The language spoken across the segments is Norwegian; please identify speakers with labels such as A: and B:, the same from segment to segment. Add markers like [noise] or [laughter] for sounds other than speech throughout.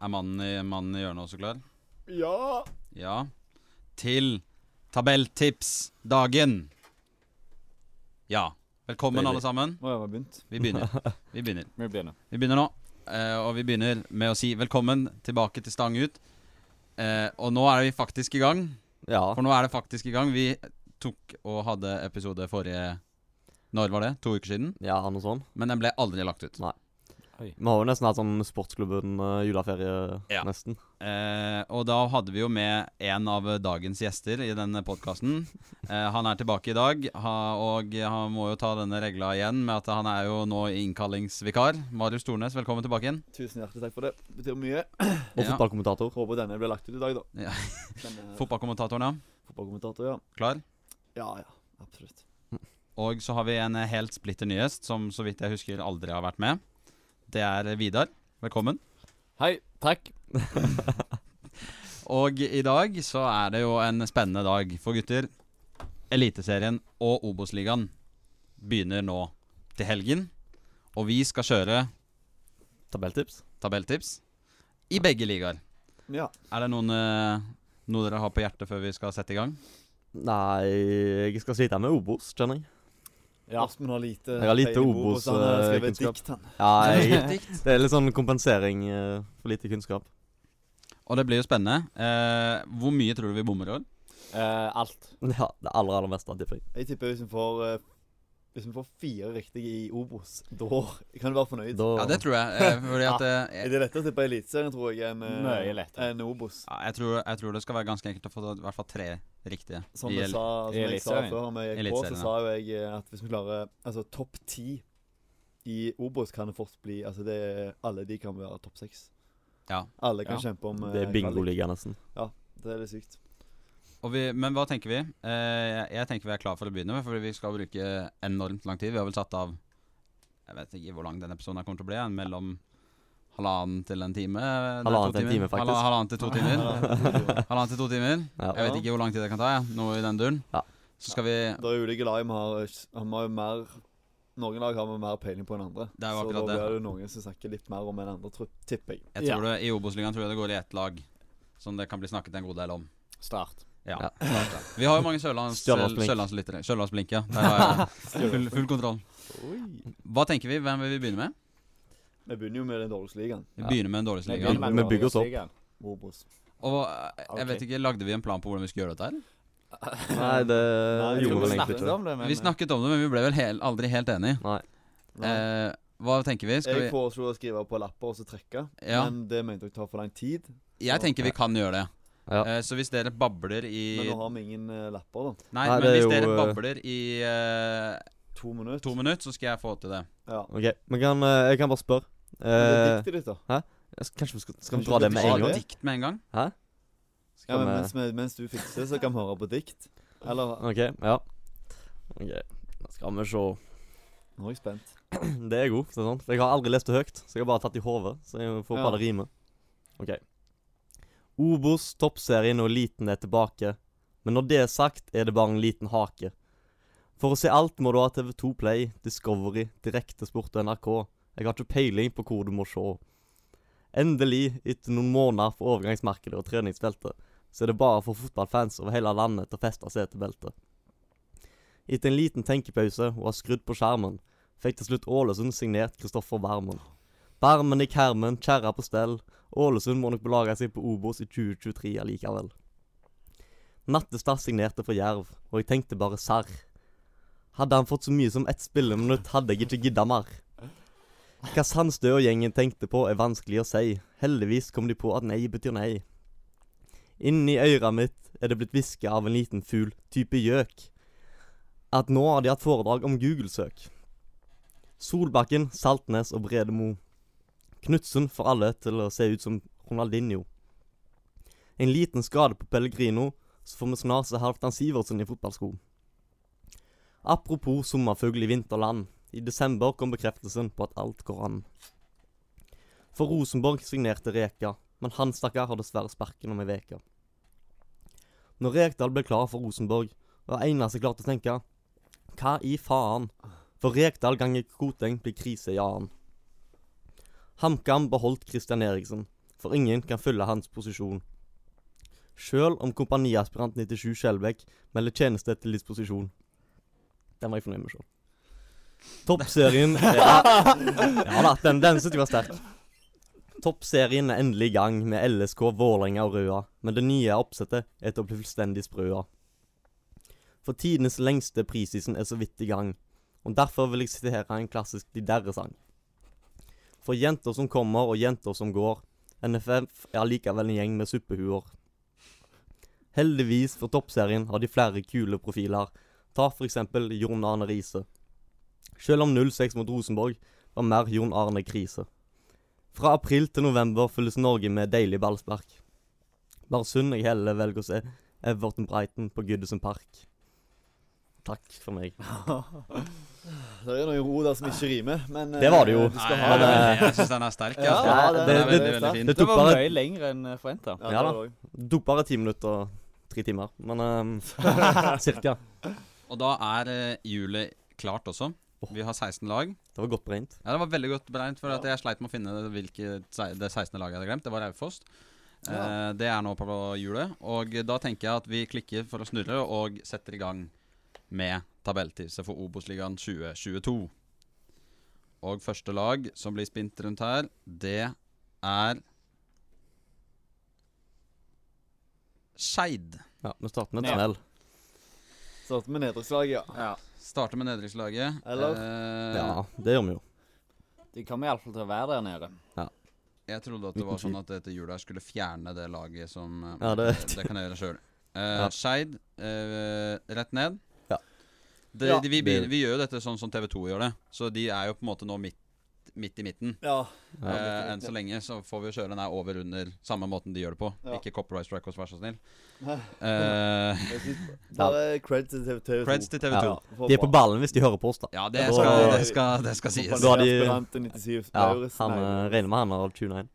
A: Er mannen i, mannen i hjørnet også klar?
B: Ja.
A: Ja. Til tabelltipsdagen. Ja. Velkommen,
C: Deilig.
A: alle sammen.
B: Nå har jeg begynt.
A: Vi begynner. Vi begynner.
B: Vi begynner.
A: Vi begynner nå, eh, og vi begynner med å si velkommen tilbake til Stang ut. Eh, og nå er vi faktisk i gang,
C: Ja.
A: for nå er det faktisk i gang. Vi tok og hadde episode forrige Når var det? To uker siden?
C: Ja, noe sånt.
A: Men den ble aldri lagt ut.
C: Vi har jo nesten hatt sånn sportsklubben eh, juleferie,
A: Ja.
C: nesten.
A: Eh, og da hadde vi jo med en av dagens gjester i denne podkasten. Eh, han er tilbake i dag, ha, og han må jo ta denne regla igjen med at han er jo nå innkallingsvikar. Marius Tornes, velkommen tilbake igjen.
B: Tusen hjertelig takk for det. Det betyr mye.
C: Og
A: Ja.
C: fotballkommentator.
B: Håper denne blir lagt ut i dag, da.
A: Ja.
B: Denne
A: Fotballkommentatoren, ja.
B: fotballkommentator, ja.
A: Klar?
B: Ja, ja. Absolutt.
A: Og så har vi en eh, helt splitter ny gjest som så vidt jeg husker aldri har vært med. Det er Vidar. Velkommen.
D: Hei, takk.
A: Og i dag så er det jo en spennende dag for gutter. Eliteserien og Obos-ligaen begynner nå til helgen. Og vi skal kjøre
C: Tabelltips.
A: tabelltips i begge ligaer.
B: Ja.
A: Er det noen, eh, noe dere har på hjertet før vi skal sette i gang?
C: Nei, jeg skal slite med Obos, kjenner jeg.
B: ja. Aspen har lite
C: Jeg har lite
B: peiling på Obos,
C: Obos,
B: Han har skrevet
C: eh, kunnskap.
B: dikt, han.
C: Ja, jeg
A: Dikt.
C: [laughs] det er litt sånn kompensering eh, for lite kunnskap.
A: [laughs] Og det blir jo spennende. Eh, hvor mye tror du vi bommer i år?
D: Eh, alt.
C: Ja, det aller, aller meste, tipper jeg.
B: Jeg tipper hvis vi får eh, Hvis vi får fire riktige i Obos, da kan du være fornøyd.
C: Da,
A: Ja, det tror jeg. Eh, fordi at eh,
B: Er det lettere å tippe Eliteserien, tror jeg, enn eh,
D: Mye lettere.
B: enn Obos?
A: ja, jeg, tror, jeg tror det skal være ganske enkelt å få i hvert fall tre riktige.
B: Som,
A: i
B: jeg
A: el-
B: sa, som
D: i
B: jeg sa
D: Eliteserien.
B: før vi gikk på,
A: Eliteserien, ja.
B: så sa jo jeg eh, at hvis vi klarer Altså, topp ti i Obos kan det fort bli Altså, det er, alle de kan være topp seks.
A: Ja.
B: Alle kan
D: Ja.
B: kjempe om eh,
C: det er
B: kvalik.
C: bingoliga, nesten.
B: Det er litt
A: [laughs]
B: sykt.
A: Og vi, men hva tenker vi? Eh, jeg- jeg tenker vi er klar for å begynne med, for vi skal bruke enormt lang tid. Vi har vel satt av Jeg vet ikke hvor lang den episoden her kommer til å bli. en Mellom halvannen til en time. Nei, to
C: Halvannen til en
A: timer.
C: time, faktisk.
A: Halla- Halvannen til to timer.
C: [laughs]
A: Halvannen til to timer.
C: Ja.
A: Jeg vet ikke hvor lang tid det kan ta. Jeg. Noe i den duren.
C: Ja.
A: Så skal vi
B: Det er ulike lag vi har Vi har jo mer Noen lag har vi mer peiling på enn andre.
A: Det er jo
B: så da
A: akkurat det.
B: blir det jo noen som snakker litt mer om enn andre, tror- tipper jeg.
A: Jeg tror det, I Obos-ligaen tror jeg det går i ett lag, som det kan bli snakket en god del om.
D: Start.
A: Ja,
C: Ja.
A: klart det. Vi har jo mange sørlands-
C: Stjørdalsblink.
A: sørlandslyttere. Sørlandsblink, ja. Der
C: [laughs]
A: har jeg full, full kontroll. Hva tenker vi? Hvem vil vi begynne med?
B: Vi begynner jo med den dårligste ligaen,
A: Vi
C: Ja.
A: begynner med den dårligste
C: begynner
A: ligaen.
C: med- vi bygger oss opp.
B: Obos.
A: Og eh, jeg vet
D: Ok.
A: ikke, Lagde vi en plan på hvordan vi skulle gjøre dette? her?
C: Nei, det
B: Nei, vi
C: gjorde vel egentlig
B: snakket
C: ikke det.
D: om det, men
B: eh,
A: vi snakket om det, men vi ble vel hel, aldri helt enige.
C: Nei.
A: Eh, hva tenker vi? Skal
B: Jeg
A: vi
B: foreslo å skrive på lapper og så trekke,
A: ja,
B: men det mente jeg tar for lang tid.
A: jeg tenker vi kan gjøre det.
C: Ja.
A: Eh, så hvis dere babler
B: Men
A: i
B: nå har vi ingen eh, lapper, da.
A: Nei,
C: Nei,
A: men
C: det er
A: hvis
C: jo,
A: dere
C: eh,
A: babler i eh,
B: To minutter.
A: to minutter, så skal jeg få til det.
B: Ja.
C: OK, men kan, eh, jeg kan bare spørre.
B: Men det er
C: Eh,
B: diktet ditt, da.
C: jeg skal- kanskje vi skal, skal vi
B: Kanskje vi
C: dra det
B: skal
C: med
B: ta
C: en
B: det?
C: gang?
A: Dikt med en gang.
C: Hæ?
B: Ja,
C: Skal
B: men
C: vi-
B: mens, vi- mens du fikser, så kan vi høre på dikt. Eller
C: OK, ja. Ok, Skal vi se.
B: Nå er jeg spent. [laughs]
C: [clears throat] Det er god. for å si det sånn. For jeg har aldri lest det høyt, så jeg har bare tatt det i hodet. Så jeg får
B: Ja.
C: bare rime. OK. Obos, toppserien og eliten er tilbake. Men når det er sagt, er det bare en liten hake. For å se alt må du ha TV2 Play, Discovery, Direktesport og NRK. Jeg har ikke peiling på hvor du må se. Endelig, etter noen måneder for overgangsmarkedet og treningsfeltet, så er det bare for fotballfans over hele landet til å feste setebeltet. Etter en liten tenkepause og har skrudd på skjermen, fikk til slutt Ålesund signert Kristoffer Bermen. Bermen i kermen, kjerra på stell. Ålesund må nok belage seg på Obos i 2023 allikevel. Nattestad signerte for Jerv, og jeg tenkte bare serr. Hadde han fått så mye som ett spilleminutt, hadde jeg ikke gidda mer. Hva Sandstø og gjengen tenkte på, er vanskelig å si. Heldigvis kom de på at nei betyr nei. Inni øret mitt er det blitt hviska av en liten fugl, type gjøk, at nå har de hatt foredrag om Google-søk. Solbakken, Saltnes og Bredemo. Knutsen får alle til å se ut som Ronaldinho. En liten skade på Pellegrino, så får vi snart se Halvdan Sivertsen i fotballsko. Apropos sommerfugl i vinterland. I desember kom bekreftelsen på at alt går an. For Rosenborg signerte Reka, men han stakkar har dessverre sparken om ei uke. Når Rekdal ble klar for Rosenborg, var det eneste jeg klarte å tenke Hva i faen? For Rekdal ganger Koteng blir krise i annen. HamKam beholdt Christian Eriksen. for ingen kan fylle hans posisjon. Sjøl om kompaniaspirant 97 Skjelbæk melder tjeneste til disposisjon. Den var jeg fornøyd med sjøl. Toppserien er Ja da, den, den syntes jeg var sterk. Toppserien er endelig i gang med LSK, Vålerenga og Røa, men det nye oppsettet er til å bli fullstendig sprøa. For tidenes lengste prisisen er så vidt i gang, og derfor vil jeg sitere en klassisk De Derre-sang. For jenter som kommer og jenter som går, NFF er allikevel en gjeng med suppehuer. Heldigvis for toppserien har de flere kule profiler, ta for eksempel Jon Arne Riise. Selv om 06 mot Rosenborg var mer Jon Arne Krise. Fra april til november fylles Norge med deilig ballspark. Barsund jeg heller velger å se Everton Brighton på Goodison Park. Takk for meg.
B: Det er noen ord der som ikke rimer, men eh,
C: Det var det jo.
B: Du
A: Nei,
B: skal
A: jeg
B: ha det.
C: det.
A: jeg syns den er sterk.
B: Ja,
A: altså.
B: ja,
A: den,
B: det-
A: er veldig,
B: det-
A: veldig fin.
C: Det
D: Det
C: tok
D: var
C: bare,
D: mye lenger enn eh, forventa.
B: Ja,
C: Ja
B: det
C: da.
B: var det også.
C: tok bare ti minutter, tre timer, men ehm, [laughs] cirka.
A: Og da er eh, hjulet klart også. Vi har 16 lag.
C: Det var godt brent.
A: Ja, Det var veldig godt beregnet, for at jeg sleit med å finne hvilket se- det 16. laget jeg hadde glemt. Det var Raufoss. Eh, det er nå på hjulet. Og da tenker jeg at vi klikker for å snurre og setter i gang med tabelltipset for Obos-ligaen 2022. Og første lag som blir spint rundt her, det er Skeid.
C: Ja, Vi starter med et
D: Ja.
C: smell.
B: Starter med nedrykkslaget, ja.
D: Ja.
A: Starter med nedrykkslaget.
B: Eller?
A: Eh,
C: Ja, det gjør vi jo.
D: De kommer iallfall til å være der nede.
A: Jeg trodde at det var
C: Uten
A: sånn at dette hjulet her skulle fjerne det laget som eh,
C: Ja, det-
A: [laughs] det kan jeg gjøre sjøl.
C: Ja.
A: Skeid, eh, rett ned.
C: Ja.
A: Det,
B: Ja.
A: de- vi, begynner, vi gjør jo dette sånn som TV2 gjør det, så de er jo på en måte nå midt, midt i midten.
B: Ja,
C: Ja.
A: Eh, enn så lenge så får vi jo kjøre den her over under samme måten de gjør det på.
B: Ja.
A: Ikke copyright strike oss, vær så snill.
B: Nei.
A: Eh,
B: jeg synes Bare cred til TV 2.
A: creds til TV2.
C: Ja.
A: Ja,
C: De er på ballen hvis de hører på oss, da.
A: det,
B: Ja,
A: skal,
B: da-
A: det, skal, det skal sies.
C: Da har de- Ja, han eh,
B: Ja,
C: regner med han har tuna inn.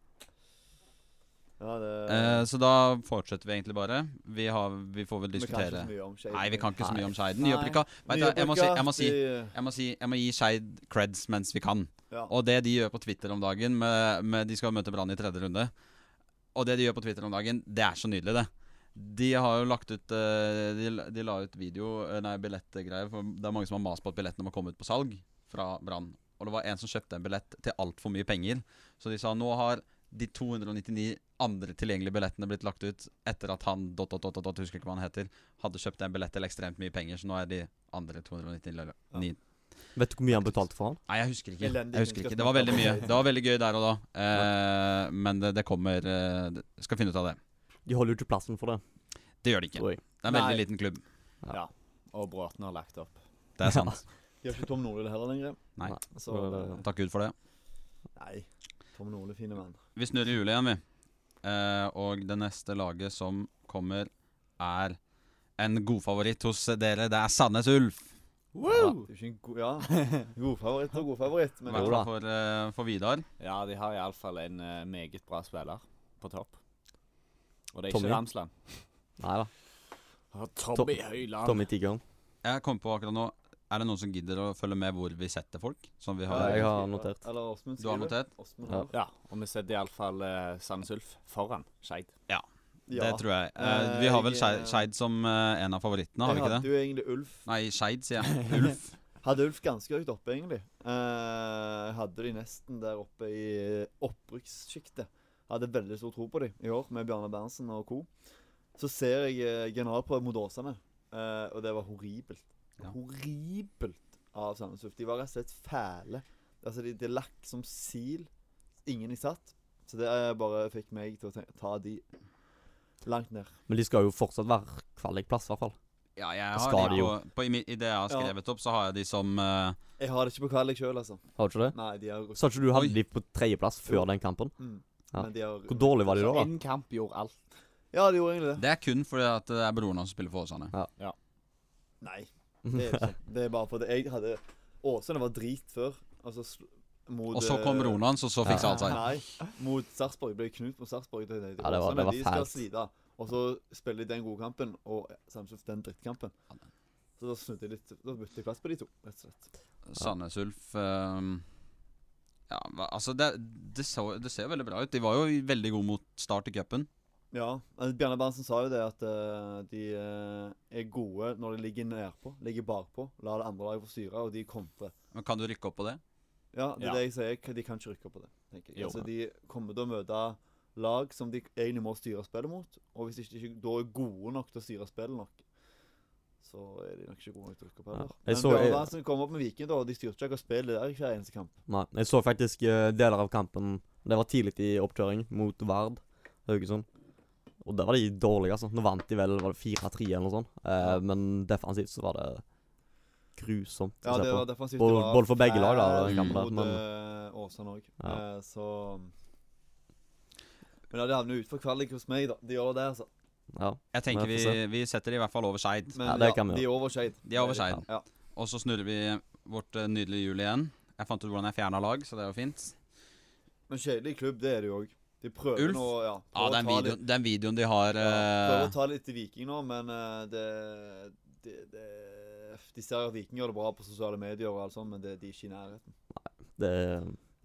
A: Eh,
B: det
A: så da fortsetter vi egentlig bare. Vi, har, vi får vel
B: vi kan ikke
A: diskutere
B: så mye om Skeid.
A: Nei, vi kan ikke så mye om Skeid.
B: Nei.
A: Nyopprykka. Vet du, jeg må si, jeg må si
B: De-
A: Jeg må, si, jeg må gi Skeid creds mens vi kan.
B: Ja.
A: Og det de gjør på Twitter om dagen med, med, De skal møte Brann i tredje runde. Og det de gjør på Twitter om dagen, det er så nydelig, det. De har jo lagt ut eh, De, de la ut video eh, Nei, billettgreier. For det er mange som har mast på at billettene må komme ut på salg fra Brann. Og det var en som kjøpte en billett til altfor mye penger. Så de sa nå har de 299 andre tilgjengelige billettene blitt lagt ut etter at han dot, dot, dot, dot, dot, husker ikke hva han heter, hadde kjøpt en billett til ekstremt mye penger. Så nå er de andre 299
B: Ja.
C: Vet du hvor mye han betalte for han?
A: Nei, jeg husker ikke.
B: Elendig
A: Jeg husker ikke.
B: kunnskap.
A: Det var veldig mye. Det var veldig gøy der og da. Eh, men det, det kommer eh, det- Skal finne ut av det.
C: De holder jo ikke plassen for det,
A: Det gjør det ikke.
C: tror jeg.
A: Det er en veldig
D: Nei.
A: liten klubb.
D: Og Bråten har lagt opp.
A: Det er sant.
B: De har ikke Tom Nordli heller lenger.
A: Nei.
B: Så
C: Så,
A: [laughs] Takk Gud for det.
B: Nei. Tom Nordli, fine mann.
A: Vi snurrer hjulet igjen, vi. Eh, og det neste laget som kommer, er en godfavoritt hos dere. Det er Sandnes Ulf.
B: Det er jo ikke en god, ja. god favoritt og god favoritt,
A: I
B: men
A: hvert fall for, eh, for Vidar.
D: Ja, de har iallfall en eh, meget bra spiller på topp. Og det er
C: Tommy.
D: ikke Ramsland.
C: Nei da.
D: Tommy Høiland.
C: Tommy Tiggeren.
A: Jeg kom på akkurat nå Er det noen som gidder å følge med hvor vi setter folk? Som vi har
C: jeg har notert.
B: Eller Åsmund
A: Du har
B: skriver.
A: notert?
B: Åsmund
C: Ja.
B: har.
D: Ja, og vi setter iallfall uh, Sandnes Ulf foran Skeid.
A: Det tror jeg. Eh,
B: Eh,
A: vi har vel
B: jeg,
A: Skei-
B: eh,
A: Skeid som eh, en av favorittene, har vi
B: Jeg
A: ikke
B: hadde
A: det?
B: jo egentlig Ulf
A: Nei, Skeid, sier jeg. Ulf.
B: Hadde Ulf ganske høyt oppe, egentlig. Eh, hadde de nesten der oppe i opprykkssjiktet. Hadde veldig stor tro på dem i år, med Bjarne Berntsen og co. Så ser jeg eh, generalprøve mot Åsane, eh, og det var horribelt.
A: Ja.
B: Horribelt av Sandnes Ulf. De var rett og slett fæle. Altså, de, de lakk som sil. Ingen i satt. Så det eh, bare fikk meg til å te- ta de langt ned.
C: Men de skal jo fortsatt være kvalikplass, i hvert fall.
A: Ja, jeg
C: Da
A: har
C: skal
A: de
C: de jo.
A: på, på, i, mi- I det jeg har
B: Ja.
A: skrevet opp, så har jeg de som eh,
B: Jeg har det ikke på kvalik sjøl, altså.
C: Har du ikke det?
B: Nei, de har
C: Sa ikke du hadde
A: Oi.
C: de på tredjeplass før den kampen?
B: mm.
C: Ja.
B: Men de har
C: Hvor dårlig var de da? da?
D: Én kamp gjorde alt.
B: Ja, de gjorde egentlig det.
A: Det er kun fordi at det er broren hans som spiller for Åsane.
B: Nei, det er ikke sant. Det er bare fordi jeg hadde Åsane var drit før. Altså sl- mot
A: Og så kom
B: eh,
A: broren hans, og så fiksa
C: Ja.
A: alt seg.
B: Nei, mot Sarpsborg. Ble knust mot Sarpsborg. Ja,
C: Ja, det var- det var
B: de skal
C: fælt.
B: slite. Og så spiller de den gode kampen, og Samskjøft den drittkampen. Så da snudde jeg litt Da bytter jeg plass på de to, rett og slett.
A: Sandnes Ulf eh, ehm, Ja, hva- altså det, det, så, det ser jo veldig bra ut. De var jo veldig gode mot start i cupen.
B: Ja, altså Bjarne Berntsen sa jo det at eh, de eh, er gode når de ligger nedpå, ligger bakpå. La det andre laget få styre, og de kontrer.
A: Men Kan du rykke opp på det?
B: Ja, det er
D: Ja.
B: det jeg sier. k- De kan ikke rykke opp på det. tenker jeg.
D: Jo.
B: Altså, de kommer til å møte lag som de egentlig må styre spillet mot. Og hvis de ikke ikke da er gode nok til å styre spillet nok, så er de nok ikke gode nok til å rykke opp
C: Ja.
B: heller.
C: Jeg
B: Men
C: så-
B: Bjarne
C: jeg-
B: Berntsen kom opp med Viking, da, og de styrte ikke spillet der i hver eneste kamp.
C: Nei, jeg så faktisk eh, deler av kampen Det var tidlig i oppkjøring mot Vard Haugesund. Og der var de dårlige, altså. Nå vant de vel var det 4-3 eller noe sånt. Eh, Men defensivt så var det grusomt å
B: Ja,
C: se
B: det var
C: på.
B: defensivt. det
C: Både-
B: var
C: både for begge lag, da,
B: fælt
C: den kampen der,
B: Mot
C: men-
B: eh, Åsane òg.
C: Ja.
B: så Men ja, det havner utfor kvalik hos meg, da. De gjør det, altså.
C: Ja.
A: Jeg tenker
C: Vi
A: vi,
C: får
A: vi setter de i hvert fall over Skeid.
B: Men
C: Ja, det kan vi
B: de er over Skeid.
A: De er over Skeid.
B: Ja.
A: Og så snurrer vi vårt eh, nydelige hjul igjen. Jeg fant ut hvordan jeg fjerna lag, så det er jo fint.
B: Men kjedelig klubb, det er det jo òg. De prøver
A: Ulf?
B: nå ja,
A: Ja,
B: prøver å
A: den
B: ta
A: videoen, den videoen de har
B: Ja, prøver
A: eh,
B: å ta litt til Viking nå, men eh, det, det, det De ser at Viking gjør det bra på sosiale medier, og alt sånt, men det, de er ikke i nærheten.
C: Det,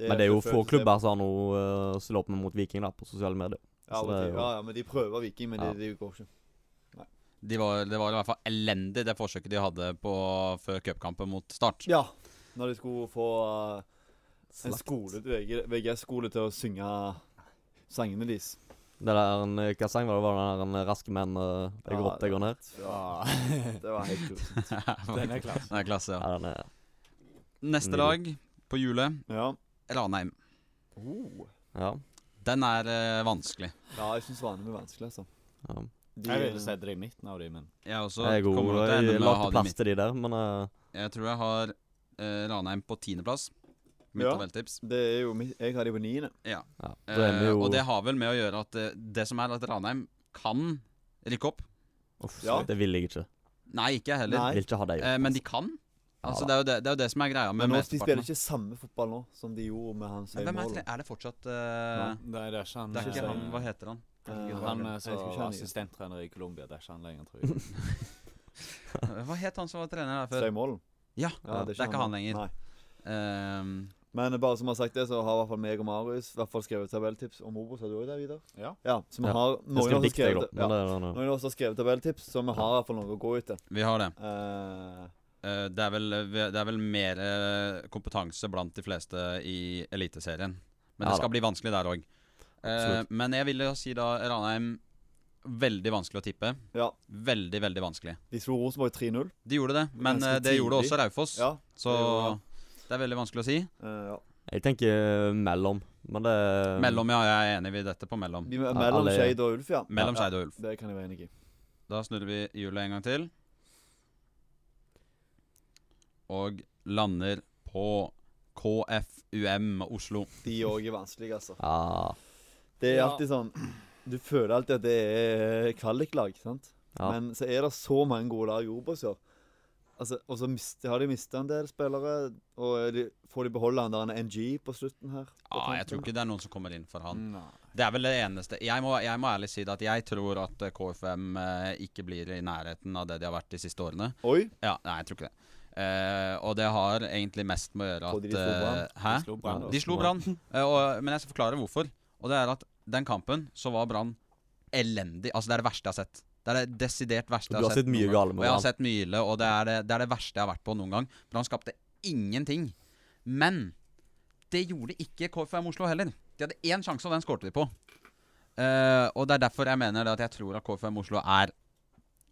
C: men det er jo få
B: forfølgelse.
C: klubber som har noe eh, å stille opp med mot Viking da, på sosiale medier.
B: Ja,
C: så
B: men
C: det er
B: de-
C: jo-
B: ja, ja, men de prøver Viking, men
C: Ja.
B: det de går ikke.
A: de var, Det var i hvert fall elendig, det forsøket de hadde på før cupkampen mot Start. [laughs]
B: Ja, når de skulle få eh, en
C: Slakt.
B: skole til VG, VGS-skole til å synge sangene deres.
C: Det der, en, hva sang var det? Var det den der en raske menn eh, Jeg går
B: Ja,
C: opp, jeg går ned?
B: Ja, [laughs] det var helt kult.
D: Den
A: den
D: er
A: [laughs]
D: klasse.
A: er klasse, ja.
C: Ja, den er
A: Neste lag på hjulet,
B: Ja.
A: Ranheim.
B: Oh.
C: Ja.
A: Den er eh, vanskelig.
B: ja, jeg syns Ranheim er vanskelig, altså.
C: ja.
B: De,
D: Jeg ville sette det i midten av de, men
A: Jeg også
C: Jeg er god.
A: kommer til å ende
C: Jeg
A: med å
C: la
A: ha
C: ikke
A: dem
C: plass til de der, men eh,
A: Jeg tror jeg har eh, Ranheim på tiendeplass. Mitt
B: Ja.
A: tabelltips.
B: det er jo mitt Jeg har de på niende.
C: ja. Da er vi
A: Eh,
C: jo
A: og det har vel med å gjøre at eh, det som er at Ranheim kan rykke opp.
C: Uff,
B: Ja.
C: Det vil jeg ikke.
A: Nei, ikke jeg heller.
B: Nei.
C: Vil ikke ha deg.
A: Eh, men de kan. Altså,
C: Ja
A: det, er jo det, det er jo det som er greia med
B: Men nå, de
A: mesteparten
B: spiller
A: av-
B: ikke samme fotball nå som de gjorde med hans
A: Men Hvem er,
B: høymål.
A: tre- er det fortsatt eh,
D: Nei, det er ikke han.
A: Det er
B: Nei.
A: ikke han,
D: eh,
A: hva heter han?
B: Eh,
D: Han eh,
B: jeg
D: som
B: husker ikke
D: var
B: han igjen.
D: assistenttrener i Colombia, det er ikke han lenger, tror jeg.
A: Eh, Hva het han som var trener der før?
B: Steinmålen.
A: Ja,
B: Ja,
A: det er ikke han lenger.
B: Nei.
A: Ehm,
B: Men bare som jeg har sagt det, så har i hvert fall meg og Marius i hvert fall skrevet tabelltips om Obos. Har du òg det, Vidar?
D: Ja.
B: Ja, så vi
C: Ja.
B: har
C: Jeg
B: noen
C: skal
B: av oss
C: dikte deg, da.
B: skrevet, ja,
C: Men eh, det er den,
B: noen av oss har skrevet tabelltips, så vi har i hvert fall noe å gå etter.
A: vi har det.
B: Eh,
A: Eh, det, er vel, det er vel mer eh, kompetanse blant de fleste i Eliteserien. Men
C: Ja
A: det
C: da.
A: skal bli vanskelig der òg.
C: Absolutt.
A: men jeg ville si da Ranheim Veldig vanskelig å tippe.
B: ja,
A: Veldig, veldig vanskelig.
B: de slo Rosenborg 3-0.
A: De gjorde det, men
B: Ganske
A: eh, det gjorde
B: tidlig.
A: også Raufoss.
B: Ja.
A: så
B: gjorde
A: det er veldig vanskelig å si.
B: eh, ja.
C: Jeg tenker eh, mellom, men det er
A: Mellom, ja. Jeg er enig i dette på mellom.
B: De er mellom
C: alle-
B: Skeid og Ulf, ja.
A: Mellom
B: ja,
A: Skeid og Ulf.
B: Det kan jeg være enig i.
A: Da snurrer vi hjulet en gang til. Og lander på KFUM Oslo.
B: De òg er vanskelige, altså.
C: Ja.
B: Det er
D: Ja.
B: alltid sånn [clears throat] Du føler alltid at det er kvaliklag, sant?
C: Ja.
B: Men så er det så mange gode lag i Obos i år. Altså, og så mist, har de mista en del spillere. Og er de, får de beholde han der han er NG på slutten her? på
A: Ja, Ah, jeg
B: tampen?
A: tror ikke det er noen som kommer inn for [laughs] han.
D: Nei.
A: Det er vel det eneste Jeg må, jeg må ærlig si det at jeg tror at eh, KFUM eh, ikke blir i nærheten av det de har vært de siste årene.
B: Oi!
A: Ja, Nei, jeg tror ikke det. Eh, og det har egentlig mest med å gjøre
B: Fordi
A: at
B: de slo Brann.
A: eh, Hæ?
D: De slo Brann.
A: De slo Brann, eh, og- men jeg skal forklare hvorfor. Og det er at den kampen så var Brann elendig. Altså, det er det verste jeg har sett. Det er det desidert verste
C: Du
A: jeg har
C: har
A: sett.
C: sett mye
A: noen gang.
C: gale med
A: Og jeg har
C: Brann.
A: sett mye ille, og det er det, det er det verste jeg har vært på noen gang. Brann skapte ingenting. Men det gjorde ikke KFM Oslo heller. De hadde én sjanse, og den skårte de på. Eh, og det er derfor jeg mener det at jeg tror at KFM Oslo er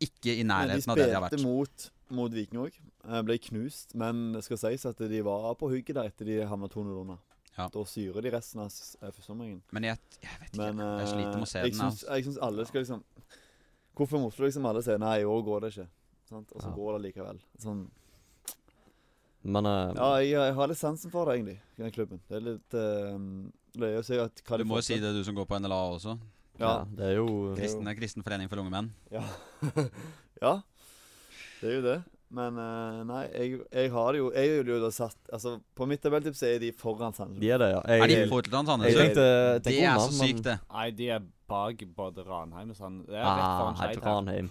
A: ikke i
B: Men de
A: nærheten av det de har vært.
B: spilte mot, mot Viking òg. Ble knust, men det skal sies at de var på hugget der etter de havna 2-0 under.
A: Ja.
B: Da syrer de resten av s- eh, førsteomgangen.
A: Men jeg, jeg vet ikke.
B: Men eh,
A: jeg sliter med å se
B: jeg
A: den.
B: syns-
A: Altså.
B: Jeg syns alle skal liksom Hvorfor må Oslo liksom alle si nei, i år går det ikke? Sant? Og så
C: Ja.
B: går det likevel. Sånn.
C: Men eh,
B: Ja, jeg, jeg har litt sansen for det, egentlig, i den klubben. Det er litt eh, løye å si at hva
A: Du
B: de
A: må
B: får
A: jo si
B: til.
A: det, du som går på NLA også.
C: ja,
B: Ja.
C: det er jo
A: Kristen, det er kristen forening for unge menn.
B: Ja. [laughs] ja. Det er jo det. Men eh, nei, jeg, jeg har det jo Jeg ville jo da satt Altså, på mitt tabelltips er de foran Sandnes.
C: De er det, ja.
A: Er de
C: Jeg,
A: for til
C: jeg
A: Sandnes?
B: jeg-
C: tenkte
A: Det
C: tenk
A: er
C: unna,
A: så sykt, det.
D: Nei, de er bak både Ranheim og sånn. Det er rett
C: Ah,
D: foran
C: nei,
D: Skeid. her.
C: Ranheim.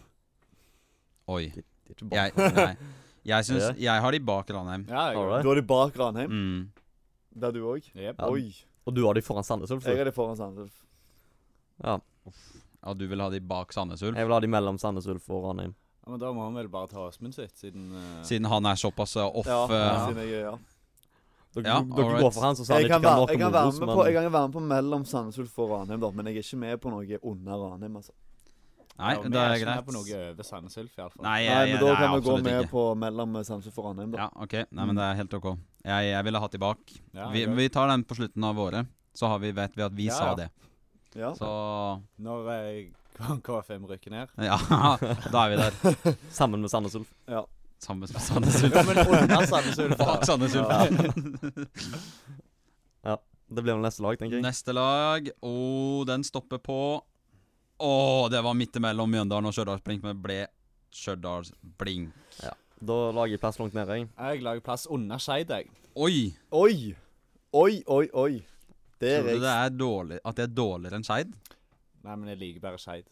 A: Oi.
C: Det er ikke bra.
A: Jeg, nei. jeg syns Jeg har de bak Ranheim.
D: Ja, jeg
C: Alright.
B: Da er de bak Ranheim.
A: Mm.
B: Det er du òg?
D: Jep.
C: Ja.
B: Oi.
C: Og du har de foran Sandnes Ulf.
B: Jeg
C: du.
B: er det foran Sandnes.
C: Ja.
A: Ja, du vil ha de bak Sandnes Ulf?
C: Jeg vil ha de mellom Sandnes Ulf og Ranheim.
D: Ja, men da må han vel bare ta Åsmund sitt, siden eh,
A: Siden han er såpass eh, off
B: Ja,
A: eh,
B: siden jeg, er- ja.
C: Dere,
A: Ja,
C: dere
A: alright.
C: går for han, så sa han
B: Jeg,
C: ikke
B: kan
C: hva
B: være, jeg,
C: noe
B: kan
C: moro,
B: være med på, jeg
C: men
B: kan være med på mellom Sandnes Ulf og Ranheim, da, men jeg er ikke med på noe under Ranheim. altså.
A: Nei,
D: ja, vi
A: det er
D: ikke med
A: greit.
D: sånn på altså. noe over Sandnes Ulf, iallfall.
A: Nei,
B: Nei,
A: jeg,
B: men
A: jeg,
B: Da
A: det
B: kan
A: er
B: vi gå
A: absolutt
B: med
A: ikke.
B: på mellom Sandnes Ulf og Ranheim. da.
A: Ja, ok. Nei, men det er helt ok. Jeg, jeg ville hatt de bak.
D: Ja,
A: Vi,
D: jeg-
A: vi tar den på slutten av året, så har vi, vet vi at vi
D: Ja,
A: sa
D: ja.
A: det.
B: Ja.
A: Så
D: Når [laughs] eh, KFM rykker ned
A: ja, [laughs] da er vi der.
C: sammen med Sandnes Ulf.
A: Sammen med Sandnes Ulf.
D: Ja, men under Sandnes Ulf, da.
A: Bak Sandnes Ulf.
C: Det blir vel neste lag, tenker jeg.
A: Neste lag. Å, den stopper på Å, det var midt imellom Mjøndalen og Stjørdalsblink, men det ble Stjørdalsblink.
C: Da lager jeg plass langt nede, jeg. [laughs]
D: Jeg lager plass under Skeid, jeg.
A: Oi!
B: Oi! Oi, oi, oi. Der
A: Tror
B: er
A: du det
B: jeg.
A: er dårlig, at det er dårligere enn Skeid?
D: Nei, men jeg liker bare Skeid.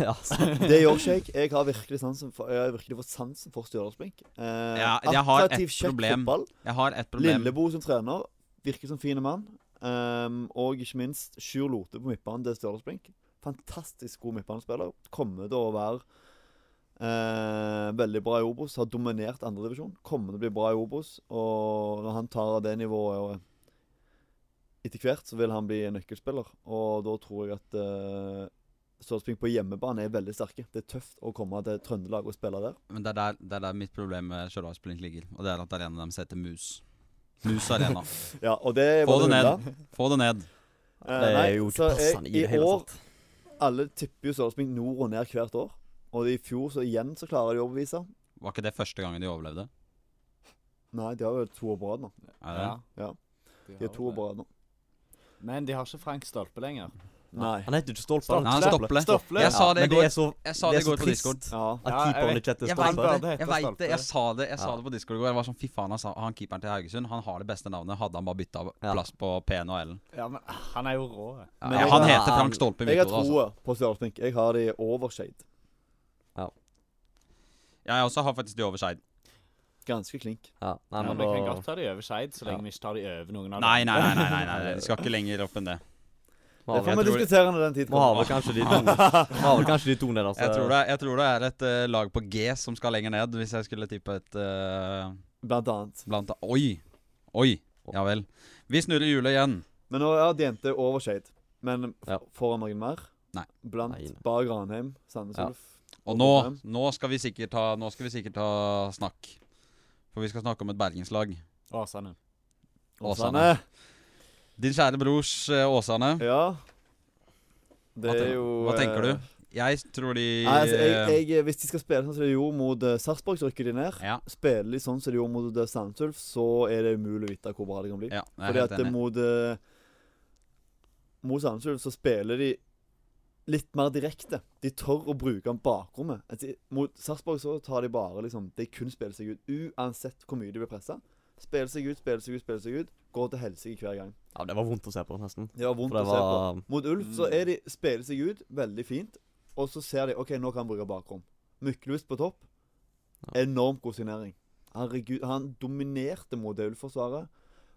C: ja, så-
B: Det gjør ikke jeg. Jeg har virkelig sansen for, jeg har virkelig fått sansen for Stjørdalsblink. Eh,
A: Ja, jeg har et
B: attraktiv, kjekk
A: problem.
B: fotball.
A: Jeg har ett problem.
B: Lillebo som trener. Virker som fine mann. Ehm, og ikke minst Sjur Lote på midtbanen til Stjørdalsblink. Fantastisk god midtbanespiller. Kommer til å være eh, veldig bra i Obos. Har dominert andredivisjon. Kommer til å bli bra i Obos. Og når han tar det nivået og etter hvert, så vil han bli en nøkkelspiller. Og da tror jeg at uh, Stjørdalsblink på hjemmebane er veldig sterke. Det er tøft å komme til Trøndelag og spille der.
A: Men det er der, det er der mitt problem med Stjørdalsblink ligger. Og det er at arenaen deres heter Mus. Mus Arena.
B: Ja, og det
A: Få
B: var
A: det ned.
B: hylla.
A: Få det ned.
B: Eh,
C: Det
B: nei,
C: er jo ikke
B: så jeg-
C: passende i det hele
B: år
C: tatt.
B: alle tipper jo Sørlandsblink nord og ned hvert år. Og i fjor så igjen så klarer de å overbevise.
A: Var ikke det første gangen de overlevde?
B: Nei, de har jo to år på rad nå.
A: Er det?
B: Ja.
D: De
B: De har to år
D: det.
B: på rad nå.
D: Men de har ikke Frank Stolpe lenger.
B: Nei.
C: Han heter jo ikke Stolpe.
A: Nei, han
D: Stople.
A: Stople.
D: Stople.
A: Jeg sa
C: Ja,
A: det i
C: men
A: går.
C: er så,
A: Jeg sa
C: det
A: det
C: er
A: i
C: så
A: går på
C: trist
A: Discord.
B: Ja.
C: at
D: Ja, jeg
C: keeperen
D: vet-
C: ikke heter
A: Jeg
D: Han
C: Stolpe.
A: vet
D: burde
A: det,
D: hete
A: jeg vet det.
D: Stolpe.
A: Jeg sa det Jeg sa
C: Ja.
A: det på Discord i går. Jeg var sånn, Fy faen, han, sa- han keeperen til Haugesund Han har det beste navnet. Hadde han bare bytta
C: Ja.
A: plass på P-en og L-en.
D: Ja, men ah, han er jo rå. jeg.
A: Ja,
B: Men jeg-
A: han heter Frank Stolpe i
B: Jeg
A: mitt
B: har
A: hode. Altså.
B: troa på Sørlandsblink. Jeg har de over shade.
A: Ja, jeg også har faktisk de over Skeid.
B: Ganske klink.
C: Ja, nei,
D: Ja,
C: men
D: vi kan
C: da
D: godt ta de over Skeid, så
C: Ja.
D: lenge vi ikke tar de over noen av
A: Nei, nei,
D: dem.
A: nei. nei, nei, nei. De skal ikke lenger opp enn det.
C: Må
B: Det
C: ha-
B: får
A: jeg
B: vi
A: tror-
B: diskutere når den tid
C: må ha
B: kommer.
C: vel kanskje de
B: [laughs]
C: to Må ha vel kanskje de to altså. nederste.
A: Jeg tror det, jeg tror det er et eh, lag på G som skal lenger ned, hvis jeg skulle tippe et eh,
B: Blant annet.
A: Blant annet Oi! Oi! Ja vel. Vi snurrer hjulet igjen.
B: Men nå er de jente over shade. Men f-
C: Ja.
B: får han noen mer?
A: Nei.
B: Blant
C: Nei.
B: Bar Granheim, Sandnes
C: Ja.
B: Ulf
A: Og nå, nå, skal vi sikkert ta, nå skal vi sikkert ta snakk. For vi skal snakke om et bergenslag.
D: Åsane.
A: Åsane. Din kjære brors eh, Åsane.
B: Ja. Det
A: Hva
B: er
A: tenker-
B: jo
A: Hva tenker
B: eh,
A: du? Jeg tror de eh,
B: Nei, altså, jeg, jeg, hvis de skal spille sånn som de gjorde mot eh, Sarpsborg, så rykker de ned.
A: Ja,
B: Spiller de sånn som de gjorde mot eh, Sandnes Ulf, så er det umulig å vite hvor bra det kan bli.
A: ja, jeg er
B: Fordi
A: helt
B: at eh,
A: enig.
B: mot eh, Mot Sandnes Ulf så spiller de litt mer direkte. De tør å bruke om bakrommet. Altså, mot Sarpsborg så tar de bare liksom De kun spiller seg ut. Uansett hvor mye de blir pressa. Spiller seg ut, spiller seg ut, spiller seg ut. Går til helsike hver gang.
C: Ja, det var vondt å se på, nesten.
B: Det var
C: For
B: vondt
C: det
B: å se på.
C: var
B: Mot Ulf så
A: Mm.
B: er de, spiller seg ut veldig fint, og så ser de OK, nå kan han bruke bakrom. Myklevist på topp. Enormt god signering. Herregud, han dominerte mot det Ulf-forsvaret.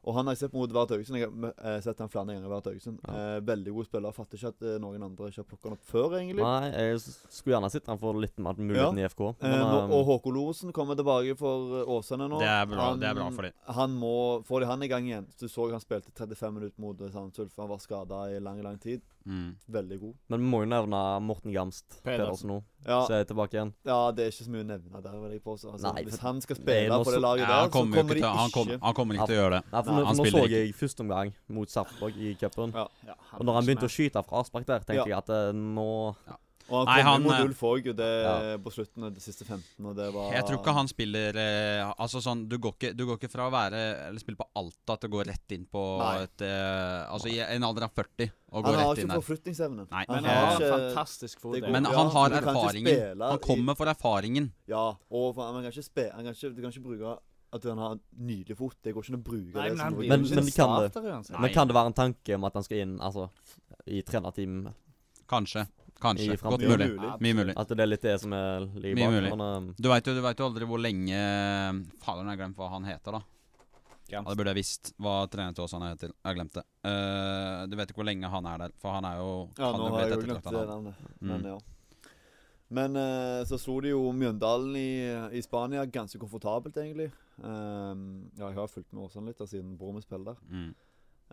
B: Og han har jeg sett mot Vard Haugesund. Jeg har mø- eh, sett han flere ganger i Vard Haugesund. Eh, veldig god spiller. Fatter ikke at eh, noen andre ikke har plukket han opp før, egentlig.
C: Nei, jeg s- skulle gjerne sett han får litt mer muligheten i FK.
B: Eh,
C: Men,
B: nå,
C: eh,
B: og Håkon Lorentzen kommer tilbake for eh, Åsane nå.
A: Det er bra- det er bra for de.
B: Han må, Får de han i gang igjen Du så han spilte 35 minutter mot eh, Sandnes Ulf. Han var skada i lang, lang tid.
A: Mm.
B: Veldig god.
C: men vi må jo nevne Morten Gamst Pedersen
D: Pedersen.
C: nå.
B: Ja,
C: Så er jeg tilbake igjen.
B: Ja, det er ikke så mye å nevne der, vil jeg påstå. Altså,
C: Nei,
B: hvis
C: for-
B: han skal
C: det er
B: spille
C: noe
B: på det
C: så-
B: laget
A: Ja,
B: der,
A: han
B: så
A: kommer jo
B: kommer
A: ikke
B: de
A: til, han kom,
B: ikke
A: han kommer ikke til å gjøre det.
C: Nei, for
B: Nei,
C: nå,
A: han
C: nå så
A: spiller
C: jeg første omgang mot Sarpsborg i cupen.
B: Ja.
D: Ja, han
C: Og når han begynte å
D: er-
C: skyte fra avspark der,
B: Ja.
C: tenkte jeg at eh, nå
B: Og han
A: Nei,
B: kom
A: han,
B: jo mot
A: eh,
B: Ulf òg, og det
C: ja.
B: på slutten av de siste 15, og det var
A: Jeg tror ikke han spiller eh, Altså sånn, du går ikke, du går ikke fra å være Eller spille på Alta til å gå rett inn på
B: Nei.
A: et eh, Altså i en alder av 40 og gå
B: Han har
A: rett inn
B: ikke
A: der.
B: forflytningsevne.
A: Nei,
B: han
D: Men
A: eh,
D: han har
B: ikke-
D: fantastisk fot.
B: det
D: jeg.
B: går-
A: Men
B: Ja,
A: han
B: du
A: har
B: kan ikke
A: erfaringen.
B: spille
A: Han
B: i-
A: kommer for erfaringen.
B: Ja, og for, man kan ikke spe, han kan ikke, Du kan ikke bruke at han har nydelig fot. Det går ikke an å bruke det.
D: Nei, men
B: som
D: han
B: noe
D: blir
C: Men-
D: jo ikke
C: men de
D: en
C: kan det.
D: starter uansett.
A: Nei.
C: Men kan det være en tanke om at han skal inn altså, i trenerteam?
A: Kanskje. Kanskje.
C: I
A: Godt
C: fremtiden.
A: mulig. Mye mulig.
C: At det er litt det som er ligger
A: Mye
C: bak?
A: mulig.
C: Men, eh,
A: eh, Du veit jo, du vet jo aldri hvor lenge Fader, nå har jeg glemt hva han heter, da. Ja, det burde jeg visst hva treneren til Åsane er til. Jeg glemte. Uh, du vet ikke hvor lenge han er der, for han er jo
B: Ja,
A: kan
B: nå
A: jo bli
B: har
A: et
B: jeg jo glemt
A: ettertraktet
B: det
A: navn.
B: navnet.
A: Mm.
B: Men ja. Men eh, så slo de jo Mjøndalen i, i Spania ganske komfortabelt, egentlig. Ehm, ja, jeg har fulgt med Åsane litt da, siden broren min spiller der.
A: Mm.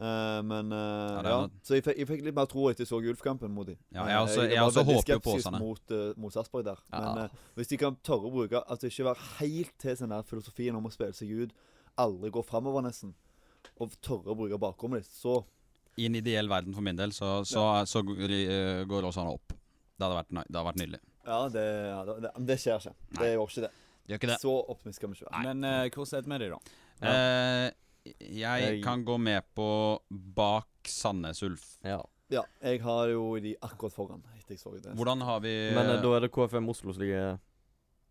B: Eh, men eh,
A: Ja, det er
B: ja,
A: noe-
B: Så jeg fikk, jeg fikk litt mer tro etter jeg så Ulf-kampen mot Eh, dem.
A: Ja, jeg også- jeg også håper jo på Åsane.
B: Mot, eh, mot Sarpsborg der.
A: Ja.
B: Men eh, hvis de kan tørre å bruke Altså ikke være helt til den der filosofien om å spille seg ut, aldri gå framover, nesten, og tørre å bruke bakrommet ditt, så
A: I en ideell verden for min del, så, så, så, går- eh, går Åsane opp. Det hadde vært, nø- det hadde vært nydelig.
B: Ja, det, ja, det, det, men det skjer ikke. Det gjør ikke det.
A: Det gjør ikke det.
B: Så optimistisk skal vi ikke være.
D: Men eh, hvordan er det med de, da?
A: Eh, jeg
B: Jeg-
A: kan gå med på bak Sandnes Ulf.
C: Ja.
B: Ja, jeg har jo de akkurat foran. Etter jeg så det.
A: Hvordan har vi
C: Men eh, da er det KFM Oslo som ligger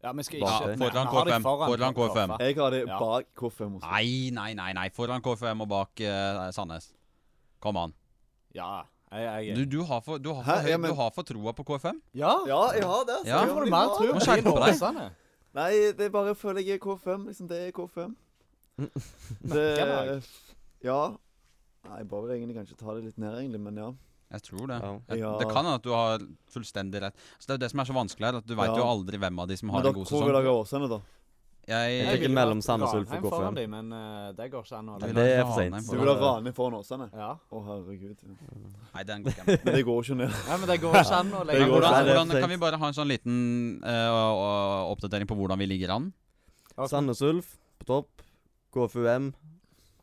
D: Ja, vi skal
C: Bak
D: ikke
C: deg.
D: Nei,
A: Foran
D: vi har de
A: KFM, foran KFM.
D: KFM.
B: Jeg har det
D: Ja.
B: bak KFM. også.
A: Nei, nei, nei, nei. Foran KFM og bak eh, Sandnes. Kom an.
D: Ja, jeg,
A: Du,
D: jeg,
A: du, har for, du, har
B: Hæ?
A: for, høy-
B: Ja, men-
A: du har for troa på KFM?
D: ja.
B: Ja, jeg har det. så
A: Ja.
B: det er
D: Hvorfor har
B: jo
D: du mer
B: bra.
D: tro
A: Må
D: på
A: skjerpe
D: de
A: deg.
D: Åsane?
B: Nei, det er bare føler jeg er KFM. Liksom, det er KFM. Det
D: Merkedag.
B: Ja. Nei, jeg bare vil egentlig kanskje ta det litt ned, egentlig, men ja.
A: Jeg tror det.
C: Ja.
A: Jeg,
B: Ja.
A: Det kan hende at du har fullstendig rett. Så Det er jo det som er så vanskelig her, at du veit
B: Ja.
A: jo aldri hvem av de som
B: Men
A: har
B: da
A: en god
B: hvor vil
A: sesong.
B: dere ha Åsane, da?
A: Jeg,
C: Jeg tenker
D: ville
C: mellom
D: vært
C: Sandnes Ulf og
D: Ranheim foran
C: KFM.
D: de, Men eh, det går ikke an å
A: Jeg vil
C: Det er for
A: ha
C: sent.
A: Ranheim
B: Du
A: foran.
B: vil ha Rane foran Åsane?
D: Ja.
B: Å, herregud. ja.
A: Nei, den
B: [laughs]
A: går ikke an.
B: Men det går jo ikke
D: [laughs]
B: ned.
D: Nei, men det går ikke an å legge
C: Det går
A: Hvordan,
C: ikke an.
A: hvordan kan vi bare ha en sånn liten eh, å- å- oppdatering på hvordan vi ligger an?
D: Ok.
C: Eh, Sandnes Ulf på topp. KFUM.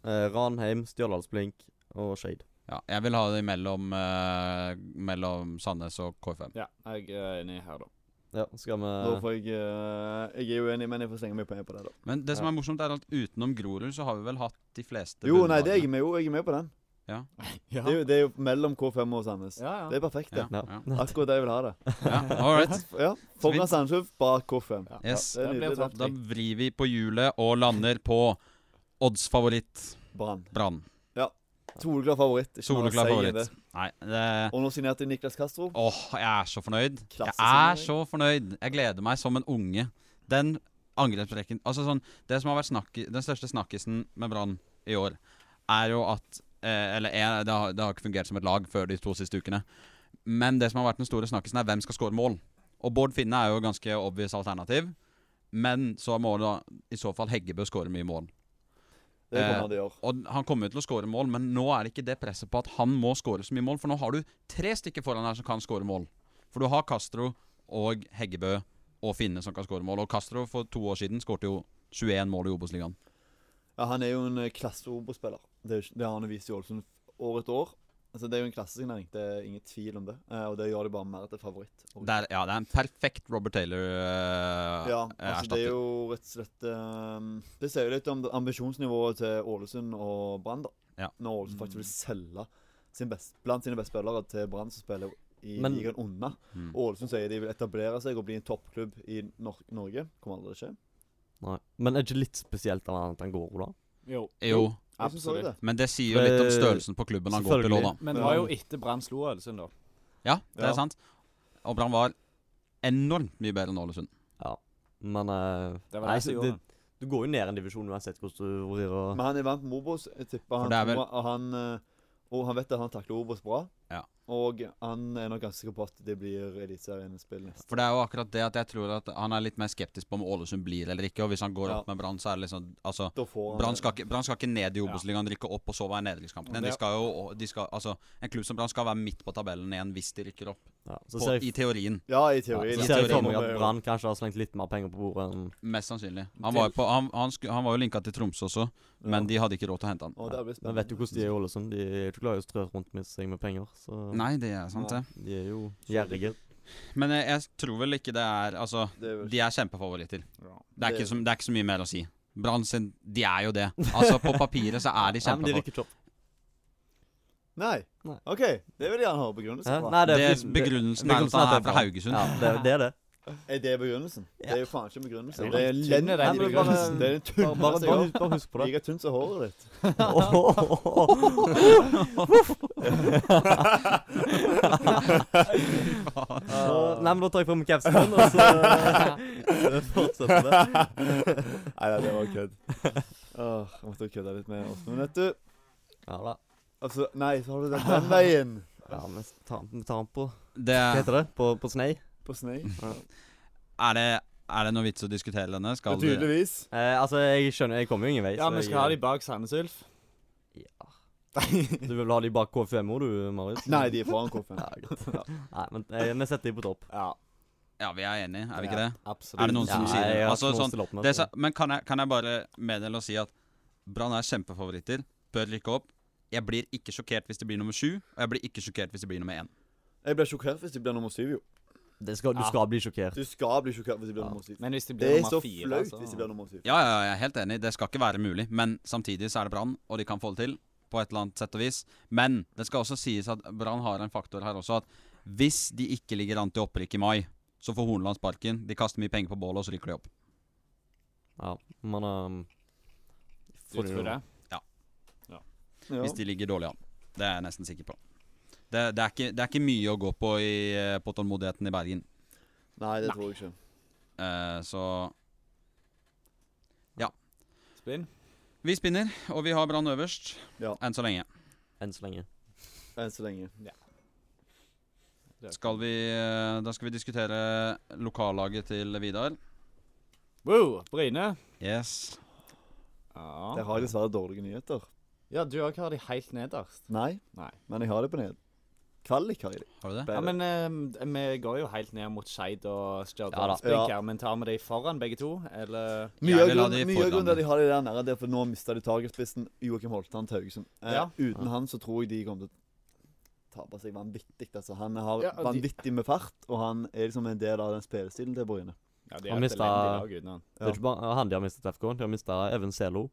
C: Eh, Ranheim, Stjørdalsblink og Skeid.
A: Ja, jeg vil ha det mellom, eh, mellom Sandnes og K5.
D: Ja, jeg er enig
B: [laughs]
D: her, da.
C: Ja, skal vi
B: Da får jeg eh, Jeg er uenig, men jeg får slenge meg på en på det, da.
A: Men det som
C: Ja.
A: er morsomt, er at utenom Grorud så har vi vel hatt de fleste
B: Jo, nei, det
A: bunnlagene.
B: er jeg med, jo, jeg er med på den.
D: Ja,
B: Det er jo, det er jo mellom K5 og Sandnes.
D: ja.
B: Det er perfekt, det.
A: Ja,
C: Ja.
A: ja.
B: Akkurat der jeg vil ha det.
A: ja. All right.
B: Ja,
A: Så vi-
B: Foran Sandnes bak K5.
D: ja.
A: Yes.
B: Det er
D: Det blir
B: nydelig,
D: topp
A: Da
D: tre.
A: vrir vi på hjulet og lander på oddsfavoritt
B: Brann.
A: Brann.
B: Soleklar favoritt. ikke noe å
A: Soleklar
B: si i
A: favoritt.
B: det.
A: Nei, det
B: Og nå signerte Niklas Castro.
A: Åh, jeg er så fornøyd. Jeg
B: Klassesignering.
A: er så fornøyd. Jeg gleder meg som en unge. Den angrepsrekken Altså sånn Det som har vært snakk, den største snakkisen med Brann i år, er jo at eh, Eller er, det, har, det har ikke fungert som et lag før de to siste ukene. Men det som har vært den store snakkisen, er hvem skal score mål. Og Bård Finne er jo ganske obvious alternativ. Men så må da i så fall Heggebø skåre mye mål. Eh,
B: Det kommer han til å gjøre.
A: Og han kommer jo til å skåre mål, men nå er det ikke det presset på at han må skåre så mye mål. For nå har du tre stykker foran her som kan skåre mål. For du har Castro og Heggebø og Finne som kan skåre mål. Og Castro for to år siden skårte jo 21 mål i Obos-ligaen.
B: Ja, han er jo en eh, klasse Obos-spiller. Det, er jo ikke- det har han jo vist i Ålesund år etter år. Altså, det er jo en klassesignering. Det er ingen tvil om det. Eh, og det gjør det bare mer til favoritt. Og-
A: Det er, ja, det er en perfekt Robert eh, Taylor-erstatter.
B: ja, altså Det er jo rett og slett eh, Det sier jo litt om det- ambisjonsnivået til Ålesund og Brann, da.
A: Ja. Mm.
B: Når Ålesund faktisk vil selge sin best, blant sine beste spillere til Brann, som spiller i
C: Men-
B: ligaen unna.
A: Mm.
B: Ålesund sier de vil etablere seg og bli en toppklubb i Nor Norge. Kommer aldri til å skje.
C: Nei. Men er det ikke litt spesielt annet enn Goro, da?
D: Jo,
A: jo,
B: Jeg synes også
D: absolutt.
B: det.
A: men det sier jo litt om størrelsen på klubben han går til òg, da.
D: Men det var jo etter Brann slo Ålesund, da.
A: Ja, det
B: Ja.
A: er sant. Og Brann var enormt mye bedre enn Ålesund.
C: Men eh,
D: Det var
C: nei,
D: det som
C: så
D: gjorde
C: det, Du går jo ned en divisjon uansett hvordan du vrir og
B: Men han er vant med Obos. Jeg tipper
A: det er
B: han,
A: vel-
B: kommer- og han eh, Og han vet at han takler Obos bra.
A: Ja.
B: Og han er nok ganske sikker på at det blir Eliteserien-spill neste.
A: For det er jo akkurat det at jeg tror at han er litt mer skeptisk på om Ålesund blir eller ikke. Og hvis han går
B: Ja.
A: opp med Brann, så er det liksom Altså,
B: Da får han
A: Brann skal, ikke- Brann skal ikke ned i Obos-ligaen, rykke opp og så være i nedrykkskampene.
D: Det-
A: De skal jo, de skal, altså, en klubb som Brann skal være midt på tabellen igjen hvis de rykker opp.
C: ja. Så
A: På,
C: ser
A: I
C: jeg,
A: teorien,
B: Ja, i
C: ja,
B: teorien.
A: i
C: så ser jeg for
A: teorien
C: meg at
B: må-
C: Brann kanskje har slengt litt mer penger på bordet enn
A: mest sannsynlig. Han var jo, på, han, han, sku, han var jo linka til Tromsø også, men de hadde ikke råd til å hente han.
B: Og det blir
C: Men
B: spennende.
C: vet jo hvordan de er i Ålesund. De er jo ikke glad i å strø rundt med seg med penger. Så
A: Nei, det er sant, det.
C: de er jo gjerrige.
A: Men eh, jeg, jeg tror vel ikke det er Altså,
B: Det er vel-
A: de er kjempefavoritter.
D: Ja.
A: Det er ikke, som, det er ikke så mye mer å si. Brann sin De er jo det. Altså, på papiret så
C: [laughs]
A: er de
C: Nei, men de
A: kjempefavoritter.
C: rykker ikke opp.
B: Nei.
C: Nei.
B: OK. Det vil jeg gjerne ha begrunnelse
C: Hæ?
B: for.
C: Nei, det er
A: Det-
C: fordi- det-
A: Begrunnelsen er at han er fra
C: Brann.
A: Haugesund.
C: Ja, det, det
D: [laughs]
C: er det. [laughs]
B: Er det begrunnelsen? Det er jo faen ikke
C: Jo,
B: begrunnelse.
C: det
B: Det er
D: tynn er
B: lend-
D: den
B: Nei, men det er bare-
D: begrunnelsen.
B: Det er en
C: Bare, bare,
B: tunnelse.
C: bare, bare husk på det.
B: Like tynt som håret ditt.
C: Åh, åh, åh, åh. Så, nei, men da tar jeg på meg capsen, min, og
D: [laughs]
C: så fortsetter det.
B: [laughs] Nei, nei, det var kødd. Åh, jeg måtte kødde litt med Åsmund, vet du.
C: Ja da.
B: Altså, nei, så har du den den veien.
C: Ja, men ta, ta den på
A: Det,
C: Hva heter det? På, på snei?
B: På snei.
A: er, det, er det noe vits å diskutere denne?
B: Og
A: Skal du
B: Tydeligvis.
C: Eh, altså, jeg skjønner, jeg kommer jo ingen vei.
D: Ja,
C: så
D: vi
C: jeg-
D: skal ha de bak Sandnes Ulf.
C: Ja. Du vil ha de bak KFMO, du, Marius?
B: Nei, de er foran K5.
C: Ja, greit. Nei, men eh, vi setter de på topp.
D: Ja,
A: Ja, vi er enige, er vi ikke det?
D: absolutt.
A: Er det noen som
C: Ja,
A: sier det?
C: jeg har
A: Altså,
C: ikke noe å
A: sånn,
C: stille opp med,
A: det
C: så-
A: sa, men kan jeg, kan jeg bare meddele og si at Brann er kjempefavoritter, bør rykke opp. Jeg blir ikke sjokkert hvis det blir nummer sju, og jeg blir ikke sjokkert hvis det blir nummer én.
B: Jeg blir sjokkert hvis de blir nummer syv, jo.
C: Det skal, du
D: Ja.
C: skal bli sjokkert.
B: Du skal bli sjokkert hvis de blir
C: Ja.
B: nummer syv.
D: Men hvis det
B: Det
D: blir
B: er så
D: nummer fire, altså.
B: flaut hvis de blir nummer syv.
A: Ja, ja, ja, jeg er helt enig, det skal ikke være mulig, men samtidig så er det Brann, og de kan få det til på et eller annet sett og vis. Men det skal også sies at Brann har en faktor her også, at hvis de ikke ligger an til opprykk i mai, så får Horneland sparken. De kaster mye penger på bålet, og så rykker de opp.
C: Ja, men um,
D: Du tror det?
B: Ja.
A: hvis de ligger dårlig an. Det er jeg nesten sikker på. Det, det, er, ikke, det er ikke mye å gå på i, eh, på tålmodigheten i Bergen.
B: Nei, det tror jeg ikke.
A: Eh, så
D: Spinn?
A: vi spinner, og vi har Brann øverst
B: Ja.
A: enn så lenge.
C: Enn så lenge.
B: Enn så lenge.
A: Skal vi, eh, da skal vi diskutere lokallaget til Vidar.
D: Wow, Bryne.
A: Yes.
B: Der
D: Ja.
B: har jeg dessverre dårlige nyheter.
D: ja, du òg har de helt nederst.
B: Nei,
D: Nei.
B: men jeg har det på ned. Kvalik har jeg det.
A: Har du det?
D: Ja,
B: Bedre.
D: men eh, vi går jo helt ned mot Skeid og
C: Ja da.
D: Stjørdals Blink
B: Ja.
D: her, men tar vi de foran begge to, eller
B: Mye
A: Jeg
B: av
A: vil ha de
B: grunnen- mye av
A: foran
B: grunnen til
A: meg.
B: at de har de der nede, det er for nå mista de tagerspissen Joakim Holtan til Haugesund. Eh,
D: Ja.
B: Uten han så tror jeg de kommer til å tape seg vanvittig. Altså, han har
D: Ja, og de-
B: vanvittig med fart, og han er liksom en del av den spillestilen til Bryne.
D: Ja, de
C: Han
D: et
C: mistet-
D: elendig lag uten han.
C: Det er ikke bare han de har mistet FK. De har mistet Even Selo,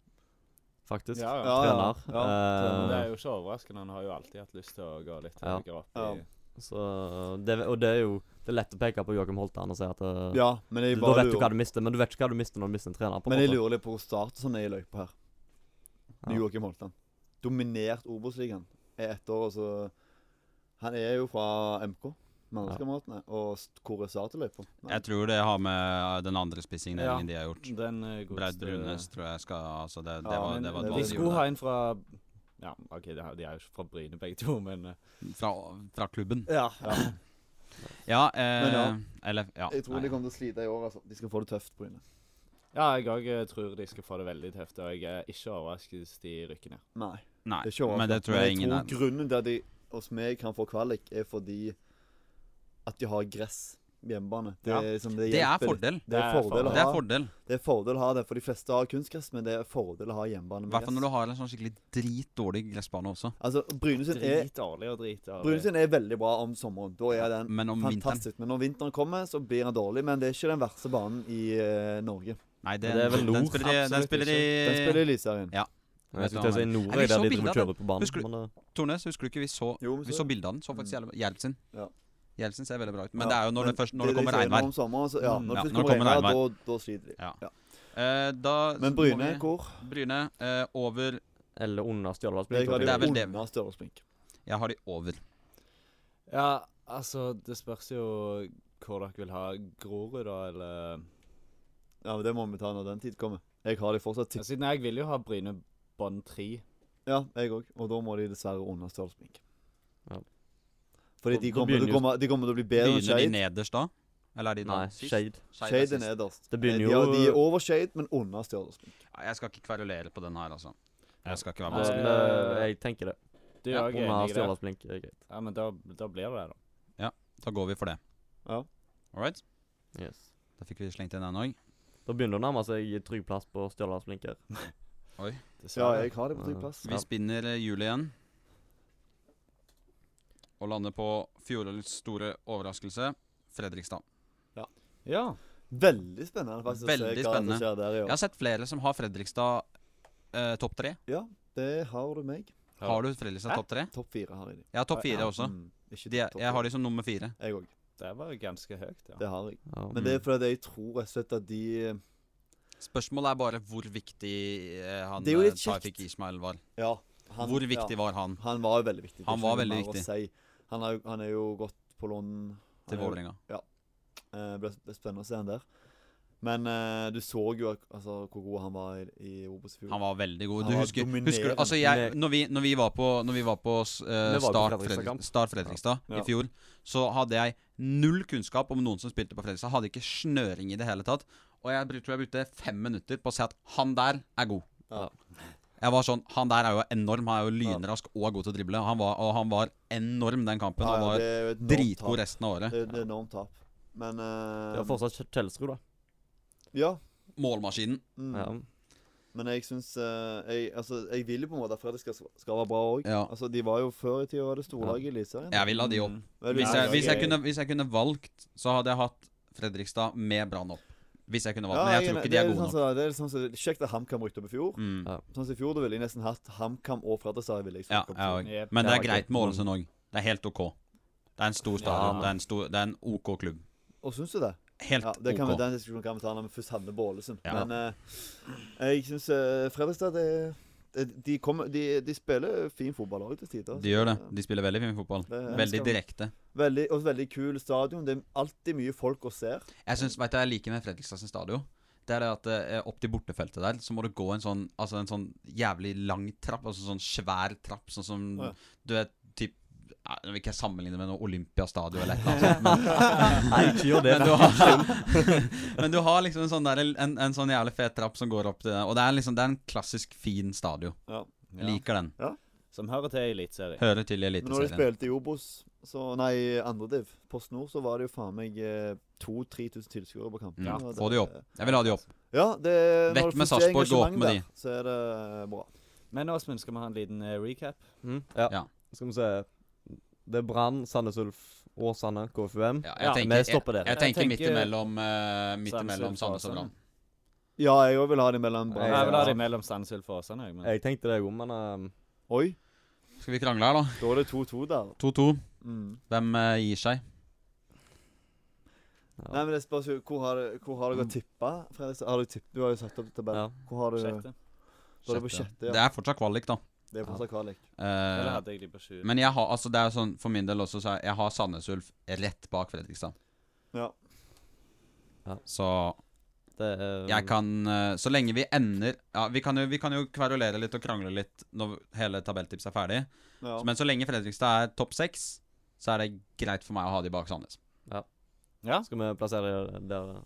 C: faktisk.
D: Ja, ja.
B: Ja, ja,
C: Trener.
B: ja,
C: Eh,
D: Men Det
B: trener.
D: er jo ikke overraskende. Han har jo alltid hatt lyst til å gå litt
C: Ja.
D: høyere opp.
B: Ja.
D: i-
C: Eh, Så det, og det er jo Det er lett å peke på Joakim Holtan og si at eh,
B: Ja, men jeg
C: Da
B: bare
C: vet du hva
B: lurer,
C: du mister, men du vet ikke hva du mister når du mister en trener. på en
B: men jeg
C: måte.
B: lurer litt på hvor start og sånn er i løypa her.
C: Ja.
B: Joakim Holtan. Dominert Obos-ligaen i ett år, og så Han er jo fra MK, Mandalskameratene, og s- hvor er startløypa? Nei.
A: Jeg tror det har med eh, den andre
D: Ja.
A: spissigneringen de har gjort.
D: Den eh,
A: Braut
D: godeste
A: Brunes tror jeg skal Altså, det, det
B: Ja,
A: var,
D: Men
A: det var
B: de
A: dårlig
D: De
A: de
D: skulle
A: gjorde
D: ha en fra Ja, OK, de er de er jo ikke fra Bryne begge to, men eh,
A: det. Fra, fra klubben.
B: [laughs]
D: Ja.
A: Ja, eh,
B: Men ja.
A: eller Ja.
B: Jeg tror
A: nei.
B: de kommer til å slite i år, altså. De skal få det tøft, Bryne.
D: ja, jeg òg tror de skal få det veldig tøft, og jeg er ikke overrasket hvis de rykker ned.
B: Nei.
A: Nei.
B: Det er ikke
A: Men det tror jeg ingen er.
B: tror grunnen til at de hos meg kan få kvalik, er fordi at de har gress hjemmebane. Det,
D: Ja.
B: er liksom, det,
A: Det er
B: hjelper litt.
A: fordel.
B: Det er fordel å
A: Det
B: ha
A: er fordel.
B: Det er fordel å ha det, for de fleste har kunstgress, men det er fordel å ha hjemmebane
A: I
B: med
A: hvert fall når
B: gress.
A: du har en sånn skikkelig dritdårlig gressbane også.
B: Altså, Brynesund er,
D: Dritdårlig og dritdårlig.
B: Brynesund er veldig bra om sommeren. Da er den
A: Men om vinteren
B: fantastisk. Men når vinteren kommer, så blir den dårlig. Men det er ikke den verste banen i eh, Norge.
A: Nei, det,
C: Men det er vel
A: den
C: nord,
A: spiller i, den
D: absolutt
A: spiller i
B: Den spiller i Eliteserien.
C: Jeg skulle til å si Nord,
A: Ja, vi
C: jeg, der
A: så
C: de
A: bilder
C: driver og
A: av
C: kjører på banen.
A: sånn Husker du-
C: men, eh,
A: Tornes, husker du ikke vi så
B: Jo,
A: Vi så bilde av den. Så faktisk jævlig Gjerp sin.
B: Ja.
A: Gjerp sin ser veldig bra ut. Men
B: Ja,
A: det er jo når det, først, når det
B: de
A: kommer
B: sier
A: regnvær.
B: Om sommeren, så, ja,
D: Mm.
B: når
A: Ja,
B: det først
A: når det
B: kommer
A: kommer
B: regnvær, da, da sliter de.
A: Eh, da
B: Men
A: må
B: Bryne,
A: vi-
B: hvor?
A: Bryne eh, over
C: Eller under Stjørdals
B: Jeg har
A: det
B: de
A: er vel det.
B: under Stjørdalsblink.
A: Jeg har de over.
D: Ja, altså, det spørs jo hvor dere vil ha Grorud, da, eller
B: Ja, men det må vi ta når den tid kommer. Jeg har de fortsatt tipp.
D: ja, Siden Altså, jeg vil jo ha Bryne bånd tre.
B: Ja, jeg òg. Og da må de dessverre under Stjørdalsblink.
C: Ja.
B: Fordi
C: Og
B: de
C: da
B: kommer,
C: begynner
B: de,
C: jo-
B: kommer, de kommer til å bli bedre enn
A: Begynner de
B: Skeid.
A: nederst da? Eller er de da
C: Nei,
A: sist?
C: Shade.
A: Skeid er
B: Skeid er
A: sist.
B: nederst.
C: Det
B: Eh,
C: begynner
B: De, har- de er
C: jo
B: over Skeid, men under Stjørdalsblink.
A: Nei, Jeg skal ikke kverulere på den her, altså. Jeg skal ikke være
D: Nei.
A: med. altså.
C: Men, eh, Jeg tenker det.
D: Du er
C: Ja,
D: òg enig
C: Under
D: i det?
C: Stjørdals Blink er greit.
D: Ja, men da, da blir det det, da.
A: Da går vi for det.
B: Ja.
A: All right?
C: Yes.
A: Da fikk vi slengt inn den òg.
C: Da begynner det å nærme seg trygg plass på Stjørdals Blink her.
B: Ja,
D: Dessverre.
B: jeg har det på trygg plass.
A: Vi spinner eh, hjulet igjen. Og lander på fjorårets store overraskelse, Fredrikstad.
D: ja.
B: Veldig spennende faktisk å
A: Veldig
B: se hva
A: spennende.
B: som skjer der i
A: Jeg
B: år.
A: har sett flere som har Fredrikstad eh, topp tre.
B: Ja, det har du meg.
D: Ja.
A: Har du Fredrikstad
D: Hæ?
A: topp tre?
B: Topp fire har jeg de.
A: Jeg har topp fire
D: Ja,
A: også.
B: Mm, ikke
A: De er,
B: topp
A: jeg har
B: fire.
A: de som nummer fire.
B: Jeg òg.
D: Det var ganske høyt, ja.
B: Det har jeg.
C: Ja.
B: Men det er fordi jeg tror rett og slett at de
A: Spørsmålet er bare hvor viktig eh, han
B: Det er jo
A: eh,
B: litt kjekt.
A: Tafik Ismail var.
B: Ja, han-
A: Hvor
B: ja.
A: viktig var han
B: Han var jo veldig viktig. Det er
A: Han
B: ikke
A: var
B: noe
A: veldig
B: mer å
A: viktig.
B: Si. Han, har, jo- han er jo gått på lån Han
A: til
B: er jo-
A: Vålerenga?
B: Eh, ble, ble spennende å se han der. Men eh, du så jo ak- altså, hvor god han var i, i Obos i fjor.
A: Han var veldig god.
B: Han
A: Du
B: var
A: husker, husker du,
B: dominerende.
A: altså jeg, når, vi, når vi var på, når vi var på s- eh,
C: Vi var på
A: Start
C: Fredrikstad
A: Fredrik-
C: kamp.
A: Start Fredrikstad
B: Ja.
A: i fjor, så hadde jeg null kunnskap om noen som spilte på Fredrikstad. Hadde ikke snøring i det hele tatt. Og jeg bruk- tror jeg brukte fem minutter på å si at han der er god.
B: Ja.
A: Jeg var sånn, Han der er jo enorm. Han er jo lynrask og er god til å drible. Han var, og han var enorm den kampen.
B: Ja,
A: Han
B: ja,
A: var
B: det er jo et enormt
A: dritgod
B: tap.
A: resten av året.
B: Det er et enormt tap. Men eh,
C: Det var fortsatt Kj- Kjelsrud, da.
B: Ja.
A: Målmaskinen.
B: Mm.
C: Ja.
B: Men jeg syns eh, jeg, altså, jeg vil jo på en måte at Fredrikstad skal, skal være bra òg.
A: Ja.
B: Altså, de var jo før i tida var det storlaget i Eliteserien.
A: Jeg vil ha de opp.
D: Mm.
B: Vel,
A: Hvis
B: ja,
A: jeg, hvis, jeg
B: ok.
A: kunne, hvis jeg kunne valgt, så hadde jeg hatt Fredrikstad med Brann opp. Hvis jeg kunne valgt, men jeg tror ikke de
B: det
A: er
B: litt
A: gode
B: sånn
A: nok.
B: som- det er litt sånn som- kjekt at HamKam rykte opp i fjor.
A: Mm.
B: Sånn som i fjor, da ville jeg nesten hatt HamKam og Fredrikstad. ville jeg
A: Ja,
B: snakke om.
A: jeg òg.
D: Jep.
A: Men det
C: Ja,
A: er
C: ok.
A: greit med
B: Mm.
A: Ålesund òg. Det er helt OK. Det er en stor stadion.
C: Ja.
A: Det, er en stor, det er en OK klubb.
B: Og syns du det?
A: Helt
B: Ja, det kan vi,
A: OK.
B: Den diskusjonen kan vi ta når vi først havner på Ålesund.
A: Ja.
B: Men eh, jeg syns Fredrikstad det, det, de, kommer, de, de spiller fin fotball òg til tider. altså.
A: De gjør det. De spiller veldig fin fotball.
B: Det er-
A: Veldig direkte.
B: Veldig, og veldig kul stadion. Det er alltid mye folk å se.
A: Jeg synes, vet du, hva jeg liker med Fredrikstad sin stadion. Det er det at eh, opp til bortefeltet der, så må du gå en sånn Altså en sånn jævlig lang trapp. Altså sånn svær trapp, sånn som
B: Å, ja.
A: Du vet, typ ja, Nå vil ikke jeg sammenligne med noe Olympiastadion eller et eller annet sånt, men
C: [laughs] Nei, ikke gjør det.
A: Men du, har, [laughs] men du har liksom en sånn, der, en, en sånn jævlig fet trapp som går opp til Og det er liksom Det er en klassisk fin stadion.
B: Ja.
A: Jeg Liker den.
D: Som hører til i Eliteserien.
A: Hører til i
B: Men når de
A: Eliteserien.
B: spilte i Obos, så Nei, andrediv, Post Nord, så var det jo faen meg 2000-3000 tilskuere på kampen.
A: Ja,
B: og
A: få de opp. Jeg vil ha de opp.
B: Ja, det når
A: Vekk
B: det
A: med
B: først er
A: Sarpsborg, gå opp
B: engasjement
A: med
B: der, Så er det bra.
D: Men Åsmund, skal vi ha en liten eh, recap?
C: Mm, ja.
A: Ja.
C: Skal vi se Det er Brann, Sandnes Ulf, Åsane, KFUM.
A: Ja,
D: Ja,
A: jeg
C: men
A: tenker,
C: jeg stopper
A: jeg,
C: der.
A: jeg tenker
D: Jeg
A: midt
D: tenker-
A: imellom eh, Midt
D: Sandnes
A: imellom
D: Ulf
A: Sandnes og
D: og
A: Brann.
B: Ja, jeg òg vil ha de mellom
C: Ja,
D: Jeg
B: Brann
D: vil ha
B: og
D: det mellom Sandnes Ulf og Åsane. jeg, men-
C: Jeg tenkte det òg, men eh,
B: Oi,
A: Skal vi krangle her, da?
B: da er det 2-2 der.
A: 2-2.
B: Mm.
A: Hvem eh, gir seg?
C: Ja.
B: Nei, men det spørs jo Hvor har, det- hvor har
A: Mm.
B: dere tippa? Fredrikstad? Har du tipp? Du har jo satt opp tabellen.
C: ja.
B: Hvor har du
D: Sjette.
B: Da er det på sjette, ja.
A: Det er fortsatt kvalik, da.
B: Det er fortsatt kvalik.
A: Eh,
D: Eller hadde jeg de på sju?
A: men jeg har altså det er jo sånn for min del også, så er- jeg har Sandnes Ulf rett bak Fredrikstad.
B: Ja.
A: Så
C: Det ehm, er
A: Jeg kan eh, Så lenge vi ender ja, vi, kan jo, vi kan jo kverulere litt og krangle litt når hele tabelltipset er ferdig.
B: ja.
A: Men så lenge Fredrikstad er topp seks, så er det greit for meg å ha de bak Sandnes.
D: Ja.
C: Skal vi plassere det der,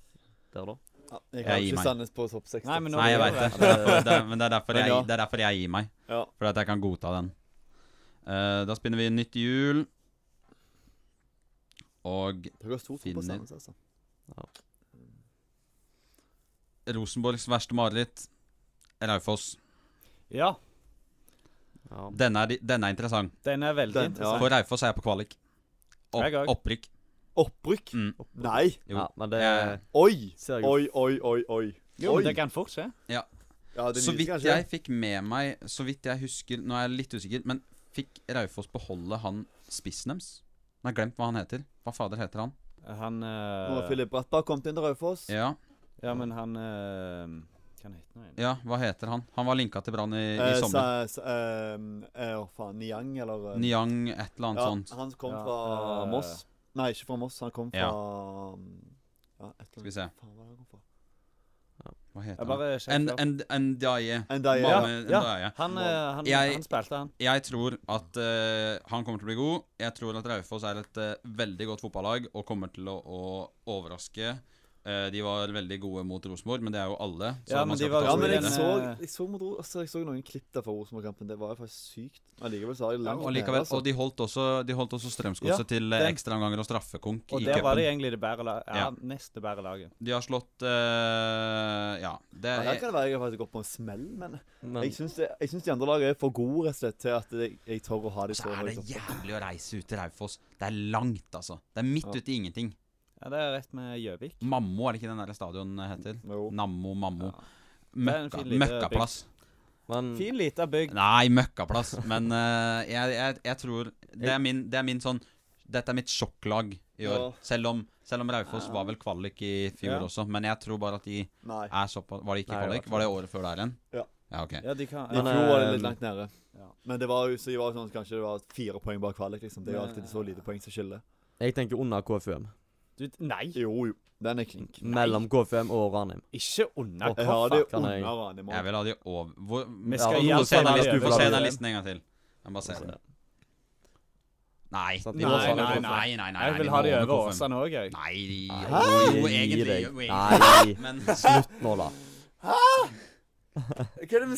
C: der da?
B: Ja, jeg
A: Jeg
B: har
A: gir
B: ikke
A: meg.
B: Sandnes på topp 60.
D: Nei, men nå
A: Nei, jeg
D: gjør
A: veit det.
D: det.
A: det, [laughs] er- det er- men det er, derfor
B: Men ja.
A: jeg, det er derfor jeg gir meg.
B: ja.
A: For at jeg kan godta den. Eh, da spinner vi nytt hjul. Og
B: Dere har stor tro
A: Finner.
B: på Sandnes, altså.
A: Rosenborgs verste mareritt, Raufoss.
D: Ja,
C: Ja.
A: Denne er, denne er interessant.
D: den er veldig
B: Den, ja.
D: interessant.
A: For Raufoss er jeg på kvalik.
D: Jeg
A: Opp,
D: òg.
A: opprykk.
B: Opprykk?
A: Mm.
B: Nei!
A: Jo.
C: ja, men det
A: Jeg-
B: Oi!
C: ser jeg jo.
B: Oi, oi, oi, oi.
D: Jo,
B: oi.
D: men det kan fort skje.
B: Ja, det
A: Så
B: nyter
A: vidt
B: kanskje.
A: jeg fikk med meg Så vidt jeg husker Nå er jeg litt usikker Men fikk Raufoss beholde han spissen deres? Nå har jeg glemt hva han heter Hva fader heter han?
D: Han
B: Nå har
D: eh,
B: Filip Brattberg kommet inn til Raufoss.
A: Ja,
D: Ja, men han eh, Hva han heter han igjen?
A: ja hva heter han? Han var linka til Brann i, i
B: Eh,
A: sommer
B: sa- sa- ehm, eh, Å, faen. Niang, eller eh,
A: Niang, et eller annet
B: ja,
A: sånt
B: Han kom
D: Ja,
B: fra
D: eh,
B: Moss. Nei, ikke fra Moss. Han kom fra mm, ja, et eller
A: Skal vi
B: annet.
A: se
B: Faen, hva er det han kom fra?
A: Hva
D: Jeg
A: heter han?
D: bare
A: En,
D: sjekker.
A: en, en Daye
B: Endaye.
D: Ja,
A: Malmö
D: ja.
A: Ndiaye.
D: Han, eh, han,
A: Jeg-
D: han spilte, han.
A: Jeg tror at eh, han kommer til å bli god Jeg tror at Raufoss er et eh, veldig godt fotballag Og kommer til å, å overraske Eh, de var veldig gode mot Rosenborg, men det er jo alle. så
D: Ja,
A: man
D: men
A: skal ikke
D: de var
A: ta så
B: Ja,
A: mye i
B: men
A: det.
B: jeg
D: Men,
B: så,
D: eh,
B: jeg så, med ro- altså, jeg så noen klipp der fra Rosenborg-kampen. Det var jo faktisk sykt. Men likevel så har jeg
A: Ja,
B: langt
A: og
B: nede,
A: likevel,
B: altså.
A: og de holdt også, de holdt også
D: Ja,
A: Strømsgodset til eh,
D: den-
A: ekstraomganger og straffekonk i
D: Og der var det
A: cupen.
D: egentlig det bære laget. Ja,
A: Ja.
D: nest det bære laget.
A: De har slått eh, Ja. Det,
B: ja, der
A: er-
B: kan det være jeg har faktisk gått på en smell, men
C: Men
B: jeg syns, det, jeg syns de andre lagene er for gode rett og slett, til at jeg, jeg tør å ha de
A: så
B: liksom.
A: Altså,
B: så
A: er
B: høyt
D: liksom
A: det
B: oppe.
A: jævlig å reise ut til Raufoss. Det er langt, altså. Det er midt
B: Ja.
A: ute i ingenting.
D: Ja, Det er rett med Gjøvik.
A: Mammo, er det ikke den der stadion heter?
B: Jo.
A: Nammo, Mammo.
D: Ja. Det er en
A: Møkka,
D: fin liten
A: møkkaplass. Mm.
C: men
D: Fin lita bygd.
A: Nei, møkkaplass. Men eh, jeg, jeg, jeg tror det er, min, det er min sånn Dette er mitt sjokklag i år.
B: Ja.
A: Selv om, selv om Raufoss var vel kvalik i fjor
D: Ja.
A: også, men jeg tror bare at de
B: Nei.
A: er såpass Var det ikke
C: Nei, det
A: kvalik?
C: var
A: Var det året før der igjen?
B: Ja.
A: Ja, ok.
D: Ja, de kan
B: I
C: Men,
D: ja.
B: fjor var det
C: eh,
B: litt langt nede.
D: Ja.
B: Men det var jo så de var jo sånn, kanskje det var fire poeng bak kvalik. liksom Det er jo
D: Men-
B: alltid så lite poeng som skiller.
C: Jeg tenker under KFUM.
D: Du, nei,
B: Jo, jo. Den er klink.
C: Mellom KFUM og Ranheim.
D: ikke under
C: Å,
B: Jeg har
D: koffa.
B: det
C: fuck, kan jeg-
B: under Ranemo.
A: Jeg vil ha de over Hvor,
D: Vi
C: skal
A: ja,
C: i
A: du
C: alle
A: får se
C: fall
A: den
C: ha
A: listen,
C: det
A: du får se
C: over.
A: den listen en gang til. Jeg må bare se den. Nei.
C: Sånn
A: Nei,
C: at de må
A: nei,
C: ha det
A: nei,
C: over.
A: nei, nei, nei.
D: Jeg vil
A: de
D: ha
A: må
D: de
A: over
D: over
A: Koffen.
D: Åsane òg, jeg.
A: Nei,
C: Nei,
A: jo,
C: gi
A: egentlig.
C: deg.
A: Jo, egentlig.
C: Nei,
A: Men
C: slutt nå, da.
B: Hva er det vi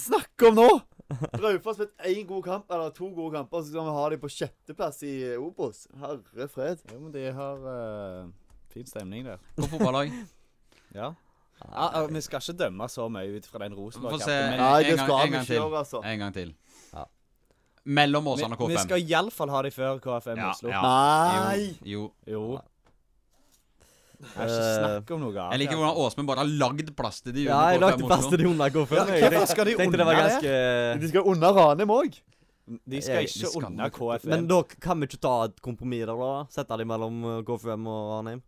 A: [laughs]
B: snakker om nå?! Raufoss har spilt én god kamp, eller to gode kamper, så skal vi ha dem på sjetteplass i Obos. Herre fred.
D: Jo, men de har eh, fin stemning der.
A: på fotballag.
D: Ja. Ja, ja, vi skal ikke dømme så mye ut fra den
A: Få se
D: Rosenborg-kampen.
A: en,
D: men
B: Nei, det
A: en, gang,
B: skal vi
A: en gang
B: ikke
A: til.
B: gjøre, altså.
A: En gang til.
C: Ja.
A: Mellom
D: vi,
A: Åsane og
D: vi
A: K5.
D: skal iallfall ha de før KFM
A: Ja,
D: Oslo.
A: ja.
B: Nei!
A: Jo, jo.
D: Jo. Det er ikke
C: Eh,
D: snakk om noe annet.
A: Jeg liker hvordan Åsmund bare har lagd plass til de
C: Ja,
A: under
C: jeg lagde
A: K5
C: plass
A: Oslo.
C: til de under KFUM.
D: Ja,
C: Jeg
D: hvorfor skal de
C: tenkte det var
D: unna det?
C: ganske
B: De skal under Ranemo òg.
D: De
C: Jeg-
D: skal
A: de
D: ikke
A: skal
D: unna
A: nok-
D: KFM.
C: Men da kan vi ikke ta et kompromiss der, da? Sette dem mellom eh, KFUM og Ranheim?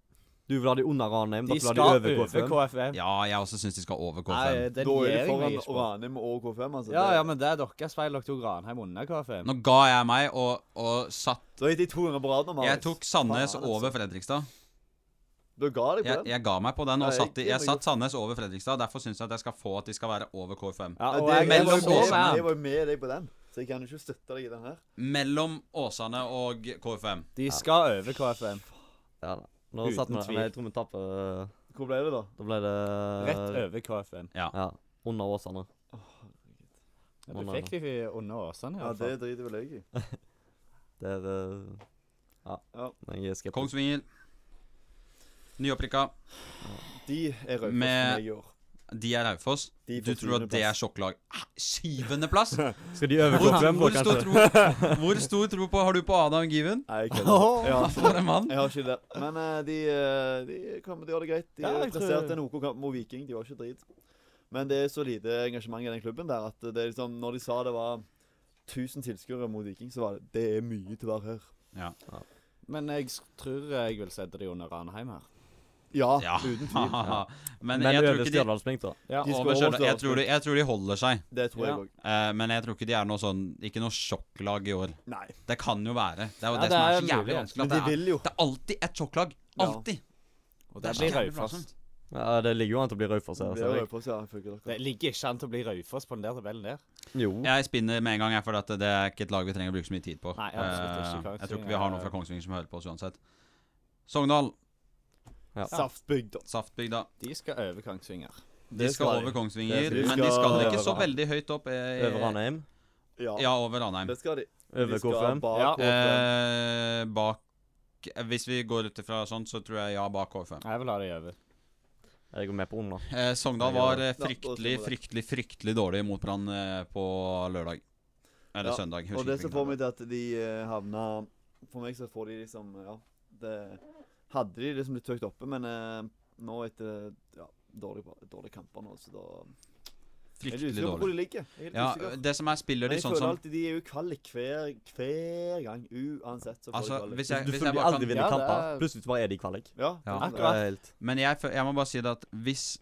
C: Du vil ha dem under Ranheim,
D: de
C: dere vil
D: skal
C: ha dem over KFUM.
D: KFM.
A: Ja, jeg også syns de skal over K5.
D: Nei, den
B: Da
D: gir
B: er de
D: jeg meg
B: foran
D: ikke på.
B: Ranemo og K5, altså.
D: Ja,
B: Det-
D: ja, men det er deres feil. Dere tok Ranheim unna KFM.
A: Nå ga jeg meg og, og satt
B: Da gikk de 200 på rad nå, Marius.
A: Jeg tok Sandnes
B: Faen, altså.
A: over Fredrikstad.
B: Da ga de på
A: Jeg,
B: den.
A: jeg ga meg på den
B: Nei,
A: og satt, i-
B: det
A: jeg
B: var
A: satt Sandnes over Fredrikstad. Derfor syns jeg at jeg skal få at de skal være over K5.
D: Ja,
B: Ja,
D: og
B: det-
D: jeg,
A: mellom
B: jeg, var jo
A: Åsane.
B: med,
D: KFM.
B: jeg var jo med deg på den, så jeg kan jo ikke støtte deg i den her.
A: Mellom Åsane og K5.
D: De skal over KFM.
C: Ja, da. Nå
D: Uten
C: satt vi
D: tvil.
C: Nei, jeg tror vi tapte. eh,
B: Hvor ble det, da?
C: Da ble det
D: Rett over KFM.
C: Ja. Under Åsane.
D: Ja, Du fikk de unna Åsane,
B: Ja,
D: iallfall.
B: det driter vel jeg i.
C: Der eh, Ja.
B: Ja.
C: Jeg er skeptisk.
A: Kongsvinger. Nyopprykka.
B: De er
A: Med-
B: røde med jeg gjør.
A: De er Raufoss.
B: De
A: Du
B: får
A: tror at det er
B: sjuendeplass.
A: sjokklag? Hæ? Syvendeplass?
C: Skal de over
A: Hvor,
C: KFUM,
A: hvor,
C: da,
A: stor
C: kanskje?
A: tro, hvor stor tro på har du på Adam Given?
B: Nei, jeg [laughs] kødder. Ja,
A: For en mann.
B: jeg har ikke det. Men eh, de, eh, de kommer til å gjøre det greit. De
D: Ja,
B: har
D: jeg tror-
B: prestert en OK kamp mot Viking. De var ikke drit. Men det er så lite engasjement i den klubben der at det er liksom Når de sa det var 1000 tilskuere mot Viking, så var det Det er mye til å være her.
D: Men jeg s- tror jeg vil sette de under Ranheim her.
A: [laughs]
B: Ja,
A: Ja.
B: uten tvil.
A: Ah, Men
C: Men
A: jeg tror
C: over
A: ikke de
C: Stjørdalsblink, da.
D: Ja,
B: De skal
A: over Stjørdal-
B: overstå
A: jeg tror, de, jeg tror de holder seg,
B: Det tror
D: Ja.
B: jeg òg.
A: Eh, men jeg tror ikke de er noe sånn Ikke noe sjokklag i år.
B: Nei.
A: Det kan jo være. Det er jo
D: Ja,
A: det,
D: det
A: som er
D: er
A: så jævlig
D: mulig.
A: vanskelig.
B: Men
A: At det,
B: de
A: er,
B: vil jo.
A: det er alltid et sjokklag.
B: Ja.
A: Alltid.
D: og det blir
A: jævlig
D: Raufoss.
A: plagsomt.
C: Ja, det ligger jo an til å bli Raufoss
B: Det
C: her.
B: er
C: ser jeg.
B: røde på seg, ja, ifølge dere.
D: Det ligger ikke an til å bli Raufoss på den der tabellen der.
C: Jo.
A: Jeg spinner med en gang, jeg, for at det er ikke et lag vi trenger å bruke så mye tid på.
D: Nei, absolutt ikke.
A: Eh,
D: Kongsvinger
A: jeg tror ikke vi har noen
D: er-
A: fra Kongsvinger som hører på oss uansett. Sogndal,
C: Ja.
B: Saftbygda.
A: Saftbygda.
D: De skal over Kongsvinger.
A: De skal over Kongsvinger,
C: Det skal de.
A: men de skal
B: Ja,
A: ikke så
C: ja.
A: veldig høyt opp. eh,
C: Over Ranheim.
B: Ja.
A: Ja, over Ranheim.
B: Det skal de.
C: Over
B: de skal
C: KFUM.
B: bak
D: Ja.
B: K5.
A: Eh, bak Hvis vi går ut ifra sånn, så tror jeg ja bak K5.
D: Jeg vil ha de over.
C: Jeg går med på under.
A: Eh, Sogndal var eh,
B: Ja, da tror
A: fryktelig,
B: jeg det.
A: fryktelig, fryktelig dårlig mot Brann eh, på lørdag. Eller
B: Ja,
A: søndag.
B: Og det
A: husker
B: som
A: ikke
B: får
A: hvilken
B: meg til at de eh, havna For meg så får de liksom Ja. Det hadde de liksom litt høyt oppe, men eh, nå etter ja, dårlige, dårlige kamper nå, så da
A: dag.
B: Jeg er
A: Fryktelig
B: usikker på hvor
A: dårlig.
B: de ligger. Jeg er helt
A: Ja,
B: usikker.
A: det som er, spiller
B: Men
A: de
B: jeg
A: sånn
B: føler
A: som
B: alltid de er jo kvalik hver, hver gang. Uansett så får
A: Altså,
B: de kvalik.
A: hvis jeg,
C: Du
A: hvis
C: føler
A: jeg
C: de
A: bare
C: aldri
A: kan
C: vinner
D: Ja, det
C: kamper.
D: er-
C: Plutselig bare er de i kvalik.
B: Ja,
A: Ja.
B: sånn er det.
D: Akkurat.
C: Helt
A: Men jeg, fø- jeg må bare si det at hvis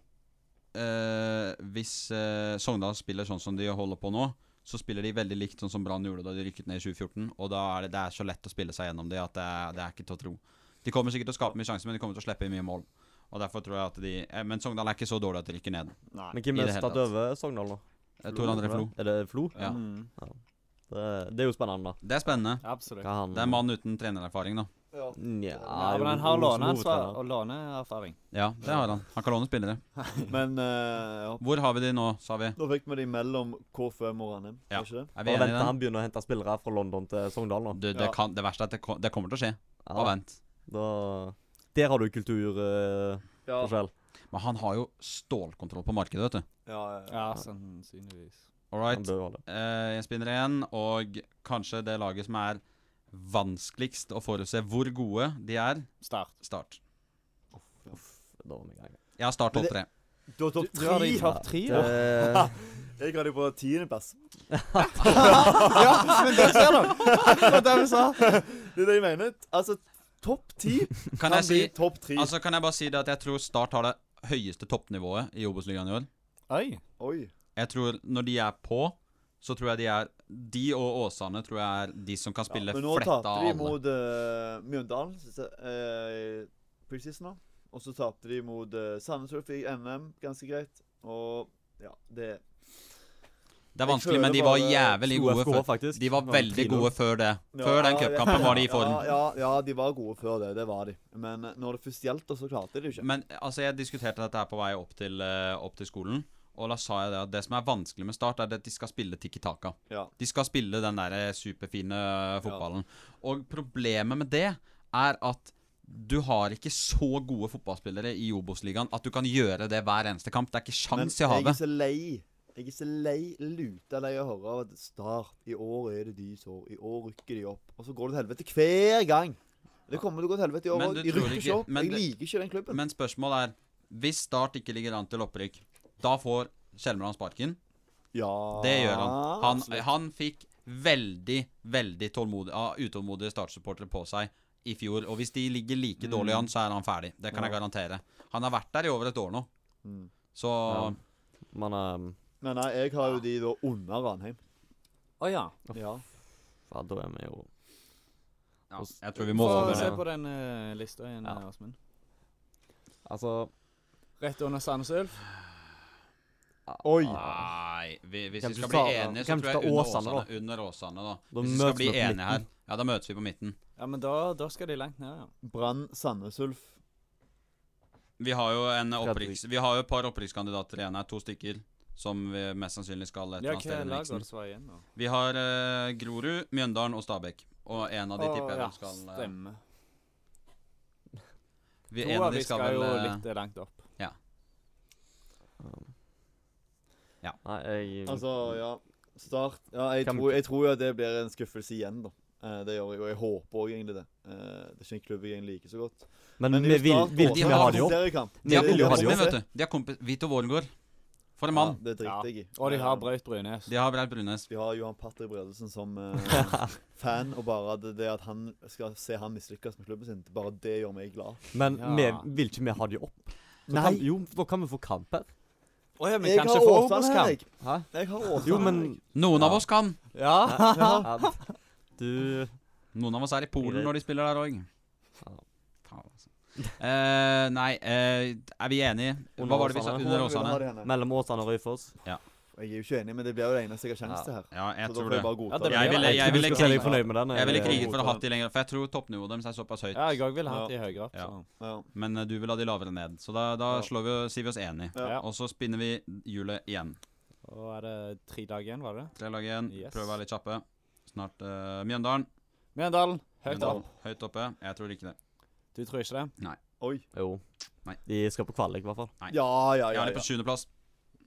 A: eh, Hvis eh, Sogndal spiller sånn som de holder på nå, så spiller de veldig likt sånn som Brann gjorde da de rykket ned i 2014. Og da er det, det er så lett å spille seg gjennom det at det er, det er ikke til å tro. De kommer sikkert til å skape mye sjanser, men de kommer til å slippe inn mye mål. Og derfor tror jeg at de eh, Men Sogndal er ikke så dårlig at de rykker ned.
B: Nei.
C: Men hvem
A: I
C: er
A: det hele
C: tatt
A: tatt.
C: over Sogndal nå?
A: Eh, Tor André Flo.
C: Er det Flo?
A: Ja.
B: Mm.
C: Det, det er jo spennende.
A: Det er spennende.
D: Absolutt.
C: Hva han
A: Det er en mann uten trenererfaring, da.
B: Ja.
C: Nja
D: Ja, men han har låneansvar og låneerfaring.
A: Ja, det har han. Han kan låne spillere.
B: [laughs] Men eh, ja.
A: Hvor har vi de nå, sa vi?
B: Nå fikk vi de mellom K5 og Ranheim,
A: Ja.
B: var ikke det?
A: Er vi
C: Bare
A: enige i
C: vent til
A: den?
C: han begynner å hente spillere fra London til Sogndal nå.
A: Du, det,
B: Ja.
A: kan, det verste er at det, ko- det kommer til å skje.
C: Ja,
A: Bare vent.
C: da, der har du eh, kulturforskjell.
B: Ja.
A: Men han har jo stålkontroll på markedet, vet du.
B: Ja, ja,
D: Ja, sannsynligvis.
A: All
C: Han
A: right.
C: bør jo ha det.
A: Eh, jeg spinner igjen, og kanskje det laget som er vanskeligst å forutse hvor gode de er,
D: Start.
A: Start.
B: ja.
C: Da var vi i gang.
A: Jeg har Start
B: Men
A: topp
B: det-
A: tre.
B: Du har
D: Du,
B: topp
D: du har
B: tre!
D: de i topp tre,
C: Det,
D: da. [laughs]
B: Jeg har de på tiendeplass.
C: [laughs]
D: Ja, men det ser du! Det var det vi sa.
B: Det er det jeg mener. Altså, topp ti
A: Kan jeg si
B: bli topp tre.
A: Altså kan jeg bare si det at jeg tror Start har det høyeste toppnivået i Obos-ligaen i år.
D: Oi.
B: Oi.
A: Jeg tror når de er på, så tror jeg de er De og Åsane tror jeg er de som kan
B: Ja,
A: spille
B: men nå
A: fletta av
B: tapte de
A: alle.
B: mot eh, Mjøndalen så- så, eh, preseason nå. Og så tapte de mot eh, Sandnes Ulf i NM, ganske greit. Og ja, det
A: Det er
B: Jeg
A: vanskelig,
B: føler
A: men de var
B: bare-
A: jævlig gode
C: FK,
A: før.
C: faktisk.
A: De var veldig
C: 3-0.
A: gode før det.
B: ja,
A: Før den
B: ja, det-
A: cupkampen var de i
B: ja,
A: form.
B: Ja, ja, de var gode før det. Det var de. Men eh, når det først gjaldt, da, så klarte de det ikke.
A: Men altså, jeg diskuterte dette her på vei opp til, eh, opp til skolen. Og da sa jeg det at det som er vanskelig med Start, er det at de skal spille Tiki Taka.
B: Ja.
A: De skal spille den der superfine eh, fotballen. Og problemet med det er at du har ikke så gode fotballspillere i Obos-ligaen at du kan gjøre det hver eneste kamp. Det er ikke
B: Men
A: sjans i
B: jeg er
A: havet.
B: så lei. Jeg er så lei, luta lei å høre av at Start I år er det de som I år rykker de opp. Og så går det til helvete hver gang. Det kommer til å gå til helvete i år
A: Men
B: òg.
A: du
B: De
A: tror
B: rykker
A: ikke-
B: ikke opp.
A: men
B: Jeg
A: det-
B: liker ikke den klubben.
A: Men spørsmålet er Hvis Start ikke ligger an til opprykk, da får Skjelmeland sparken.
B: Ja
A: Det gjør han. Han,
B: Ah, absolutt.
A: han fikk veldig, veldig tålmodig, ah, utålmodige startsupportere på seg i fjor. Og hvis de ligger like dårlig an, så er han ferdig. Det kan jeg garantere. Han har vært der i over et år nå.
B: Mm.
A: Så
C: Ja. ehm, Man er
B: Men nei, jeg har jo de da under Ranheim.
D: Å ja.
B: Ja.
C: Ja, da er vi jo
A: ja, jeg tror vi må
D: Få
A: over
D: se
A: det.
D: på den eh, lista igjen,
C: Ja.
D: Åsmund.
C: Altså
D: Rett under Sandnes Ulf.
B: Oi!
C: ah,
A: Nei, vi, hvis vi
C: Hvem
A: skal
C: skal
A: bli
C: ta-
A: enige, så
C: hvem
A: tror
C: skal
A: jeg under
C: Åsane,
A: Åsane, under Åsane da.
C: Da
A: Hvis vi skal
C: møtes
A: bli
C: vi på
A: enige
C: midten.
A: her, ja, da møtes vi på midten.
D: Ja, men da, da skal de langt ned, ja.
B: Brann Sandnes Ulf.
A: Vi har jo en opprykks, vi har jo et par opprykkskandidater igjen her, to stykker. Som vi mest sannsynlig skal et
D: Ja,
A: eller annet sted i
D: hva lag var
A: miksen.
D: det som var igjen nå?
A: Vi har eh, Grorud, Mjøndalen og Stabæk. Og en av de tipper jeg
D: ja,
A: vel skal eh,
D: stemmer.
A: vi,
D: To
A: en av
D: av
A: de
D: de
A: skal
D: jo
A: vel eh,
D: litt eh, langt opp.
C: Nei, jeg
B: Altså, ja. Start. Ja, jeg
C: Kan-
B: tror, jeg tror jo at det blir en skuffelse igjen, da. Eh, det gjør jeg, og jeg håper òg egentlig det. Eh, det er ikke en klubb jeg egentlig liker så godt.
C: Men vi vil, vil
A: de
C: ikke vi
A: har
C: ha de opp?
A: De har
C: Vi vil jo ha
A: kompis
C: de opp.
A: med, vet du. De har kompis Vito Vålengård. For en mann.
B: Ja, det driter jeg i.
D: Og de har
B: Eh,
D: Braut Brynes.
A: De har Braut Brunes.
B: De har Johan Patrick Bredesen som eh, fan, og bare det, det at han skal se han mislykkes med klubben sin, bare det gjør meg glad.
C: Men
D: Ja.
C: vi vil ikke vi ha de opp? Så Kan, jo, da kan vi få kamp her.
D: Å ja,
B: Jeg har Åsane, Henrik.
C: Hæ?
B: Jeg har Åsane.
C: Jo, men
B: Henrik.
A: Noen av
C: Ja.
A: oss kan.
D: Ja.
C: ja. Du
A: Noen av oss er i Polen
C: Greit.
A: når de spiller der òg.
C: Ja.
A: Faen, altså. Eh, nei, eh, er vi enige? Hva
C: Under
A: var det vi sa?
C: Åsane.
A: Under
B: Hvordan vil du ha
A: Åsane?
B: det, Henrik?
C: Mellom Åsane og Røyfoss.
B: Jeg er jo ikke enig, men det blir jo det eneste jeg har sjanse til her.
A: Ja, jeg
B: så da
A: tror
B: får
A: det.
B: jeg bare godta
D: Ja, det
B: det.
D: blir Jeg jo ville- det.
A: jeg
C: tror
A: ville
C: du skal si deg
A: kriget-
C: fornøyd med den.
A: Jeg ville
B: Eh,
A: kriget for å ha
B: godta
A: de lenger, for jeg tror toppnivået deres er såpass høyt.
D: ja, jeg òg ville hatt de høyere opp.
A: Ja.
D: så.
B: Ja.
A: Men eh, du vil ha de lavere ned. Så da, da
B: Ja.
A: slår vi, sier vi oss enig.
B: Ja.
A: Og så spinner vi hjulet igjen.
D: Og er det tre dager igjen, var det?
A: Tre lag igjen.
D: Yes.
A: Prøv å være litt kjappe. Snart eh, Mjøndalen.
D: Mjøndalen, høyt
A: Mjøndalen.
D: opp.
A: Høyt oppe. Jeg tror ikke det.
D: Du tror ikke det?
B: Oi.
C: Jo.
A: Nei.
C: De skal på kvalik, i hvert fall.
A: Nei.
B: Ja, ja,
A: Jeg
B: ja.
A: har dem
B: ja.
A: på sjuendeplass.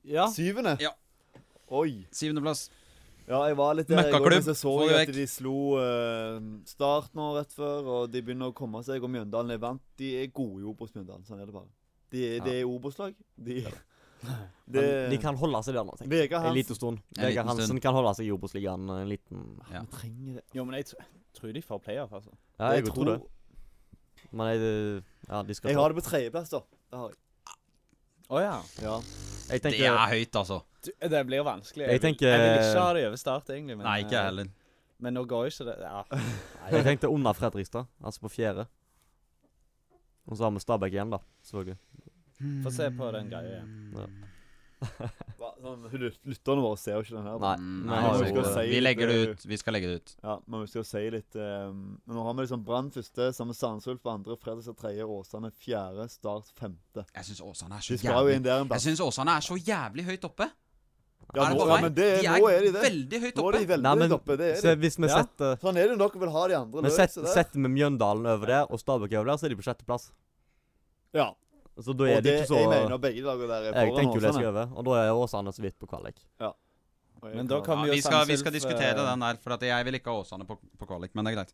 D: Ja.
B: Syvende?
A: Ja.
B: Oi.
A: Sivendeplass.
B: Ja, jeg var litt der. jeg
A: Møkkaklubb,
B: går, men så så
A: får
B: jeg
A: vi
B: at
A: vekk.
B: de slo eh, Start nå rett før, og de begynner å komme seg. Og Mjøndalen er vant. De er gode i Obos, Mjøndalen. Sånn er det bare. De, er- de er Obos-lag. De,
C: Men
B: [laughs] Det-
C: de kan holde seg der nå. tenker jeg.
B: Vegard
C: En
B: Hansen
C: liten stund.
A: En liten
C: Vegard Hansen
A: stund.
C: kan holde seg i Obos-ligaen en liten
A: Ja.
B: Vi trenger det.
D: Jo, men jeg tr tror de får playoff, altså.
C: Ja, jeg, tror det. Men jeg, ja, de skal
B: Jeg
C: ta-
B: har det på tredjeplass, da. Det har jeg.
D: Å ja.
B: Ja.
C: jeg
A: Det
C: tenker,
A: er høyt, altså.
D: Du, det blir vanskelig.
C: Jeg
D: vil-
C: tenker-
D: jeg vil ikke ha det over start, egentlig. Men,
A: Nei, ikke jeg
D: eh,
A: heller.
D: Men nå går ikke det ja.
C: jeg tenkte under Fredrikstad, altså på fjerde. Og så har vi Stabæk igjen, da. Selvfølgelig.
D: Få se på den greia igjen.
B: Hva- Sånn, lyt- lytterne våre ser jo ikke den her. da.
C: Nei.
A: Mm,
C: vi
A: Nei,
C: har
B: vi
A: vi,
C: jo-
B: skal si
A: vi
B: litt,
A: legger det
B: eh,
A: ut. Vi skal legge det ut.
B: Ja, men vi skal jo si litt eh, men Nå har vi liksom Brann første, sammen med Sandnes Ulf på andre, Fredrikstad tredje, Åsane fjerde, Start femte.
A: Jeg syns Åsane er så
B: De skal jo
A: jævlig
B: inn der en
A: Jeg
C: Altså,
B: plass.
A: synes Åsane er så jævlig høyt oppe.
B: Ja,
A: er det
B: nå,
A: bare
B: ja,
A: meg?
B: men det,
A: de
B: nå er de det.
A: veldig høyt
B: Nå
A: oppe.
B: er de veldig
C: Nei, men-
B: høyt oppe. Det
C: Så
B: er de.
C: hvis vi
D: Ja.
C: setter
B: Sånn er det når dere vil ha de andre.
C: Men
B: løs,
C: set,
B: så det-
C: setter vi Mjøndalen over der og Stabæk over der, så er de på sjetteplass.
B: Ja.
C: Så da er
B: Og
C: de
B: det
C: ikke så
B: jeg mener begge lager der er
C: Jeg
B: foran
C: tenker jo det skal over, og da er Åsane så vidt på kvalik.
B: Og jeg
D: Men
B: kan-
D: da
A: Ja,
D: kan vi jo
A: vi, skal, vi
D: Sandnes
A: skal
D: Ulf,
A: diskutere
D: eh,
A: den der, for at jeg vil ikke ha Åsane på, på kvalik, men det er greit.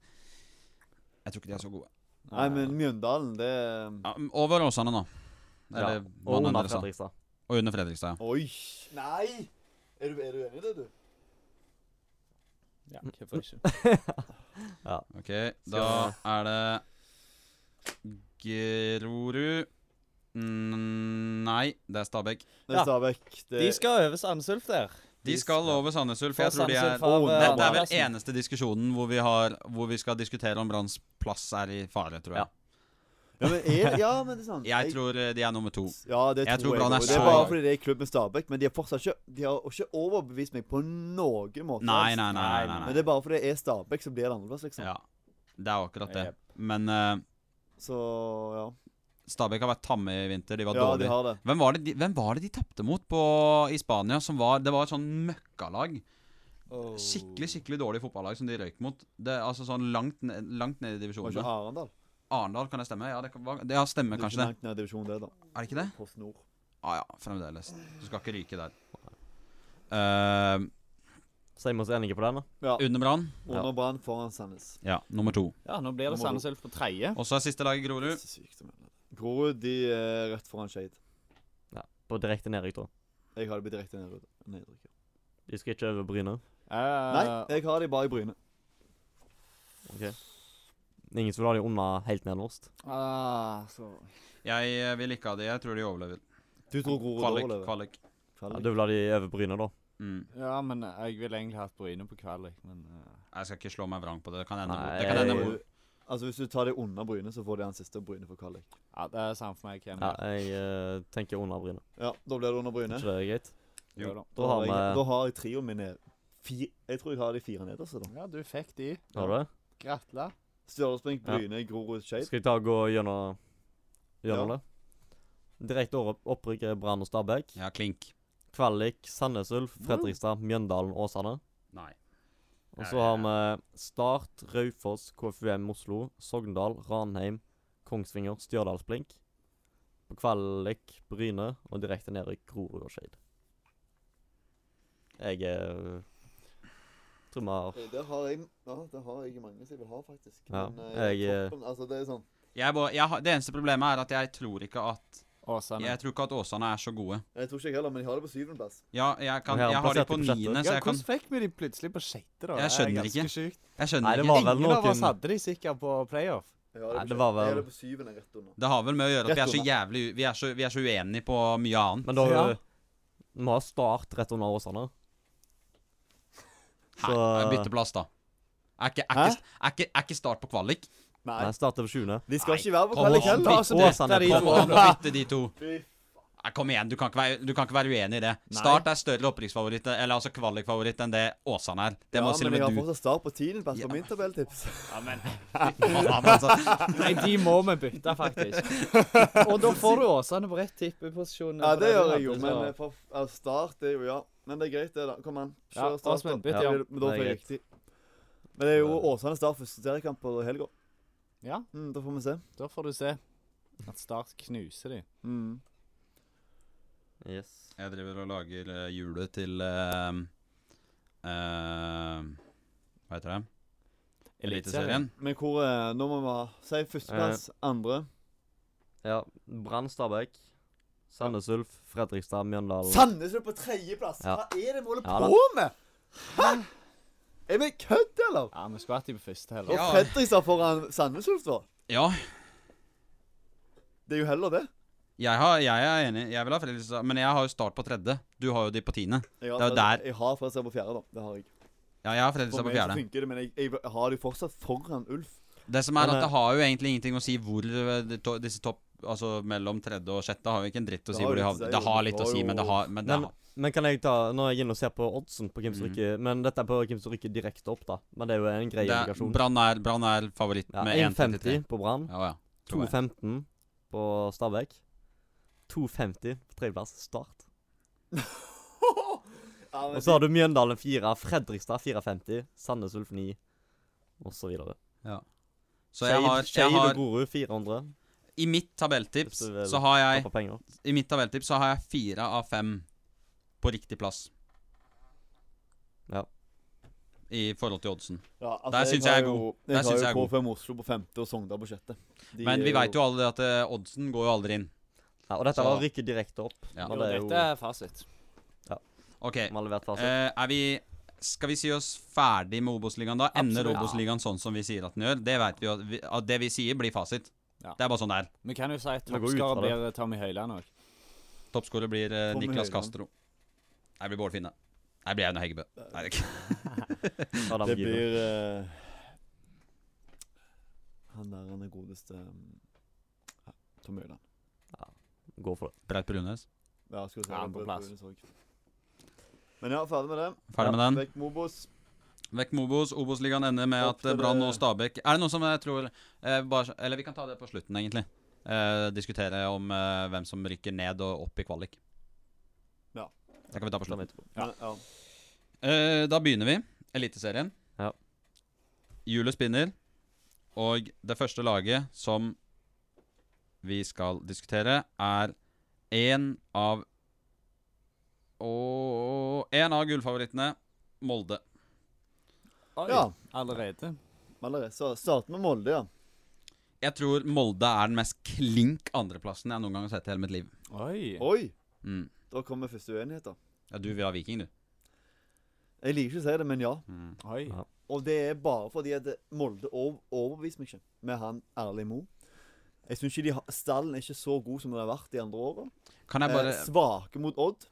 A: Jeg tror ikke de er så gode.
B: Nei, men Mjøndalen, det
A: Ja, over Åsane nå. Eller
C: Ja.
A: hva
C: Og
A: den
C: under
A: andre sa.
C: Fredrikstad.
A: Og under Fredrikstad, ja.
B: Oi. Nei! Er du, er du enig i det, du?
D: Ja, hvorfor ikke?
A: Ok, da er det Grorud mm, Nei, Nei, det er Stabæk.
B: Men
E: Ja.
B: Stabæk det,
E: De skal over Sandsulf der.
A: De skal over Sandnes Ulf. Jeg
E: For
A: tror de er
E: Sandnes Ulf har,
A: Åh, det,
E: eh,
A: det er vel
E: Andersen.
A: eneste diskusjonen hvor vi, har, hvor vi skal diskutere om Branns plass er i fare, tror jeg.
B: ja, men er, ja, men det er sant.
A: [laughs] Jeg tror eh, de er nummer to.
B: ja, det
A: jeg tror
B: tror jeg
A: Brann er
B: også. Det
A: så-
B: er bare fordi det er klubb med Stabæk, men de har fortsatt ikke De har ikke overbevist meg på noen måte.
A: Nei,
B: altså.
A: nei, nei. nei, nei,
B: Men
A: nei.
B: det er bare fordi det er Stabæk som blir det andreplass, liksom.
A: Ja, det er akkurat det.
E: Jep.
A: Men eh,
B: Så ja.
A: Stabæk har vært tamme i vinter. De var
B: Ja, de
A: dårlige.
B: har det.
A: Hvem var det de, hvem var det de tapte mot på, i Spania? Som var, det var et sånn møkkalag. Skikkelig skikkelig dårlig fotballag som de røyk mot. Det, er altså sånn langt, ned- langt ned i
B: Var ikke
A: divisjonene.
B: Arendal?
A: Arendal, kan det stemme? Ja, det, kan- hva- det ja, stemmer
B: Det er ikke
A: kanskje det.
B: Langt ned i divisjon, det, da.
A: Er det ikke det? Ah,
B: Post Nord.
A: Ja ja, fremdeles. Du skal ikke ryke der. Eh,
C: Sier vi oss enige på den, da?
B: Ja.
A: under Brann,
B: Under Brann foran Sandnes.
A: ja, nummer to.
E: Ja, nå blir det
B: Nummer to.
E: Sandnes Ulf på tredje.
A: Og så er siste laget
B: Det er
A: Grorud.
B: så sykt å melde. Grorud de er rett foran Skeid.
C: På direkte nedrykk, tror jeg.
B: Jeg har de på direkte nedrykk. nedrykk, ja.
C: De skal ikke over Bryne.
D: Eh,
B: Nei, jeg har de bare i Bryne.
C: Ok Ingen som vil ha de unna helt nederst.
D: Ah, så
A: Jeg eh, vil ikke ha de. Jeg tror de overlever.
B: Du tror Grorud
A: Kvalik.
B: overlever?
A: kvalik.
C: Ja,
B: Kvalik.
C: du vil ha de over Bryne, da?
A: Mm.
D: Ja, men eh, jeg ville egentlig hatt Bryne på kvalik, men eh,
A: Jeg skal ikke slå meg vrang på det. Det kan hende.
C: Nei,
A: det kan hende
C: jeg-
A: hvor-
B: Altså Hvis du tar det unna Bryne, så får de han siste Bryne for kvalik.
D: Ja, det er samme for meg hvem
C: Ja,
D: det
C: jeg eh, tenker under Bryne.
B: Ja, da blir det under Bryne.
C: Ikke det er greit?
D: er.
A: Jo.
D: Ja, da.
C: Da har vi
B: jeg, da har jeg trioen min ned. Fi, jeg tror jeg har de fire nederste, da.
D: Ja, du fikk de.
C: Har du det?
D: Gratulerer.
B: Stjørdalsblink,
C: Ja.
B: Bryne, Grorud, Skeid.
C: Skal vi ta og gå gjennom, gjennom
B: Ja.
C: det? Direkte opp- opprykk er Brann og Stabæk.
A: Ja, klink.
C: Kvalik, Sandnes Ulf, Fredrikstad, Mjøndalen, Åsane.
A: Nei.
C: Og så har vi Start, Raufoss, KFUM Oslo, Sogndal, Ranheim, Kongsvinger, Stjørdalsblink. På kvalik Bryne og direkte nedrykk Grorud og Skeid. Jeg er Tror vi har
B: Eh, Der har jeg Ja, der har jeg mange som jeg vil ha, faktisk.
C: Ja,
B: Men eh,
C: jeg, eh,
B: toppen, altså, det er sånn
A: Jeg bare, jeg, har- det eneste problemet er at jeg tror ikke at
D: Åsane.
A: Jeg tror ikke at Åsane er så gode.
B: Jeg tror ikke jeg heller, men de har det på syvendeplass.
A: Ja, jeg, kan,
C: Ja,
A: jeg har de
C: plasserte
A: på
C: på sjette.
A: niende, så
D: Ja,
A: jeg kan
D: hvordan fikk vi de plutselig på sjette, da?
A: Jeg
D: Det er
A: skjønner
D: ganske
A: ikke.
D: Sjukt.
A: Jeg
C: Nei,
A: skjønner
C: det
A: ikke.
C: var vel
D: Ingen av oss
C: noen-
D: hadde de sikkert på playoff.
B: Jeg har
C: Nei,
B: det,
C: det
B: på
C: var
B: sj- Jeg
C: vel-
B: har det på syvende rett under.
A: Det har vel med å gjøre at vi er
B: Rett
A: så
B: unna.
A: jævlig u- Vi er så, vi er så uenige på mye annet.
C: Men da
D: Ja.
C: Vi har Start rett under Åsane.
A: Hæ?
C: så-
A: Bytte plass, da. Er ikke, er, ikke, er, ikke, er ikke start på kvalik?
B: Nei.
C: Nei, starter på sjuende.
B: De skal
A: Nei,
B: ikke være på
C: kom
B: kvalik
C: on.
B: heller.
C: altså, dette er de
A: Kom
C: to.
A: an, og bytte de to.
B: Fy
A: Nei, kom igjen, du kan, ikke være, du kan ikke være uenig i det. Start er større opprykksfavoritt, eller altså kvalikfavoritt, enn det Åsane er. Det må
B: ja,
A: til og
B: men jeg har
A: med du.
B: fortsatt start på tiendeplass
A: Ja.
B: på min tabelltips. [laughs]
A: Ja, men altså,
E: Nei, de må vi bytte, faktisk.
D: [laughs]
E: Og da får du Åsane på rett tippeposisjon.
B: Ja,
E: for
B: det
E: du
B: gjør jeg jo,
E: hadde,
B: men eh,
E: så-
B: for, ja, start er jo ja. Men det er greit, det, da. Kom an.
D: Ja,
B: Kjør start. da.
D: Åsmund, bytt, ja.
B: men Da
C: Det er
B: får jeg
C: greit.
B: riktig. Men det er jo Åsane Start første seriekamp på helga.
D: Ja,
B: Mm, da får vi se.
D: da får du se at Start knuser de.
B: Mm.
C: Yes.
A: Jeg driver og lager eh, hjulet til eh, eh, Hva heter det? Eliteserien.
B: Men hvor eh, Nå må vi ha Si førsteplass, andre.
C: Ja. Brann Stabæk. Sandnes Ulf, Fredrikstad, Mjøndalen.
B: Sandnes er på tredjeplass!
C: Ja.
B: Hva er det vi holder
C: Ja, da.
B: på med?! Hæ?! Er vi kødd, eller?
D: Ja, vi skulle hatt de på første
B: Og
D: heller.
A: Ja.
B: Fredrikstad foran Sandnes Ulf, da?
A: Ja,
B: Det er jo heller det.
A: jeg, har, jeg er enig. Jeg vil ha Fredrikstad, men jeg har jo Start på tredje. Du har jo de på tiende.
B: Jeg har,
A: Det er jo der-
B: Jeg har Fredrikstad på fjerde, da. Det har jeg.
A: Ja, jeg har
B: For
A: Fredrikstad på
B: meg så
A: fjerde.
B: funker det, men jeg, jeg har det jo fortsatt foran Ulf.
A: Det som er
C: Men,
A: at
C: eh,
A: det har jo egentlig ingenting å si hvor eh, de to- disse topp Altså mellom tredje og sjette har jo ikke en dritt å
B: Det
A: si
B: har
A: hvor de
B: jo
A: havner.
B: ikke å si,
A: Det har
B: det
A: litt å
B: har
A: si,
B: jo-
A: men det har Men det
C: Men-
A: har
C: Men kan jeg ta Nå er jeg inne og ser på oddsen på hvem som
A: Mhm.
C: rykker Men dette er på hvem som rykker direkte opp, da. Men det er jo en grei
A: det er-
C: indikasjon.
A: Brann er, Brann er favoritt
C: Ja,
A: med 1,53.
C: 1,50 på Brann.
A: Ja, ja. tror jeg.
C: 2,15 på Stabæk. 2,50 på tredjeplass Start.
B: [laughs] Ja, men
C: Og så har du Mjøndalen 4, Fredrikstad 4,50, Sandnes Ulf 9, og så videre.
A: Så jeg har, jeg
C: Skeid og
A: har
C: Grorud 400.
A: I mitt tabelltips
C: Hvis du vil
A: så har jeg
C: Tapper penger.
A: I mitt tabelltips så har jeg fire av fem på riktig plass.
C: Ja.
A: I forhold til oddsen.
B: Ja, altså,
A: Der synes jeg er god. Der
B: Jeg har
A: synes
B: jo
A: jeg er god.
B: KFM Oslo på femte og Sogndal på sjette. De
A: Men vi
B: er
A: veit jo alle det at eh, oddsen går jo aldri inn.
C: Ja, og dette
A: Så-
C: var å rykke direkte opp.
A: Ja.
C: Men det er jo
D: Dette er fasit.
A: OK.
C: vi har levert
D: Altså.
C: fasit.
A: eh, er vi Skal vi si oss ferdig med Obos-ligaen da? Ender
D: Absolutt.
A: Obos-ligaen sånn som vi sier at den gjør? Det vet vi jo at, vi, at det vi sier, blir fasit.
D: Ja.
A: Det er bare sånn det er.
D: Vi kan jo si at
C: Vi går ut fra
D: toppskårer
C: det.
D: blir Tommy Høiland òg.
A: Toppskårer blir eh,
B: Tommy
A: Niklas
B: Høyland.
A: Castro. Nei, det blir Bård Finne. Nei, det blir Aune Heggebø. Nei, det
D: [laughs]
A: er ikke
C: Adam
B: Det
C: Giro.
B: blir eh, Han der han er godeste um, ja, Tom Øyland.
C: Gå for det.
A: Braut Brunes.
B: Ja, skulle si
D: Ja,
B: det,
D: andre
B: det
D: plass.
B: tror jeg vi så. Men ja, ferdig med det.
A: Ferdig med den.
B: Vekk Mobos.
A: Vekk med Obos. Obos-ligaen ender med at
B: Opp
A: eh,
B: til det-
A: Brann og Stabæk Er det noen som jeg tror eh, bare, Eller vi kan ta det på slutten, egentlig. Eh, diskutere om eh, hvem som rykker ned og opp i kvalik.
B: Ja.
A: Det kan vi ta på
C: Da
A: slutten.
C: vet vi.
B: Ja. ja.
A: Eh, da begynner vi. Eliteserien.
C: Ja.
A: Hjulet spinner. Og det første laget som vi skal diskutere, er én av Og én av gullfavorittene, Molde.
D: Oi,
B: ja.
D: allerede.
B: Malere. Så starten med Molde, ja.
A: Jeg tror Molde er den mest klink andreplassen jeg noen gang har sett i hele mitt liv.
D: Oi.
B: Oi!
A: Mm.
B: Da kommer første uenighet, da.
A: Ja, du vil ha Viking, du.
B: Jeg liker ikke å si det, men ja.
D: Oi.
C: Ja.
B: Og det er bare fordi at Molde over, overbeviser meg ikke med han Erling Mo. Jeg synes ikke de har, Stallen er ikke så god som den har vært de andre åra.
A: Kan jeg bare
B: Eh, svake mot Odd.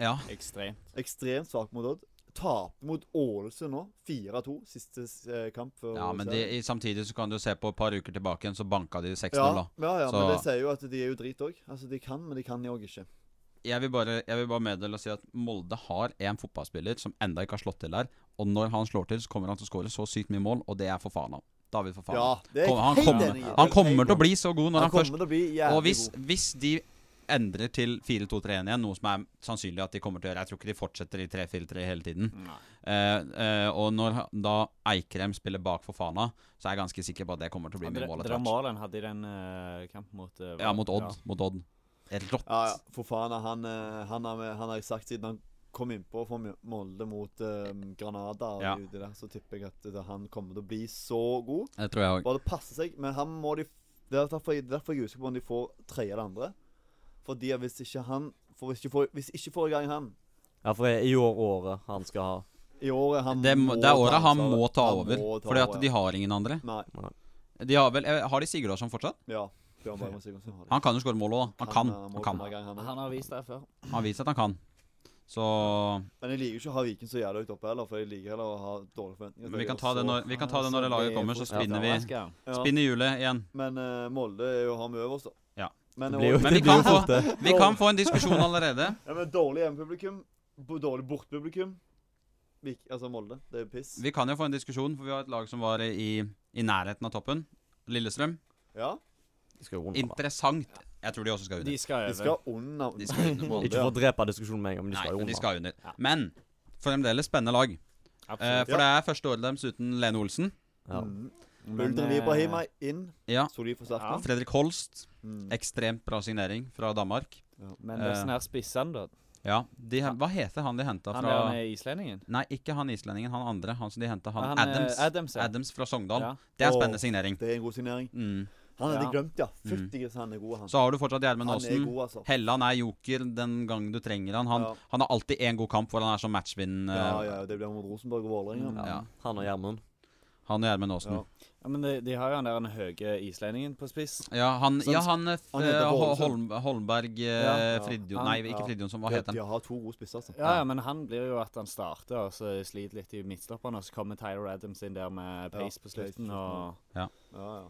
A: Ja.
D: Ekstremt.
B: Ekstremt svake mot Odd. Taper mot Ålesund nå. 4-2 siste eh, kamp. før
A: ja men de,
B: serien.
A: i- samtidig så kan du se på et par uker tilbake igjen, så banka de 6-0,
B: ja,
A: da.
B: ja, ja,
A: Så-
B: men det sier jo at de er jo drit òg. Altså, de kan, men de kan jo ikke.
A: Jeg vil bare, jeg vil bare meddele og si at Molde har en fotballspiller som enda ikke har slått til der. Og når han slår til, så kommer han til å skåre så sykt mye mål, og det er for faen av. David for faen.
B: Ja, det er
A: Kom- han,
B: jeg helt
A: kommer,
B: enig i.
A: han kommer til å bli så god når han,
B: Han
A: først
B: kommer til å bli jævlig
A: Og hvis,
B: god.
A: hvis de endrer til 4-2-3-1 igjen, noe som er sannsynlig at de kommer til å gjøre Jeg tror ikke de fortsetter i 3-4-3 hele tiden. Eh, eh, og når ha- da Eikrem spiller bak for Fana, så er jeg ganske sikker på at det kommer til å bli
D: Ja,
A: mye
D: det
A: mål
D: det
A: etter
D: der
A: hvert.
D: målet han hadde i den eh, kampen mot eh,
A: Ja, mot Odd.
D: Ja.
A: Mot Odd. Helt rått.
B: Ja, ja. For faen, han, eh, han, har, vi- han har jeg sagt siden han kom innpå for Mj- Molde mot eh, Granada, og
A: Ja.
B: de ute der, så tipper jeg at det, han kommer til å bli så god.
A: Det tror jeg òg.
B: Bare det passer seg. Men han må de Det er derfor, det er derfor jeg er usikker på om de får tredje eller andre. Fordi at hvis ikke han for hvis, ikke får, hvis ikke får i gang han
C: Ja, for jeg er jo året han skal ha.
B: i året han
A: Det, må- det er
B: ta
A: året han
B: ansvaret.
A: må ta
B: Han
A: over.
B: må ta
A: Fordi
B: over,
A: at de har ingen andre.
B: Nei.
A: De har vel eh, Har de Sigurdarsson fortsatt?
B: Ja. Bjørn Bergman Sigurdsen har det.
A: Han kan jo skåre mål òg, da. Han kan.
B: eh, må
A: Han kan.
B: komme i gang, han også.
E: Han har vist det før.
A: Han har vist at han kan. Så
B: Men jeg liker jo ikke å ha Viking så jævlig høyt oppe heller, for jeg liker heller å ha dårlige forventninger. til
A: Men vi
B: dem,
A: kan
B: og
A: ta det
B: så-
A: når, vi kan ta det når det laget kommer, så spinner vi
D: Ja.
B: Ja.
A: Spinner hjulet igjen.
B: Men eh, Molde er jo har vi øverst, da.
A: Ja.
B: Men,
C: Det blir jo,
A: Men vi
C: det blir
A: kan
C: jo
A: få-
C: fort det.
A: Vi kan få en diskusjon allerede.
B: ja, men dårlig hjemmepublikum, bo- dårlig bortpublikum. Vik- Altså Molde. Det er jo piss.
A: Vi kan jo få en diskusjon, for vi har et lag som var i, i nærheten av toppen. Lillestrøm.
B: Ja.
C: De skal jo runde, da.
A: Interessant. Jeg tror de også skal
D: De
A: under.
D: skal
B: De
D: over.
B: skal under
A: De skal under
B: [laughs]
A: Molde.
C: Ikke for å drepe diskusjonen med en gang, men de
A: Nei,
C: skal jo
A: men de
C: runde.
A: skal under. Men fremdeles spennende lag. Eh,
D: Absolutt.
A: for det er første året deres uten Lene Olsen.
C: Ja.
B: Mm.
D: Men,
B: Ultran
D: eh,
B: Ibrahima inn.
A: Ja.
B: Solid
D: Ja.
B: forsterkning.
A: Fredrik Holst.
B: Mm.
A: Ekstremt bra signering fra Danmark.
D: Men det er
A: Eh.
D: sånn her spissene, da.
A: Ja, de, he- Hva heter han de henta
D: Han der
A: fra
D: med islendingen.
A: Nei, ikke han islendingen, han andre. Han som de henta, han,
D: eh,
A: Adams.
D: Adams, ja.
A: Adams fra Sogndal.
D: Ja.
A: Det er en
B: Åh.
A: spennende signering.
B: Det er en god signering.
A: Mm.
B: Han hadde
D: Ja.
B: glemt, ja.
A: Mm.
B: Fytti grisen, han er god, han.
A: Så har du fortsatt Gjermund
B: Han er
A: Aasen.
B: god, altså.
A: Helland er joker den gang du trenger han. Han,
B: Ja.
A: han har alltid én god kamp hvor han er som matchvinn. eh,
B: Ja, ja, det blir mot Rosenborg og Vålerenga.
A: Mm, Ja.
C: Han og Gjermund.
A: Han og Gjermund Aasen.
B: Ja.
D: Ja, men de, de har jo han der den høye islendingen på spiss.
A: Ja, han,
B: Sånn
A: ja,
B: sk-
A: han, eh,
B: han heter
A: Ho-
B: Holmsen.
A: Holm, Holmberg eh,
D: Ja,
B: ja.
A: Fridjo-
D: Han-
A: Nei, ikke
D: ja.
A: Fridjonsson. Hva
B: De,
A: heter
B: de
A: han?
B: har to gode spisser, altså.
D: Ja, ja, men han blir jo at han starter, og så sliter litt i midtstopperne, og så kommer Tyler Adams inn der med pace på
B: pace på
D: slutten,
B: slutten,
D: og
B: Ja, ja.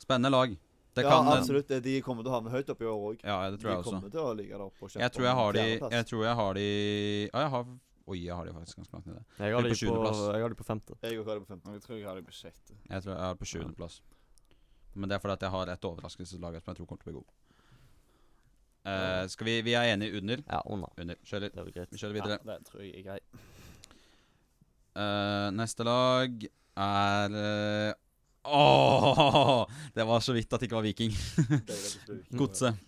A: Spennende lag. Det
B: ja,
A: kan eh,
B: absolutt. De kommer til å havne høyt oppe i år òg.
A: Ja, det tror jeg
B: de
A: også.
B: kommer til å ligge der oppe og kjempe
A: Jeg tror jeg har de
B: fjerdeplass.
A: Jeg tror jeg har de Ja, jeg har Oi, jeg har de faktisk ganske langt nede.
C: Jeg har
A: På
C: de på,
A: sjuendeplass.
C: jeg har de på femte.
B: Jeg og Kari på femte.
D: Jeg tror jeg har det på sjette.
A: Jeg tror jeg har på sjuendeplass. Men det er fordi at jeg har et overraskelseslag som jeg tror kommer til å bli god. Eh, skal vi Vi er enige under.
C: Ja, under.
A: Under. Kjører,
C: Det er vel greit.
A: vi kjører videre.
D: Ja, det tror jeg er greit.
A: Eh, neste lag er eh, Åh! [laughs] Det var så vidt at det ikke var Viking.
B: [laughs]
A: Godset.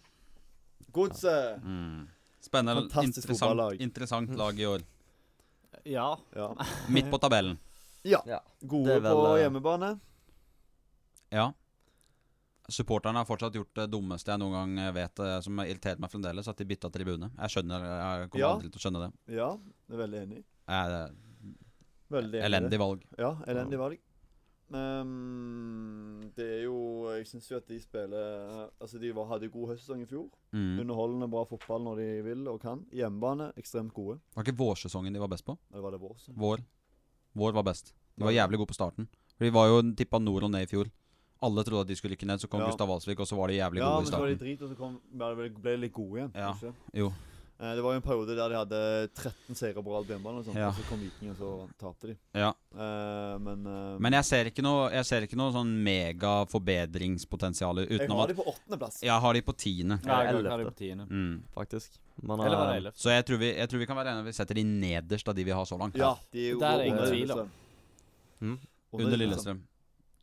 B: Godset!
A: Mm. Spennende.
B: Fantastisk
A: Interessant,
B: fotballag. [laughs]
A: interessant lag i år.
D: Ja.
B: Ja.
A: Midt på tabellen.
B: Gode
C: Det er vel,
B: på
C: eh,
B: hjemmebane.
A: Ja. Supporterne har fortsatt gjort det dummeste jeg noen gang eh, vet, eh, som har irritert meg fremdeles, at de bytta tribune. Jeg skjønner, jeg kommer
B: Ja.
A: aldri til å skjønne det.
B: Ja, det er veldig enig.
A: Eh, det er
B: Veldig enig i det.
A: Elendig valg.
B: Ja, elendig valg. ehm, det er jo Jeg syns jo at de spiller Altså, de var, hadde god høstsesong i fjor.
A: Mm.
B: Underholdende bra fotball når de vil og kan. Hjemmebane ekstremt gode.
A: Var ikke vårsesongen de var best på?
B: Eller var det vår? sesong?
A: Vår. Vår var best. De var jævlig gode på starten. For De var jo tippa nord og ned i fjor. Alle trodde at de skulle rykke ned, så kom
B: Ja.
A: Gustav Valsvik, og så var de jævlig
B: Ja,
A: gode
B: men
A: i
B: så var de
A: starten.
B: drit, og så kom, ble ble- ble de litt gode igjen.
A: Ja,
B: ikke?
A: jo.
B: Eh, Det var jo en periode der de hadde 13 seire på rad på hjemmebane, og, sånt,
A: Ja.
B: og så kom Viking, og så tapte de.
A: Ja.
B: Eh, men eh,
A: Men jeg ser ikke noe, jeg ser ikke noe sånn mega forbedringspotensial
B: jeg
A: utenom
B: har
A: at
B: de på åttendeplass.
A: Jeg har de på tiende.
D: Ja, jeg
C: Ellevte.
D: har det på tiende.
A: Mm.
C: faktisk. Men,
D: Eller var det
C: eh,
D: ellevte?
A: Så jeg tror, vi, jeg tror vi kan være enige om at vi setter de nederst av de vi har så langt.
B: Ja, de er jo
D: Der er ingen
B: under liksom-
D: tvil om.
B: Lillestrøm.
C: Mm.
A: Under Lillestrøm.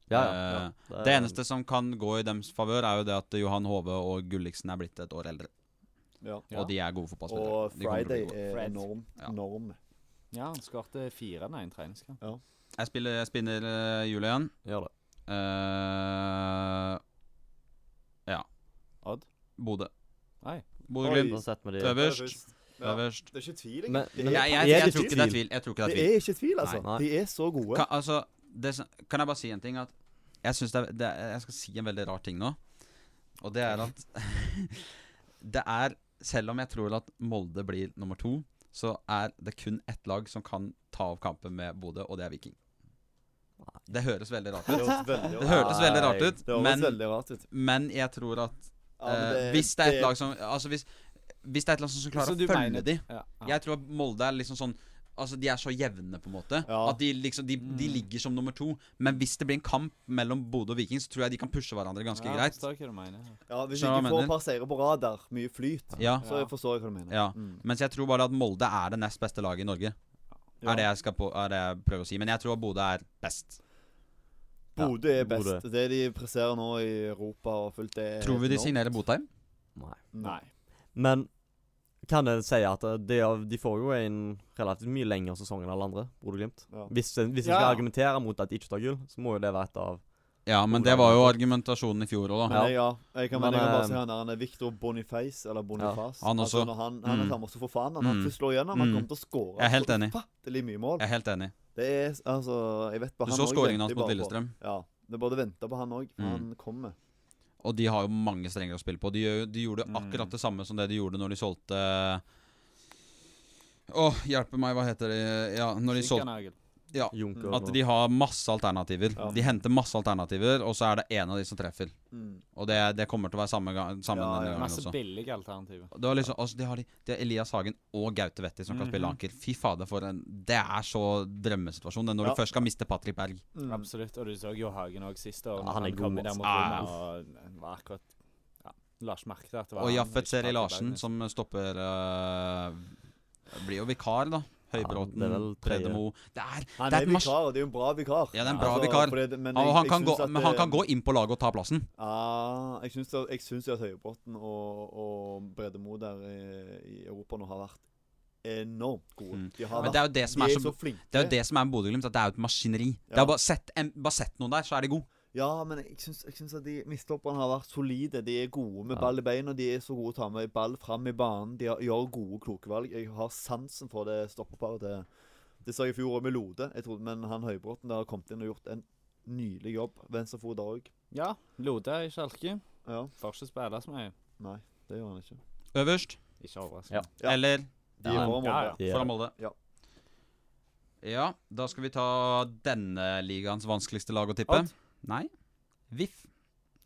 C: ja, ja,
A: Eh, Det eneste som kan gå i dems favør, er jo det at Johan Hove og Gulliksen er blitt et år eldre.
B: liksom- Ja.
D: Ja.
A: Og de er gode fotballspillere.
B: Og
A: De kommer til å bli
B: Friday
A: gode.
B: er
D: Fred.
B: enorm.
A: Ja.
B: enorm.
D: Ja, han skårte fire i en treningskamp.
A: Jeg, spiller, jeg spinner eh, hjulet igjen.
C: Gjør det.
A: Eh, ja.
D: Odd?
A: Bodø.
D: Nei.
A: Bodø-Glimt.
C: Da setter vi de
A: Øverst.
B: Ja.
A: Øverst.
B: Det er ikke tvil,
C: Men-
B: egentlig.
A: Jeg,
C: men-
B: Det er-
A: jeg, jeg,
C: Er det
A: tror
C: tvil?
A: ikke det er tvil. Jeg tror ikke det er
B: Det
A: tvil.
B: er ikke tvil, altså.
C: Nei.
B: De er så gode.
A: Kan, altså, det, som- kan jeg bare si en ting? At jeg, synes det er, det er, jeg skal si en veldig rar ting nå. Og det er at [laughs] det er Selv om jeg tror at Molde blir nummer to, så er det kun ett lag som kan ta opp kampen med Bodø, og det er Viking. Det høres veldig rart
B: Det
A: ut.
B: høres veldig
A: Det hørtes veldig rart
C: Nei,
A: ut,
B: Det høres
A: men,
B: veldig rart ut.
A: men jeg tror at
B: Ja, men
A: Eh, hvis det er et lag som Altså hvis, hvis det er et lag som skal klare
D: Så
A: å
D: du
A: følge
D: mener-
A: de
D: Ja.
A: Jeg tror at Molde er liksom sånn Altså De er så jevne, på en måte.
B: Ja.
A: At de liksom de, de ligger som nummer to. Men hvis det blir en kamp mellom Bodø og Viking, så tror jeg de kan pushe hverandre ganske
D: Ja, jeg
A: greit.
D: forstår hva du mener.
B: Ja, Hvis
A: Skjønner hva
B: ikke
A: jeg
B: får
A: mener.
B: et par seire på rad der, mye flyt,
A: Ja.
B: så jeg forstår jeg hva du mener.
A: Ja.
B: Mm.
A: Mens jeg tror bare at Molde er det nest beste laget i Norge.
B: Ja.
A: Er det jeg skal på, er det jeg prøver å si. Men jeg tror Bodø er best.
B: Bodø er best.
C: Bodø.
B: Det de presserer nå i Europa og fullt, det er
A: Tror vi de
B: enormt.
A: signerer Botheim?
C: Nei.
B: Nei.
C: Men kan jeg si at eh, de, av- de får jo en relativt mye lengre sesong enn alle andre, Bodø-Glimt.
B: Ja.
C: Hvis en hvis en
D: Ja,
C: skal
D: ja.
C: argumentere mot at de ikke tar gull, så må jo det være et av
A: Ja, men det var jo argumentasjonen i fjor òg, da.
B: Men jeg, ja, jeg kan, men, jeg
C: Men,
B: kan bare
C: eh,
B: si han der han er Victor Boniface, eller Boniface.
A: Han også.
B: Altså, når han, han
A: Mm.
B: er samme som for faen. Han, han
A: Mm.
B: først slår gjennom, han
A: Mm.
B: kommer til å skåre
A: Jeg er helt enig.
B: ufattelig mye mål.
A: Jeg er helt enig.
B: Det er altså Jeg vet
A: Du
B: bare han
A: så
B: også
A: skåringen
B: venter
A: hans mot
B: bare på-
A: Lillestrøm.
B: Ja. Det er bare å vente på han òg, for
A: Mm.
B: han kommer.
A: Og de har jo mange strenger å spille på. De, gjør, jo- de gjorde
D: Mm.
A: akkurat det samme som det de gjorde når de solgte Åh, hjelpe meg, hva heter det Ja, når de solgte
D: Skikkernagel.
A: Ja.
C: Junker
A: At de har masse alternativer.
B: Ja.
A: De henter masse alternativer, og så er det én av de som treffer.
B: Mm.
A: Og det, det kommer til å være samme, ga- samme
B: Ja,
A: denne
B: ja.
A: gangen
D: Masse
A: også.
D: billige alternativer.
A: Det var liksom, altså, de, har de, de har Elias Hagen og Gaute Wetti som kan spille
D: Mhm.
A: anker. Fy fader, for en Det er så drømmesituasjon. Det er når
B: Ja.
A: du først skal miste Patrick Berg.
B: Mm.
D: Absolutt. Og du så jo Hagen òg siste år.
C: Ja,
D: når
C: han er god,
D: kom i der
C: altså.
D: mot
A: Ja,
D: Roma, og han var akkurat ja, La ikke merke til at det var
A: Og
D: han,
A: Jaffet
D: ikke
A: Seri
D: Patrick
A: Larsen,
D: Bergnes.
A: som stopper øh, Blir jo vikar, da. Høybråten,
C: det er vel tredje.
A: Bredemo Det er
B: Han
A: Det er
B: er
A: et mas-
B: vikar, og det er jo en bra vikar. Altså,
A: Ja, det er en bra vikar.
B: fordi det- men
A: Ja, og
B: jeg-
A: han
B: jeg
A: kan
B: syns
A: gå,
B: at
A: men han
B: det-
A: kan gå inn på laget og ta plassen.
B: Ja, jeg syns, det, jeg syns jo at Høybråten og, og Bredemo der i, i Europa nå har vært enormt gode.
A: Mm.
B: De har
A: Men
B: vært
A: det er jo det som er
B: de
A: så,
B: flinke.
A: det er jo det som er med Bodø-Glimt, at det er jo et maskineri. Det
B: Ja.
A: er bare sett, en, bare sett noen der, så er de gode.
B: Ja, men jeg syns, jeg syns at de midtstopperne har vært solide. De er gode med
C: Ja.
B: ball i beina. De er så gode til å ta med ball fram i banen. De har, gjør gode, kloke valg. Jeg har sansen for det stoppeparet. Det, det sa jeg i fjor òg med Lode. Jeg trodde, men han Høybråten der har kommet inn og gjort en nydelig jobb. Venstrefot der òg.
D: Ja. Lode i Kjelke.
B: Ja.
D: Får ikke spille så mye.
B: Nei, det gjør han ikke.
A: Øverst.
D: Ikke overraskende.
C: Ja.
B: Ja.
A: Eller
B: De
C: Ja,
B: er
D: ja,
B: ja,
D: ja.
A: foran Molde.
B: Ja.
A: Ja, da skal vi ta denne ligaens vanskeligste lag å tippe.
D: Odd?
A: Nei. VIF.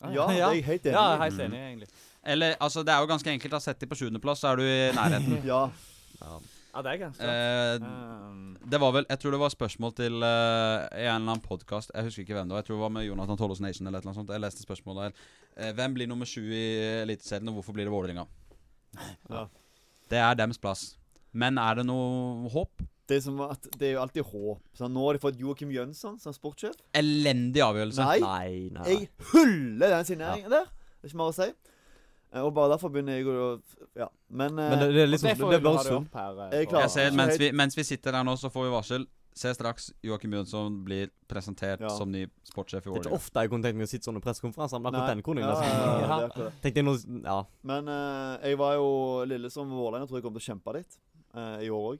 D: Ah,
B: Ja, det er jeg helt enig
D: Ja, jeg er
B: i.
D: helt enig, egentlig.
A: Eller, altså, det er jo ganske enkelt. Da. Sett de på sjuendeplass, så er du i nærheten.
B: [laughs] Ja.
D: Ja, det er ganske godt.
A: eh,
D: Um,
A: det var vel Jeg tror det var spørsmål til eh, en eller annen podkast. Jeg husker ikke hvem det var. Jeg tror det var med Jonathan Tollås Nation eller et eller annet sånt. Jeg leste spørsmålet her. Eh, hvem blir nummer sju i Eliteserien, og hvorfor blir det Vålerenga?
B: Ja.
A: Det er dems plass. Men er det noe håp?
B: Det er, som at, det er jo alltid håp. Så nå har de fått Joakim Jønsson som sportssjef.
A: Elendig avgjørelse.
B: Nei,
C: Nei, nei. nei.
B: jeg hyller den signeringen der. Det er ikke mer å si. Eh, Og bare derfor begynner jeg å Ja. Men, eh,
C: Men det, det er liksom
D: og
C: Det, er bare
D: det
C: sunt.
D: opp her. eh,
B: Jeg
D: på-
B: klarer
A: Jeg ser,
B: ikke
A: mens,
B: helt-
A: vi, mens vi sitter her nå, så får vi varsel. Se straks Joakim Jønsson blir presentert
B: Ja.
A: som ny sportssjef i
C: Det er ikke
A: Vålerenga.
C: ofte jeg kunne tenkt meg å sitte sånne pressekonferanser, men akkurat
B: Nei.
C: den kunne jeg
B: Ja,
C: nesten.
B: ja, ja,
C: Ja,
B: det er akkurat det.
C: Tenkte jeg noe Ja.
B: Men eh, jeg var jo Lillestrøm og Vålerenga tror jeg kommer til å kjempe litt eh, i år òg.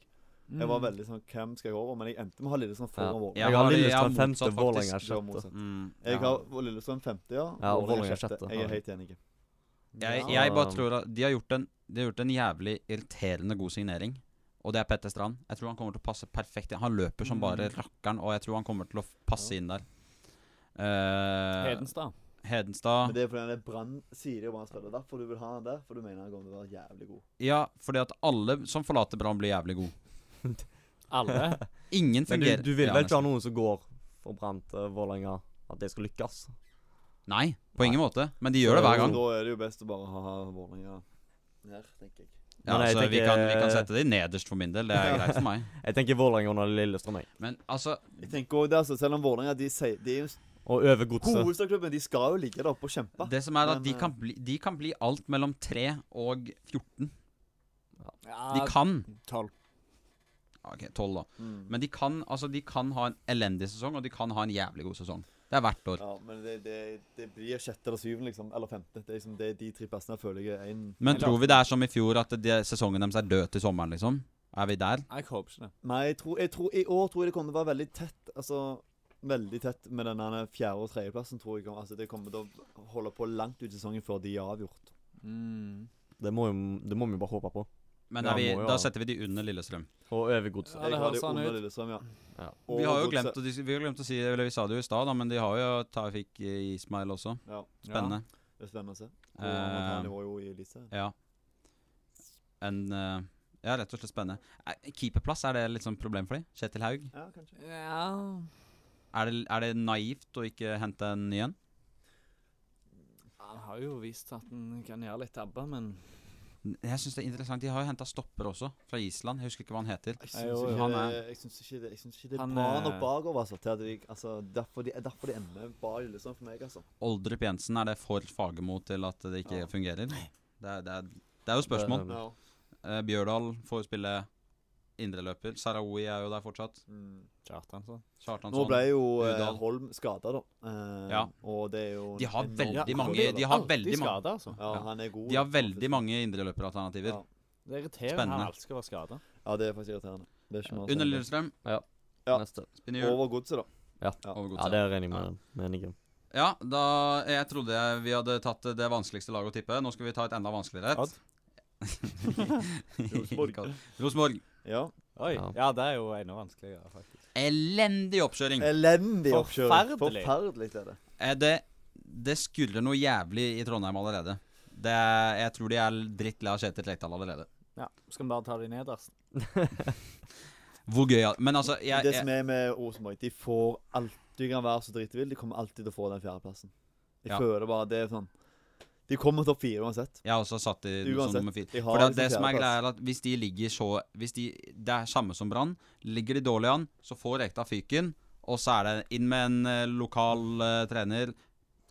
B: Jeg var veldig sånn Hvem skal jeg over? Men jeg endte med å ha Lillestrøm
C: Mm. Ja.
B: foran Vålerenga.
A: Jeg
C: Jeg har
A: har- jeg har
C: Lillestrøm femte,
A: motsatt,
C: Vålerenga
B: Du har
C: sjette.
B: motsatt.
A: Mm.
B: Jeg
D: Ja.
B: har Lillestrøm femte, ja.
C: Ja, og Vålerenga sjette.
B: Jeg er helt enig.
A: Jeg,
C: Ja.
A: jeg bare tror at de har, gjort en, de har gjort en jævlig irriterende god signering. Og det er Petter Strand. Jeg tror han kommer til å passe perfekt inn. Han løper som bare
C: Mm.
A: rakkeren, og jeg tror han kommer til å f- passe inn der.
D: Mm.
A: Eh,
E: Hedenstad.
B: Men
A: Hedenstad.
B: det er fordi han er brann sier det jo hva han spiller. Derfor du vil ha han der, for du mener han kommer til å være jævlig god.
A: Ja, fordi at alle som forlater Brann, blir jævlig gode. [laughs]
E: Alle.
A: Ingen
C: altså. Men du,
A: fungerer.
C: du vil
A: Ja,
C: vel ikke ha
A: nesten.
C: noen som går for Brann til Vålerenga, at de skal lykkes?
A: Nei, på ingen måte. Men de gjør det hver gang.
B: Da er det jo best å bare ha Vålerenga her, tenker jeg.
A: Ja,
C: Men jeg
A: altså, vi,
C: tenker-
A: kan, vi kan sette de nederst for min del. Det er greit for
C: [laughs]
A: meg.
C: Jeg tenker Vålerenga under Lillestrøm, jeg.
A: Men altså
B: Jeg tenker også det, altså, Selv om Vålerenga de, sier- de er jo
C: Og over godset.
B: hovedstadsklubben, de skal jo ligge der oppe og kjempe.
A: Det som er at
B: Men,
A: de
B: eh,
A: kan bli, de kan bli alt mellom 3 og 14. De
D: Ja,
A: kan
D: tolv.
A: Ok, 12 da.
B: Mm.
A: Men de kan, altså, de kan ha en elendig sesong, og de kan ha en jævlig god sesong. Det er hvert år.
B: Ja, men det, det, det blir sjette eller syvende, liksom. Eller femte. Det er liksom det, de tre plassene jeg føler jeg er en
A: Men tror vi det er som i fjor, at de, sesongen deres er død til sommeren, liksom? Er vi der?
D: Jeg håper ikke det.
B: Nei, jeg tror, jeg tror i år tror jeg det kommer til å være veldig tett. Altså Veldig tett med denne her fjerde- og tredjeplassen, tror jeg. Altså, det kommer til å holde på langt ut i sesongen før de er avgjort.
D: Mm.
C: Det må, jo, det må vi bare håpe på.
A: Men
C: Ja,
A: er vi,
C: må jo
A: da
C: ha.
A: setter vi de under Lillestrøm.
C: Og over godset.
D: Ja, det
B: jeg hadde jo
D: høres sånn
B: under
D: ut.
B: Lillestrøm, ja.
C: Ja.
B: Og
A: Vi har jo
B: Godset-
A: glemt, å dis- vi har glemt å si Eller vi sa det jo i stad, da, men de har jo Tafik Ismail også.
B: Ja,
A: Spennende. Eh,
B: det er spennende å se. Og
A: Ja.
B: han var jo i Eliteserien.
A: ja. En eh, Ja, rett og slett spennende. Er- Keeperplass, er det litt sånn problem for de? Kjetil Haug?
B: Ja, kanskje.
D: Ja. ja.
A: Er det, er det naivt å ikke hente en ny en?
D: Han har jo vist at han kan gjøre litt tabber, men
A: Jeg syns det er interessant. De har jo henta stopper også, fra Island. Jeg husker ikke hva han heter.
B: Jeg
D: Jo,
B: syns ikke,
A: han er-
B: det- jeg syns ikke, det- jeg syns ikke det er
D: Han
B: bra
D: er-
B: nok bakover. Altså, til at de, altså, derfor, de, derfor de ender bak Lillestrøm for meg, altså.
A: Oldrup Jensen, er det for Fagermo til at det ikke
B: Ja.
A: fungerer? Det er, det, er, det er jo spørsmål.
C: Det-
B: Ja.
A: Eh, Bjørdal får jo spille indreløper. Sarawi er jo der fortsatt.
B: Mm.
D: Kjartansson
B: Nå
A: Kjartansson.
B: ble jo eh,
A: Udal.
B: Holm skada, da. Eh,
A: Ja.
B: Og det er jo
A: De har
B: enormt
A: veldig
B: bra
A: mange-
B: spillere.
A: de har veldig mange-
D: skader, altså.
B: ja,
A: ja.
B: han er god.
A: De har
B: da,
A: veldig
B: faktisk.
A: mange indreløperalternativer.
B: Ja.
D: Det er irriterende
A: Spennende.
D: han alltid skal være skada.
B: Ja, det er faktisk irriterende. Det er ikke mer å si om
A: Under
B: det.
A: Lillestrøm,
B: Ja.
C: Neste.
A: Spinjur,
B: Over godset, da. Ja.
A: over
C: Ja,
A: godset.
C: det regner jeg med. Mener jeg.
A: Ja, da Jeg trodde jeg- vi hadde tatt det vanskeligste laget å tippe. Nå skal vi ta et enda vanskeligere [laughs]
D: Odd.
A: et.
B: Rosenborg.
A: Rosenborg.
B: Ja.
D: Oi.
C: Ja.
D: Ja. det er jo enda vanskeligere, faktisk.
A: Elendig oppkjøring.
B: Eh, Elendig oppkjøring.
D: Forferdelig.
B: Forferdelig er det.
A: Eh, Det, det skurrer noe jævlig i Trondheim allerede. Det, er- jeg tror de er drittlei av Kjetil Rekdal allerede.
D: Ja. Skal vi bare ta de nederst?
A: Hvor gøy er Men altså, jeg,
B: det som
A: jeg,
B: er med Rosenborg, de får alt Du kan være så dritvill, de kommer alltid til å få den fjerdeplassen. Jeg
A: Ja.
B: føler bare det er sånn De kommer topp fire uansett.
A: jeg har også satt i som
B: Uansett,
A: nummer fire.
B: de har
A: For det,
B: liksom
A: det som er
B: fjerdeplass.
A: greia, er at hvis de ligger så Hvis de Det er samme som Brann. Ligger de dårlig an, så får Rekdal fyken, og så er det inn med en eh, lokal eh, trener,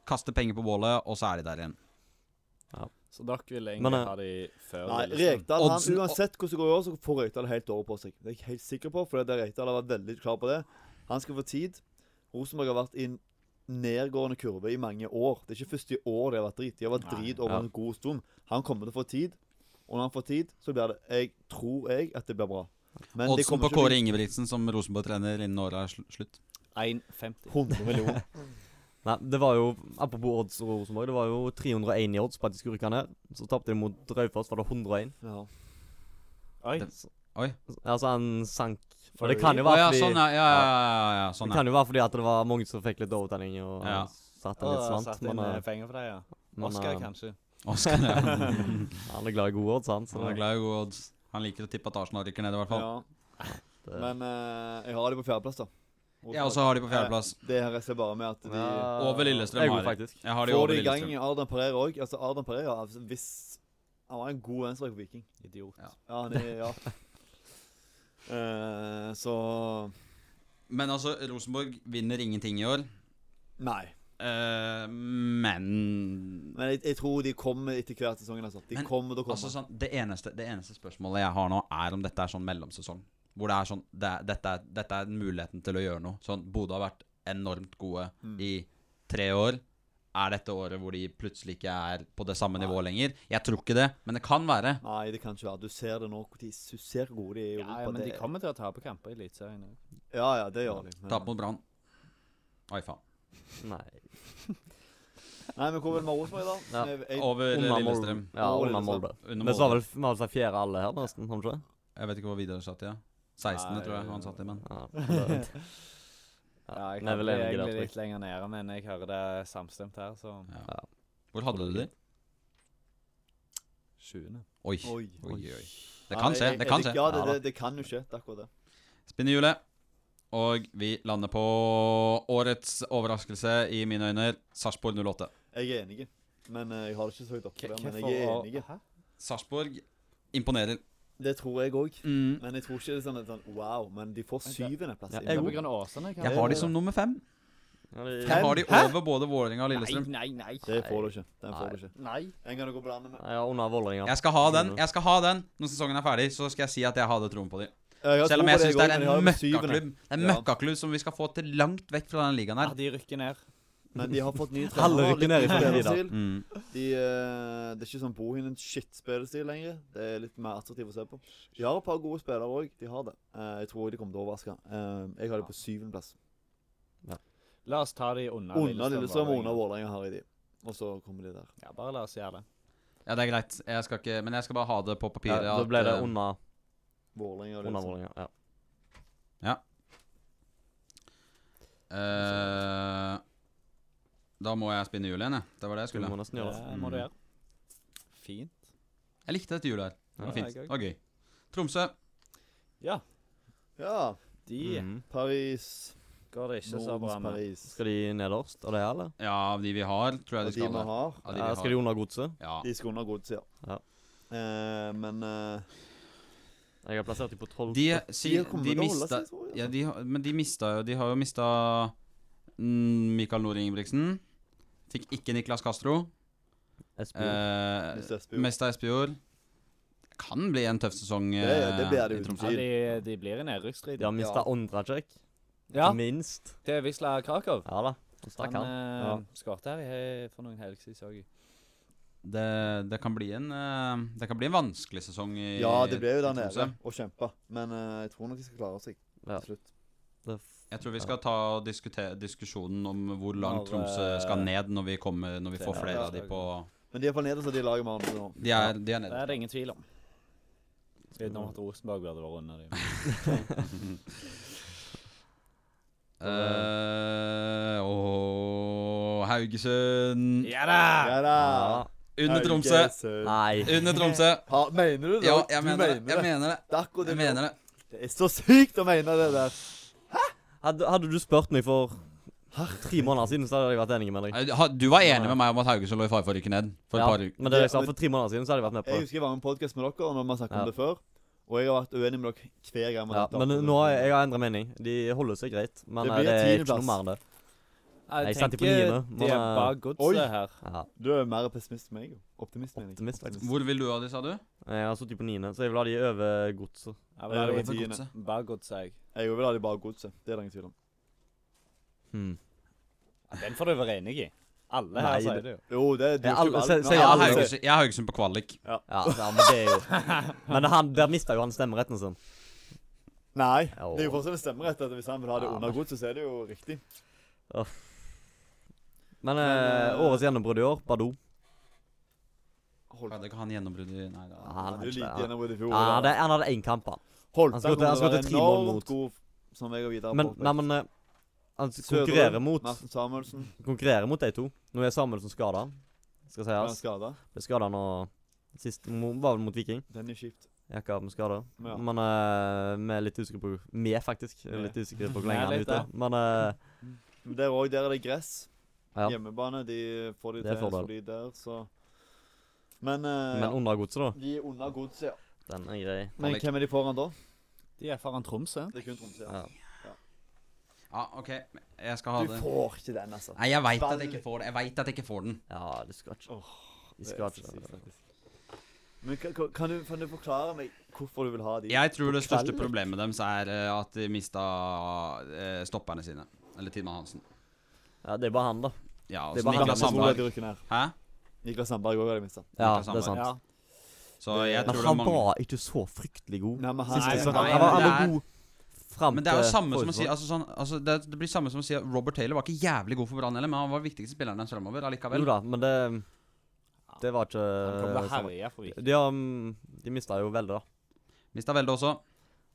A: kaste penger på bålet, og så er de der igjen.
D: Så dere vil egentlig
C: Men, eh,
D: ha de før? liksom
B: Nei,
D: Lillestrøm?
B: Rekdal han,
A: Oddsen-
B: Uansett hvordan det går i år, så får Røykdal helt året på seg. Det er jeg helt sikker på, for det er Røykdal har vært veldig klar på det. Han skal få tid. Rosenborg har vært i en nedgående kurve i mange år. Det er ikke først i år de har vært drit. De har vært
D: Nei,
B: drit over
C: ja.
B: en god stund. Han kommer til å få tid, og når han får tid, så blir det Jeg tror jeg at det blir bra. Men det
A: Oddsen
B: kommer
A: på Kåre
B: ikke til å
A: Ingebrigtsen som Rosenborg-trener innen året er sl slutt.
D: 1,50.
B: bli 100 millioner.
C: Nei, det var jo Apropos odds og Rosenborg. Det var jo 301 i odds på at de skulle rykke ned. Så tapte de mot Raufoss, var det 101.
B: Ja.
D: Oi.
A: Det- Oi.
C: Altså, han sank
D: For
C: Og det kan jo
A: Å
C: være
A: ja,
C: fordi
A: sånn, ja. Ja, ja, ja, ja, sånn,
C: Det
A: ja.
C: kan jo være fordi at det var mange som fikk litt overtenning og
A: Ja.
C: satte
D: Og
C: litt slant.
D: satt inn
C: Men,
D: eh,
C: eh,
D: penger for deg, ja.
C: men,
D: Oscar,
C: eh,
D: kanskje.
A: Oscar, ja.
B: [laughs]
C: han er glad i gode odds, han. Så
A: Han er glad i gode odds. Han liker å tippe at Arsenal rykker ned, i hvert fall.
B: ja.
C: det-
B: Men eh, jeg har de på fjerdeplass, da.
A: Jeg også har de på fjerdeplass.
B: Det her ser bare med at de
C: Ja,
A: Over Lillestrøm
C: jeg
A: har
C: går
A: de.
C: faktisk.
A: Jeg har de
B: får
A: over
B: de i gang
A: Lillestrøm.
B: Ardan Pereira òg. Altså, Ardan Pereira altså, hvis Han var en god venstreback på Viking.
D: Idiot.
A: Ja.
B: Ja, han er Ja. Eh, så
A: Men altså, Rosenborg vinner ingenting i år.
B: Nei.
A: Eh, men
B: Men jeg, jeg tror de kommer etter hver sesongen. Altså. De
A: Men,
B: kommer til å komme.
A: altså, sånn, det, eneste, det eneste spørsmålet jeg har nå, er om dette er sånn mellomsesong. Hvor det er sånn det, er- dette, er, dette er muligheten til å gjøre noe. Sånn, Bodø har vært enormt gode i tre år. Er dette året hvor de plutselig ikke er på det samme nivået lenger? Jeg tror ikke det, men det kan være.
B: Nei, det kan ikke være. Du ser det nå. hvor de- Du ser hvor gode de er i Europa.
D: Ja, ja, men de
B: det,
D: kommer til å tape kamper i Eliteserien òg.
B: ja, ja, det gjør de. Men,
A: Tap mot Brann. Oi, faen.
C: Nei.
B: Nei, men hvor vil vi ha ord for i dag?
C: Ja.
B: Jeg- jeg-
A: Over
C: Under Molde.
A: Lillestrøm.
C: Ja,
B: Molde,
C: under
B: liksom.
C: Molde.
A: Under
C: Vi sa
A: Molde.
C: vel vi hadde sagt fjerde alle her, nesten? Har vi ikke det?
A: Jeg vet ikke hvor Vidar satt i. Ja. 16.
D: Nei,
A: tror jeg han satt i, men
C: Ja, det-
D: [laughs] Ja, jeg
C: Nei, vel
D: hadde
C: enig i det, tror
D: egentlig
C: jeg.
D: litt lenger nede, men jeg hører det samstemt her, så
A: ja. Hvor hadde du de?
D: 20.
A: Oi.
B: Oi.
A: Oi, oi. Det
B: Nei,
A: kan skje.
B: jeg-
A: Det
B: jeg-
A: kan skje.
B: Ja, det,
A: da.
B: det, det kan jo skje. Det er akkurat det.
A: Spinne hjulet. Og vi lander på årets overraskelse i mine øyne, Sarpsborg 08.
B: Jeg er enig. Men eh, jeg har det ikke så høyt oppe.
D: K-
B: der, Men
D: hvorfor
B: jeg er
D: å-
B: enig.
A: Sarpsborg imponerer.
B: Det tror jeg òg.
A: Mm.
B: Men jeg tror ikke det er sånn, et sånn wow. Men de får syvendeplass.
C: Ja,
B: i
C: jeg
D: Det er
B: Norge.
D: på grunn av Åsane,
A: Jeg har de som nummer fem.
C: Ja, det-
A: Jeg har de over både Vålerenga og
E: Nei,
A: Lillestrøm.
E: nei, nei.
B: det får du ikke. Den får du ikke.
E: Nei.
B: En gang du går på landet med
C: Nei, ja, under Vålerenga.
A: Jeg skal ha den jeg skal ha den når sesongen er ferdig, så skal jeg si at jeg hadde troen på dem.
B: Ja, har
A: Selv om jeg
B: tro på deg
A: syns det er
B: også, men
A: en
B: jeg har dem syvende.
A: møkkaklubb Det er en
B: Ja.
A: møkkaklubb som vi skal få til langt vekk fra denne ligaen
D: Ja,
A: her.
D: de rykker ned.
B: Men de har fått ny
C: Alle
B: trener.
C: rykker ned i fremtiden.
B: spillestil.
A: Mm.
B: De, eh, det er ikke sånn bohinen shit-spillestil lenger. Det er litt mer attraktivt å se på. De har et par gode spillere òg. De har det. Eh, jeg tror de kommer til å overraske. Eh, jeg har dem på syvendeplass.
D: La oss ta de unna
B: Under Lillestrøm og
D: Vålerenga.
B: under Vålerenga har jeg de. Og så kommer de der.
D: Ja, bare la oss gjøre det.
A: Ja, det er greit. Jeg skal ikke, men jeg skal bare ha det på papiret.
C: Ja, da
A: at,
C: ble det
A: eh,
C: under,
B: Vålerenga og
C: under
B: Lillestrøm.
C: Vålerenga. Ja.
A: eh, Da må jeg spinne hjulet igjen, jeg. Det var det jeg
C: Du
A: skulle.
C: må nesten gjøre det.
D: Det må du gjøre. Fint.
A: Jeg likte dette hjulet her. Det
D: Ja,
A: var fint.
D: jeg
A: Det var gøy. Tromsø.
B: Ja.
D: De
C: Mhm.
B: Paris.
D: går det ikke så bra
B: Nordens
D: med.
B: Paris.
C: Skal de nederst av det, eller?
A: Ja, av de vi har, tror
B: Og
A: jeg de
B: de
A: skal
B: vi
A: der.
B: har,
A: Av de
C: Ja, skal
A: vi
C: de
A: har.
C: under Godset?
A: Ja.
B: de skal under godset, ja.
C: Ja.
B: Eh, men eh,
C: Jeg har plassert dem på tolv.
A: De, si,
B: de har kommet
A: de
B: til å holde
A: mista
B: seg, tror jeg.
A: ja, de, har- Men de mista jo De har jo mista mm, Mikael Nore Ingebrigtsen. Fikk ikke Niklas Castro. Eh,
B: Mr. Espejord.
A: Mesta Espejord. Det Kan bli en tøff sesong
B: Det- det blir det
A: eh, i
B: uten
A: Tromsø.
D: Ja, de, de blir i nedrykksstrid.
C: De har mista Ondracek.
D: Ja,
C: Minst.
D: det er Wisla Krakow.
C: Ja da. Så
D: Han
C: Stakk han.
D: eh,
C: Ja.
D: skårte her i- for noen helger siden, så jeg.
A: Det, det, kan bli en, eh, det kan bli en vanskelig sesong i
B: Ja, det ble jo der nede
A: Tromsø.
B: og kjempa. Men eh, jeg tror nok de skal klare seg
C: Ja.
B: til slutt.
C: Det
A: Jeg tror vi skal ta og diskutere diskusjonen om hvor langt
D: Når,
A: Tromsø
D: eh,
A: skal ned når vi, kommer, når vi får
D: senere
A: flere av de
D: dagen.
A: på
B: Men de er på nederst av de laget vi har nå.
A: De er, de er
D: Det
A: nede.
D: er det ingen tvil om. Utenom at Rosenborg burde vært under dem.
A: Eh, og Haugesund
D: Ja da!
B: Ja da!
C: Ja.
A: Under Tromsø!
C: Nei.
A: Under Tromsø!
B: Ha, mener du det?
A: Ja,
B: Odd?
A: jeg
B: du
A: mener det. Jeg mener det.
B: Det er akkurat det
A: Jeg
B: du
A: mener det.
B: gjør. Det er så sykt å mene det der.
C: Hadde, hadde du spurt meg for tre måneder siden, så hadde jeg vært enig med deg.
A: Nei, du- ha- Du var enig med meg om at Haugesund lå i fare for å rykke ned for et
C: Ja,
A: par uker.
C: men det jeg sa
B: Ja, men-
C: for tre måneder siden, så hadde jeg vært med på
B: Jeg
C: det.
B: husker jeg var med i en podkast med dere, og når vi har snakket
C: Ja.
B: om det før. Og jeg har vært uenig med dere hver gang. vi
C: Ja,
B: har tatt
C: men
B: opp
C: nå har
B: det.
C: jeg, jeg har endra mening. De holder seg greit, men
B: Det
C: eh,
B: blir
C: det er ikke
B: tiendeplass.
C: noe mer enn det. Nei,
D: Jeg
C: jeg satte på
D: tenker
C: niende,
D: de
C: men,
D: er
C: eh,
D: bak
B: Oi.
D: godset her.
C: Ja,
B: Du er mer pessimist enn meg. jo. Optimist, mener jeg.
C: Optimist, faktisk.
A: Hvor vil du ha de, sa du?
C: Jeg har sittet på niende, så jeg vil ha de over godset.
D: Ja,
B: Ja,
D: men
B: det
D: de
B: var
D: er
B: tiende.
A: Godset.
D: Bak godset, jeg.
B: Jeg vil ha de bare godset. Det er det ingen tvil om.
C: Hmm.
D: Ja, Den får du være enig i. Alle
C: Nei,
D: her sier
C: det-
D: det jo.
B: Jo, det er du
C: Ja, alle- se- se
A: Jeg har
C: alle
B: sier-
A: Haugesund, jeg har Haugesund på kvalik.
C: Ja, ja, men det er jo
A: [laughs]
C: Men han, der mista jo han stemmeretten sin.
B: Nei.
C: Jo.
B: Det er jo fortsatt en stemmerett. at Hvis han vil ha det
C: Ja,
B: under godset, så er det jo riktig.
C: Men
B: Men,
C: eh,
B: eh,
C: årets gjennombrudd i år, Badou.
B: Hold
A: Hadde ikke han gjennombrudd i Nei da.
C: Ja, han
B: Du
C: hadde
B: lite
C: ikke det.
B: gjennom i fjor.
C: Ja, han hadde- han hadde én kamp, han.
B: Holdt
C: han
B: han
C: skulle til- han
B: kommer
C: skulle
B: til
C: til
B: å
C: ti
B: være
C: mål
B: enormt
C: mot.
B: god, som jeg og Vidar
C: Men,
B: påpekte.
C: nei, men eh, Han s-
B: Søderlund,
C: konkurrerer mot
B: Martin Samuelsen
C: Konkurrerer mot de to. Nå er Samuelsen skada. Skal
B: ble han
C: sies.
B: skada.
C: Ble skada nå Sist mo- var vel mot Viking.
B: Den er kjipt.
C: Jeg har med skade.
B: Ja.
C: Men eh, vi er litt usikre på Vi er faktisk
B: Vi.
C: litt usikre på hvor
D: Vi er
C: lenge han er
D: litt
C: ute. Men eh,
B: Men der òg, der er det gress.
C: Ja.
B: Hjemmebane, de får de
C: Det er
B: til
C: fordel.
B: solid der, så Men, eh,
C: Men under godset, da.
B: ja. de er under godset, ja.
C: Den er grei.
B: Men
A: Malik.
B: hvem er de foran da?
D: De er foran Tromsø.
B: Det er kun Tromsø. Ja.
C: Ja.
A: Ja, OK. Jeg skal ha
B: Du
A: det.
B: får ikke den, altså.
A: Nei, jeg veit at jeg ikke får det. Jeg vet at jeg ikke får den.
C: ja, du skal ikke Vi
B: Det er
C: skal
B: så
C: ikke
B: sykt, faktisk. Men kan, kan- kan, du, kan du forklare meg hvorfor du vil ha de?
A: Jeg tror det største
B: kvelden?
A: problemet deres er eh, at de mista eh, stopperne sine. Eller Tidmann Hansen.
C: Ja, Det er bare han, da.
A: Ja, altså, også
B: Det var han
A: Niklas
B: som
A: Sandberg.
B: rykken her.
A: Hæ?
B: Niklas Sandberg òg, i det minste.
C: Ja,
A: Niklas
C: det er sant.
D: Ja.
A: Så jeg
C: Men
A: tror det er
C: han
A: mange
C: var ikke så fryktelig god.
B: Nei, men han,
C: Siste
B: nei,
C: sesong.
A: nei,
C: Han var, han
A: det
C: var
A: er-
C: god fram
A: Men det er jo
C: til
A: samme som å si
C: Forsberg.
A: altså sånn, altså det, det blir samme som å si at Robert Taylor var ikke jævlig god for Brann heller, men han var viktigste spilleren deres fremover
C: Jo
A: allikevel.
C: da, men det Det var ikke
D: Han kommer til å
C: samme.
D: herje for Viking.
C: De, har, mm, de mista jo veldig, da.
A: Mista Velde også.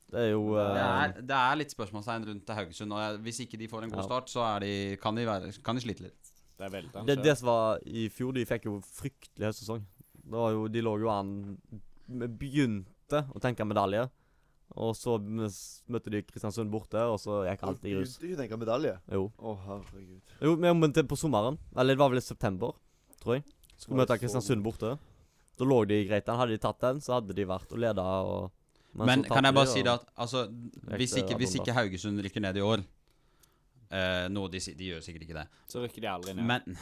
C: Det er jo
A: Det
C: eh,
A: er, det er litt spørsmålstegn rundt Haugesund. Og jeg- hvis ikke de får en god
C: Ja.
A: start, så er de, kan, de være, kan de slite litt.
D: Det er veldig
C: det, det som var i fjor, de fikk jo fryktelig høstsesong. Det var jo, de lå jo an Vi begynte å tenke medalje, og så møs- møtte de Kristiansund borte, og så gikk alt i grus.
B: Du tenker medalje?
C: Jo.
B: Å, herregud.
C: jo men men til- på sommeren, eller det var vel i september, tror jeg, skulle møte Kristiansund borte. Da lå de greit an. Hadde de tatt den, så hadde de vært og leda og
A: Men
C: så tapte
A: kan jeg bare
C: de,
A: si
C: og-
A: det at altså, hvis,
C: Ekte
A: ikke, hvis
C: Adonda.
A: ikke Haugesund rykker ned i år eh, Noe de, si- de gjør sikkert ikke det.
D: Så rykker de aldri ned.
A: Men,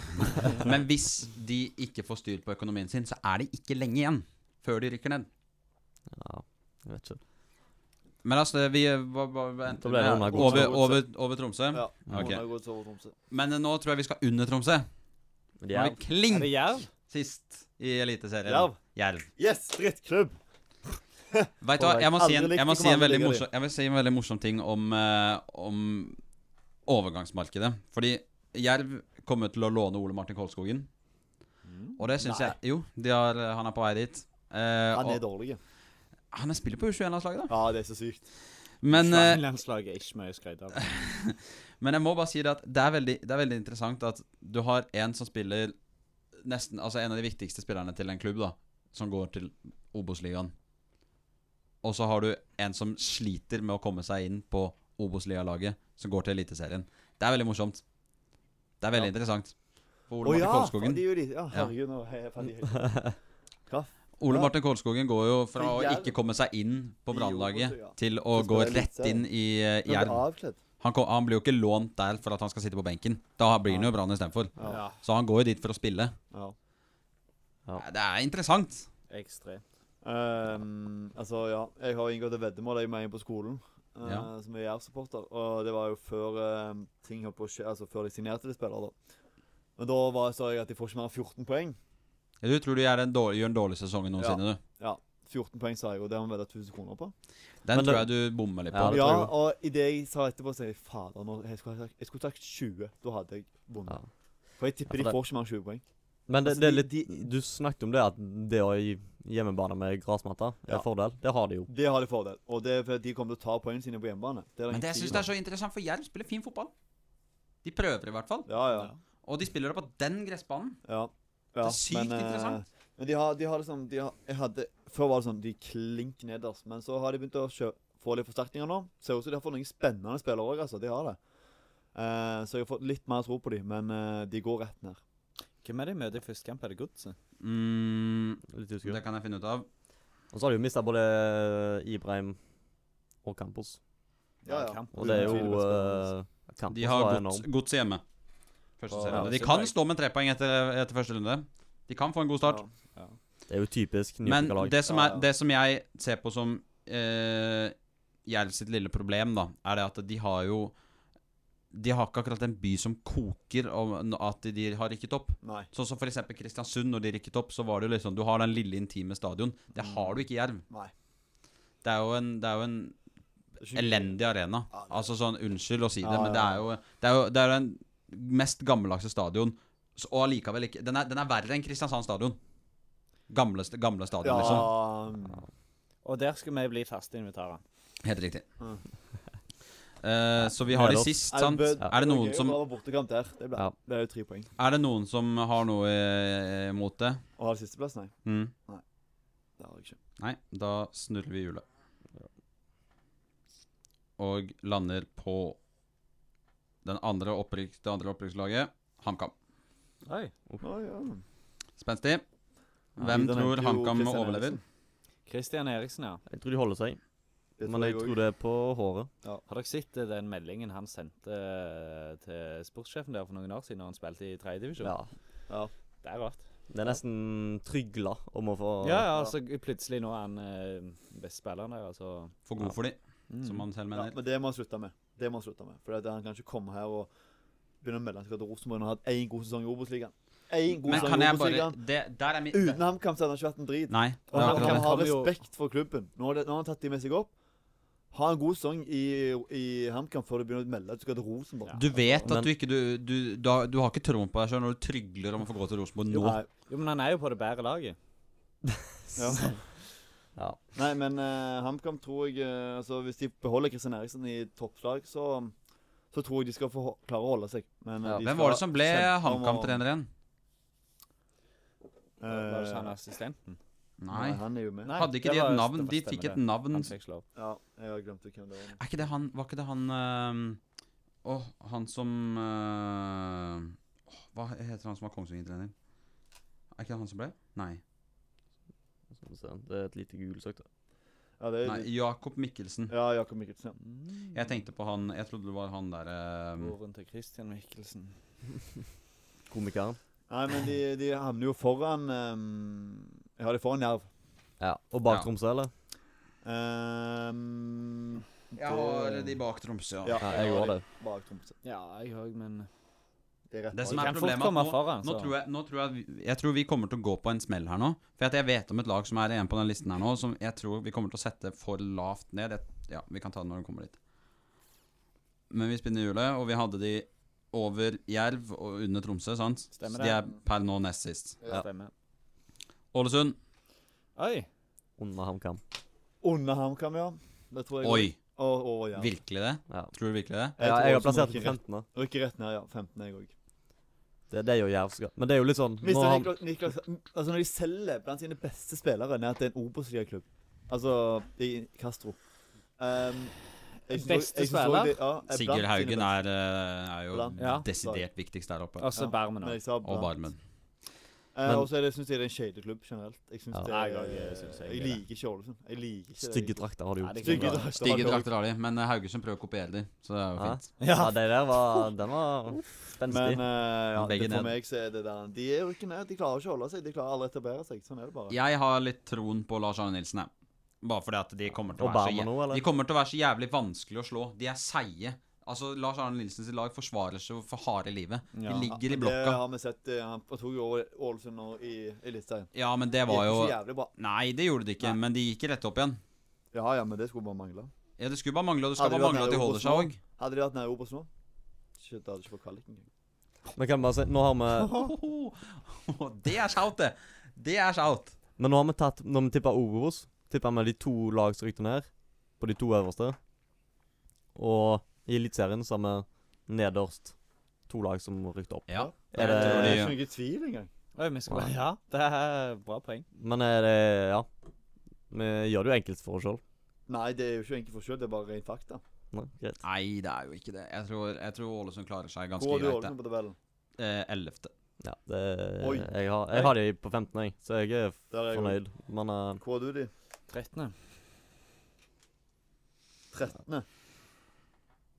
A: men [laughs] hvis de ikke får styr på økonomien sin, så er det ikke lenge igjen før de rykker ned.
C: Ja, jeg vet ikke.
A: Men altså, det- vi eh, hva- hva- hva endte
C: Da ble det
A: vi med?
C: Ronald
A: over,
B: Godset.
A: over, over Tromsø.
B: Ja.
A: Ok.
B: Mona går til over Tromsø.
A: Men eh, nå tror jeg vi skal under Tromsø.
C: Men
A: Nå
C: de er
A: er vi kling
D: Er det Jerv?
A: sist i Eliteserien.
B: Jerv.
A: Jerv.
B: Yes, drittklubb!
A: Vet du hva, jeg må
B: Aldri
A: si en,
B: likt
A: jeg må
B: de
A: si en,
B: kommer
A: veldig,
B: aldri til å ligge
A: morsom, jeg vil si en veldig morsom ting om, eh, om overgangsmarkedet. Fordi Jerv kommer til å låne Ole Martin Kolskogen. Og det syns jeg Jo, de har, han er på vei dit. Eh,
B: Han er
A: og,
B: dårlig.
A: han er spiller på U21-landslaget, da.
B: Ja, det er så sykt.
A: Men, eh,
D: Landslaget er ikke mye å skryte av.
A: men jeg må bare si det at det er veldig, det er veldig interessant at du har en som spiller nesten Altså en av de viktigste spillerne til en klubb, da, som går til Obos-ligaen. Og så har du en som sliter med å komme seg inn på Obos-lialaget, som går til Eliteserien. Det er veldig morsomt. Det er veldig interessant. For Ole
B: Å
A: Martin
B: ja!
A: Kolskogen
B: De er jo de. Ja, herregud, nå er jeg ferdig.
A: Ole
B: Ja.
A: Martin Kolskogen går jo fra å
B: Til Jerv.
A: ikke komme seg inn på
B: I
A: Brannlaget
B: Obos, ja.
A: til å
B: Så
A: gå
B: spiller
A: rett
B: Eliteserien.
A: inn i eh,
B: Nå er
A: Jerv.
B: det avkledd.
A: Han, ko- han blir jo ikke lånt der for at han skal sitte på benken. Da blir han jo Brann istedenfor.
B: Ja.
A: Så han går jo dit for å spille.
B: ja.
C: Ja.
A: Nei, Det er interessant.
D: Ekstremt.
B: Ehm, altså, ja. Jeg har inngått et veddemål jeg med en på skolen, eh,
A: Ja.
B: som er Jerv-supporter. Og det var jo før eh, ting holdt på å skje, altså før de signerte de spillere, da. Men da var, sa jeg at de får ikke mer enn 14 poeng.
A: Ja, Du tror du gjør, den dårlig, gjør en dårlig sesong noensinne, du.
B: Ja, 14 poeng sa jeg, og det har vi vedda 1000 kroner på.
A: Den
C: Men
A: tror
C: det-
A: jeg du bommer litt
C: Ja,
A: på.
C: det
B: Ja,
C: tror jeg
B: og i det jeg sa etterpå, så jeg fader, nå, jeg skulle ha sagt, jeg skulle sagt 20. Da hadde jeg vunnet.
C: Ja.
B: For jeg
C: Ja,
B: tipper
C: for
B: de får ikke mer enn 20 poeng.
C: Men det,
B: Altså,
C: det er
B: de-
C: litt Du snakket om det at det å gi hjemmebane med gressmatte er
B: Ja.
C: en fordel. Det har de jo.
B: Det har de fordel, og det er fordi de kommer til å ta poengene sine på hjemmebane. Det er
A: Men det jeg
B: ingen
A: syns
B: tvil
A: det er så interessant, for Jerv spiller fin fotball. De prøver i hvert fall.
B: om. Ja, ja.
A: Og de spiller det på den gressbanen.
B: Ja. ja.
A: Det er sykt
B: eh,
A: interessant.
B: Men de har, de har liksom de har, jeg hadde, Før var det sånn de klink nederst, men så har de begynt å kjø få litt forsterkninger nå. Ser ut som de har fått noen spennende spillere òg, altså. De har det. Eh, så jeg har fått litt mer tro på dem, men eh, de går rett ned.
E: Hvem er det de møter i første kamp? Er det Godset?
A: Mm,
C: Litt usikker.
A: det kan jeg finne ut av.
C: Og så har de jo mista både Ibrahim og Campos.
B: Ja, ja.
D: Kamp.
C: Og det er jo
B: Utrolig spennende.
C: eh, Campos
A: De har
C: var
A: gods,
C: enorm.
A: gods hjemme. Første
D: Ja,
A: serierunde.
D: det
A: De
D: ser
A: kan
D: bra ut.
A: stå med tre poeng etter, etter første runde. De kan få en god start.
B: Ja.
C: Det er jo typisk
A: Men
C: nyopprykka lag.
A: det som,
B: Ja,
A: er,
B: ja.
A: det som jeg ser på som eh, Jerv sitt lille problem, da, er det at de har jo De har ikke akkurat en by som koker om at de har rykket opp.
B: Nei.
A: Sånn som for eksempel Kristiansund, når de rykket opp, så var det jo liksom Du har den lille, intime stadion. Det har du ikke i Jerv.
B: Mm. Nei.
A: Det er jo en, det er jo en
B: Det er ikke-
A: elendig arena.
B: Ja, det-
A: Altså sånn, unnskyld å si det,
B: Ja,
A: men det
B: ja,
A: er jo Det er jo det er den mest gammeldagse stadion, s- og allikevel ikke den er, den er verre enn Kristiansand stadion. Gamle, st- gamle stadion,
B: Ja, mm.
A: liksom.
D: Og der skal vi bli faste invitarer.
A: Helt riktig.
B: Mm.
A: [laughs] Eh, så vi har de sist, sant? Er det noen som,
B: var bortekamp der. Det ble,
C: Ja.
B: det er jo tre poeng.
A: er det noen som har noe eh, mot det?
B: Og har sisteplass? Nei.
A: Mm.
B: Det har jeg ikke.
A: Nei, da snurrer vi hjulet. Og lander på den andre opprykk, det andre opprykkslaget, HamKam.
E: Oi.
B: Å, ja.
A: Spenstig. Hvem
B: Videre
A: tror
B: nevnte jo
A: HamKam
B: Christian
A: overlever?
B: Eriksen.
D: Christian Eriksen, ja.
C: Jeg tror de holder seg,
B: Det
C: men jeg
B: også.
C: tror det er på håret.
D: Har dere sett eh, den meldingen han sendte eh, til sportssjefen der for noen år siden, når han spilte i tredjedivisjon?
C: Ja.
D: Det er rart.
C: Det er nesten trygla om å få
D: Ja, ja, altså plutselig nå er han eh, best spilleren der, altså.
A: For god for de,
D: Mm.
A: som han selv
B: Ja,
A: mener.
B: men det må han slutte med. Det må han slutte med. For at han kan ikke komme her og begynner å melde seg til Rosenborg. Han har hatt én god sesong i Obos-ligaen. Én god
A: Men
B: sesong
A: kan
B: i
A: jeg bare
B: Obos-ligaen.
A: det, Der er min
B: Uten HamKam så hadde han ikke vært en drit.
A: Nei. Det
B: Og
A: er
B: han
A: akkurat
B: kan
A: det.
B: ha
D: Han jo-
B: respekt for klubben. Nå har, det, nå har han tatt de med seg opp. Ha en god sesong i, i HamKam før du begynner å melde at du skal til Rosenborg.
A: Du vet at
C: Men-
A: du ikke du, du, du, har, du har ikke troen på deg sjøl når du trygler om å få gå til Rosenborg nå.
B: Nei,
E: Jo, men han er jo på det bedre laget.
C: [laughs]
B: ja.
C: Ja.
B: Nei, men eh, HamKam tror jeg eh, altså, Hvis de beholder Kristian Eriksen i toppslag, så, så tror jeg de skal få, klare å holde seg. Men, eh,
C: Ja.
B: de
A: Hvem
B: skal
A: var det som ble
B: kjempe om å-
A: HamKam-trener igjen?
E: Var det ikke han
B: Eh,
E: assistenten?
A: Nei.
B: Han er jo med.
E: Nei,
A: Hadde ikke
E: det
A: de et
E: var-
A: navn?
E: det
A: De
E: var-
A: fikk et
E: stemmer
A: navn
C: Mm.
E: Han fikk slå opp.
B: Ja, jeg har glemt hvem det var.
A: Er ikke det han Var ikke det han ehm, Åh, han som ehm, åh, Hva heter han som var Kongsvinger-trener? Er ikke det han som ble? Nei.
C: Skal vi se. Det er et lite gulsøkt.
B: Ja, det er,
A: Nei Jakob Mikkelsen.
B: ja Jakob Mikkelsen. ja.
A: Jeg tenkte på han Jeg trodde det var han der
D: Mm.
C: um,
A: ehm,
E: Broren til Christian Michelsen.
C: Komikeren.
B: Nei, men de, de havner jo foran eh, Ja, de er foran Jerv.
C: Ja. Og bak Tromsø, eller?
B: Ehm,
A: Ja, eller de bak Tromsø. Ja.
B: ja,
C: Ja, jeg gjorde det.
B: Bak Tromsø.
E: Ja, jeg òg, men
B: Det er rett
A: Det
B: bak.
A: som er
E: Kan fort
A: problemet er at
E: komme
A: nå-
E: foran,
A: Nå
E: så-
D: Altså-
A: tror jeg, nå tror jeg, at vi- jeg tror vi kommer til å gå på en smell her nå. For at jeg vet om et lag som er igjen på den listen her nå, som jeg tror vi kommer til å sette for lavt ned. Jeg, ja, Vi kan ta det når den kommer dit. Men vi spinner hjulet, og vi hadde de over Jerv og under Tromsø, sant?
E: Stemmer
A: Så de er per nå nest sist.
C: Ja.
E: Stemmer.
A: Ålesund,
E: Oi!
C: Under HamKam.
B: Under HamKam, ja. Det tror jeg.
A: oi!
B: Og, og, ja.
A: Virkelig det?
C: Ja.
A: Tror du virkelig det?
C: ja, jeg har
B: tror også
C: plassert
B: rykker
C: den på
B: rett-
C: 15. da.
B: Rykker rett ned, ja. 15 er jeg òg.
C: Det er det jo Jerv skal. Men det er jo litt sånn nå
B: Mister
C: har-
B: Niklas, Niklas Altså, når de selger blant sine beste spillere ned til en Obos-ligaklubb Altså i Castro Ehm, jeg synes
E: Beste
B: også- jeg synes også
E: spiller?
B: det- ja, er blant
A: Sigurd
B: sine
A: Haugen
B: beste.
A: er, eh, er jo
B: Blant-
E: Ja.
A: desidert viktigst der
E: Og
A: oppe.
E: så
D: altså
B: Ja,
E: Bermen
B: Men
E: òg.
B: jeg sa
A: Og
B: blant.
A: Barmen.
B: Eh,
C: Men-
B: og så er det- synes jeg det er en shadeklubb generelt. Jeg synes
C: Ja.
B: det
E: Nei,
B: er,
E: jeg- jeg
B: jeg,
E: synes jeg er det.
B: liker ikke Ålesund. Jeg liker ikke
C: Stygge drakter har de
E: Nei,
C: gjort.
E: det
B: Stygge
E: drakter.
B: drakter.
A: Stygge drakter har de, men eh, Haugesund prøver å kopiere de, så det er jo
C: Ja.
A: fint.
C: Ja, det der var Den var
B: Men
C: spenstig.
B: eh, ja,
A: Begge
B: det, for
A: ned.
B: meg så er det der De er jo ikke ned. De klarer ikke å holde seg. De klarer aldri å etablere seg. Sånn er det bare.
A: Jeg har litt troen på Lars Arne Nilsen, jeg. Bare fordi at de kommer til å
C: Og
A: være så,
C: Barmen
A: jæv-
C: nå, eller?
A: de kommer til å være så jævlig vanskelig å slå. De er seige. Altså, Lars Arne Nilsens lag forsvarer seg for harde livet. De
E: Ja.
A: ligger i
B: Det
A: blokka.
B: har vi sett. eh, Han tok jo over Ålesund nå i Eliteserien.
A: Ja, men det
B: Det
A: var jo
B: så jævlig bra.
A: Nei, det gjorde de ikke,
B: Nei.
A: men de gikk rett opp igjen.
B: Ja ja, men det skulle bare mangle.
A: Ja, Det skulle bare mangle, og det skulle
B: Hadde
A: bare
B: de
A: mangle
B: vært
A: at de
B: nede
A: holder
B: i
A: seg òg.
B: Hadde de vært nede i Obos nå Shit, da hadde de ikke fått kvalik engang.
C: Men kan jeg bare si Nå har vi
A: Det er shout, det. Det er shout.
C: Men nå har vi tatt Når vi tippa Obos, tippa vi de to lag som rykte ned, på de to øverste. Og i Eliteserien så har vi nederst to lag som rykte opp.
A: Ja.
C: Er
B: Det
A: tror de-
B: er
C: det,
B: Eh, ikke noe tvil engang.
E: Oi, vi skal bare Ja, det er bra poeng.
C: men er det Ja. Vi gjør det jo enkelt for oss sjøl.
B: Nei, det er jo ikke enkelt forskjell. Det er bare rent fakta.
C: Greit.
A: Nei, det er jo ikke det. Jeg tror, jeg tror Ålesund klarer seg ganske
B: Hvor er du
A: greit.
B: Ålesund på tabellen?
A: det. Eh, Ellevte.
C: Ja, det
B: Oi.
C: Jeg har, jeg har de på 15, jeg, så jeg er
B: Der er jeg.
C: fornøyd. Men eh,
B: Hvor er du de?
E: 13.
B: 13.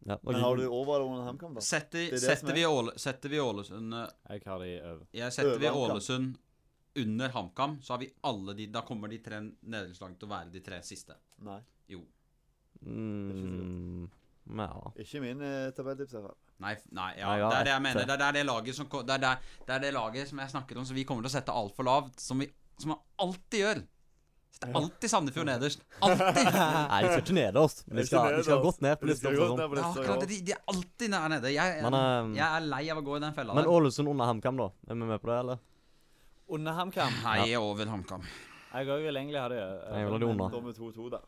C: ja.
B: Men har du over eller under HamKam, da?
A: Setter,
B: Det er det som
A: setter,
B: er-
A: vi Åle, setter vi Ålesund eh,
E: Jeg har de over.
A: Jeg setter vi
B: Øver HamKam.
A: Ålesund under HamKam, så har vi alle de Da kommer de tre nederlandslagene til å være de tre siste.
B: Nei.
C: Mm, ja.
B: Ikke min eh, tabelltips, i hvert fall.
A: Nei, f- nei, ja,
C: Nei, ja,
A: det er det jeg
C: ett.
A: mener. Det er, det er det laget som ko- det er, det, er- det er det laget som jeg snakket om, som vi kommer til å sette altfor lavt. Som vi som man alltid gjør. Det er alltid Sandefjord nederst.
B: [laughs]
A: Alltid! Det
C: Nei, de skal ikke nederst. Men de skal, de skal godt ned på
B: Det
C: lista.
B: skal godt
C: sånn.
B: ned på
A: er
B: lista,
A: akkurat
B: ja.
A: det. De, de er alltid nær nede. Jeg,
C: Men,
A: jeg,
C: eh,
A: jeg er lei av å gå i den fella
C: Men
A: der.
C: Ålesund under HamKam, da? Er vi med på det, eller?
E: Under HamKam.
A: Hei over HamKam.
E: Jeg òg vil egentlig ha de
D: eh,
C: Jeg
E: over.
C: vil ha de under.
B: Da med 2-2 der.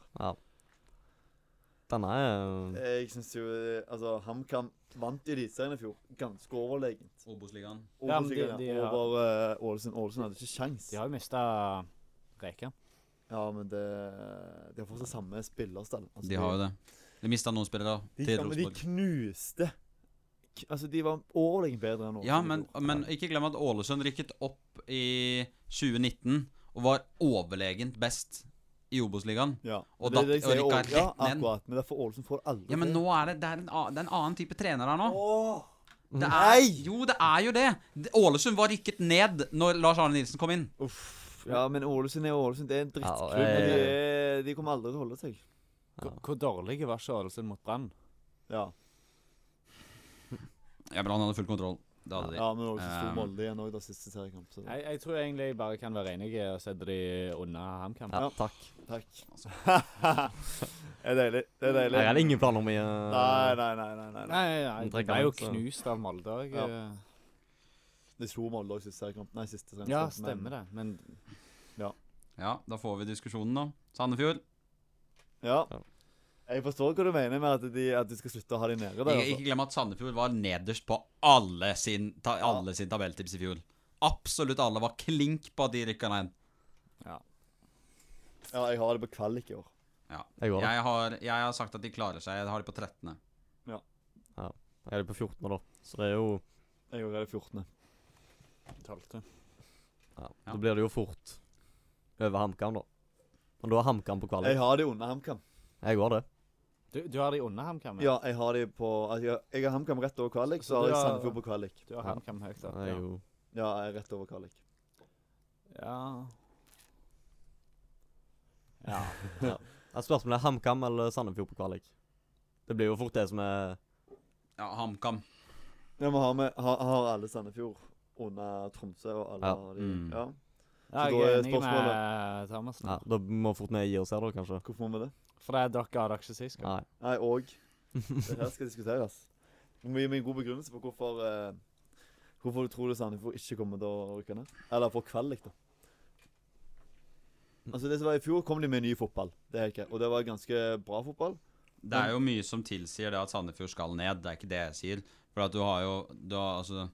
C: Denne er
B: Jeg syns jo eh, Altså, HamKam vant i Eliteserien i fjor. Ganske overlegent.
A: Obos-ligaen.
E: Ja, men de-
B: Overlegent,
E: de
B: ja.
E: har-
B: Over eh, Ålesund. Ålesund hadde ikke kjangs.
E: De har jo mista Reka.
B: Ja, men det De har fortsatt samme spillerstall. Altså,
A: De har jo det. De mista noen spillere
B: de,
A: til
B: ja, men de
A: Rosenborg.
B: knuste K- Altså, de var overlegent bedre enn Ålesund.
A: Ja,
B: i
A: men,
B: fjor.
A: men ikke glem at Ålesund rykket opp i 2019 og var overlegent best i Obos-ligaen.
B: ja.
A: og
B: det er
A: da-
B: det jeg
A: og
B: sier,
A: rykka
B: Ål- ja,
A: rett ned.
B: akkurat. Men derfor Ålesund får aldri
A: Ja, men
B: til.
A: nå er det, det, er en, a- det er en annen type trener her nå.
B: Åh!
A: Det er,
B: Nei!
A: jo, det er jo det. Det- Ålesund var rykket ned når Lars Arne Nilsen kom inn.
B: Uff. Ja, men Ålesund er Ålesund. Det er en
C: Ja,
B: drittklubb. og
C: jeg-
B: de, er- de kommer aldri til å holde seg.
E: Hvor dårlige var ikke Ålesund mot Brann?
B: Ja.
A: Ja, men han hadde full kontroll. Det hadde de.
B: Ja, men det var ikke så stor
A: Um,
B: Molde igjen òg, da, siste seriekamp. Så
D: Jeg, jeg tror egentlig jeg bare kan være enig og sette de unna HamKam.
C: Ja,
B: Ja.
C: takk.
B: takk.
A: Altså.
B: [laughs] det er deilig. Det er deilig.
C: Jeg hadde ingen planer om å eh,
B: Nei, nei, nei. nei, nei, nei.
D: Nei, nei,
C: De
D: de ble
C: trekker
D: jo
C: han, så-
D: knust av Molde eh, òg.
B: Ja.
D: Ja.
B: De slo Molde òg siste seriekamp. Nei, siste seriekamp.
D: ja, stemmer det. Men
A: Ja, da får vi diskusjonen, da. Sandefjord.
B: Ja.
C: Ja.
B: Jeg forstår hva du mener med at de, at de skal slutte å ha de nede der.
A: Ikke,
B: Altså.
A: ikke glem at Sandefjord var nederst på alle sin, ta,
B: Ja.
A: alle sin tabelltips i fjor. Absolutt alle var klink på at de rykka ned.
B: Ja, jeg har det på kvalik i år.
C: Jeg går da.
A: Jeg har, jeg har sagt at de klarer seg. Jeg har de på 13.
C: Jeg er på 14 nå, da. Så det er jo
B: Jeg er allerede 14.
D: tolvte.
C: ja,
A: Ja.
C: Da blir det jo fort over HamKam, da. Men da er HamKam på kvalik.
B: Jeg har de under HamKam.
C: Jeg går det.
D: Du, du har de unna HamKam?
B: Ja, jeg har de på altså, jeg- Jeg har HamKam rett over kvalik, så har jeg
D: Ja.
B: Sandefjord på kvalik.
D: Du har
C: Ja.
D: HamKam høyt
C: Det
D: opp.
C: er
D: Ja.
C: jo
B: Ja, jeg er rett over kvalik.
D: Ja. ja.
C: Ja, Spørsmålet er HamKam eller Sandefjord på kvalik. Det blir jo fort det som er
A: Ja, HamKam.
B: Ja, vi har, med, har, har alle Sandefjord under Tromsø og alle
C: Ja.
B: har de
A: Mm.
B: Ja.
D: ja
B: Så
D: jeg
B: da
D: er
B: er
D: enig med
B: spørsmålet-
D: Thomas.
C: ja, Da må fort vi gi oss her, da, kanskje.
B: Hvorfor må vi det?
D: For det er dere har dere ikke sist.
C: Nei.
B: Nei, og Det her skal diskuteres. Du må gi meg en god begrunnelse på hvorfor eh, Hvorfor du tror det Sandefjord ikke kommer til å rykke ned. Eller få kvalik, da. Altså det som var I fjor kom de med ny fotball. Det er helt greit. Og det var ganske bra fotball.
A: Det er jo mye som tilsier det at Sandefjord skal ned. Det er ikke det jeg sier. For at du har jo du har, altså,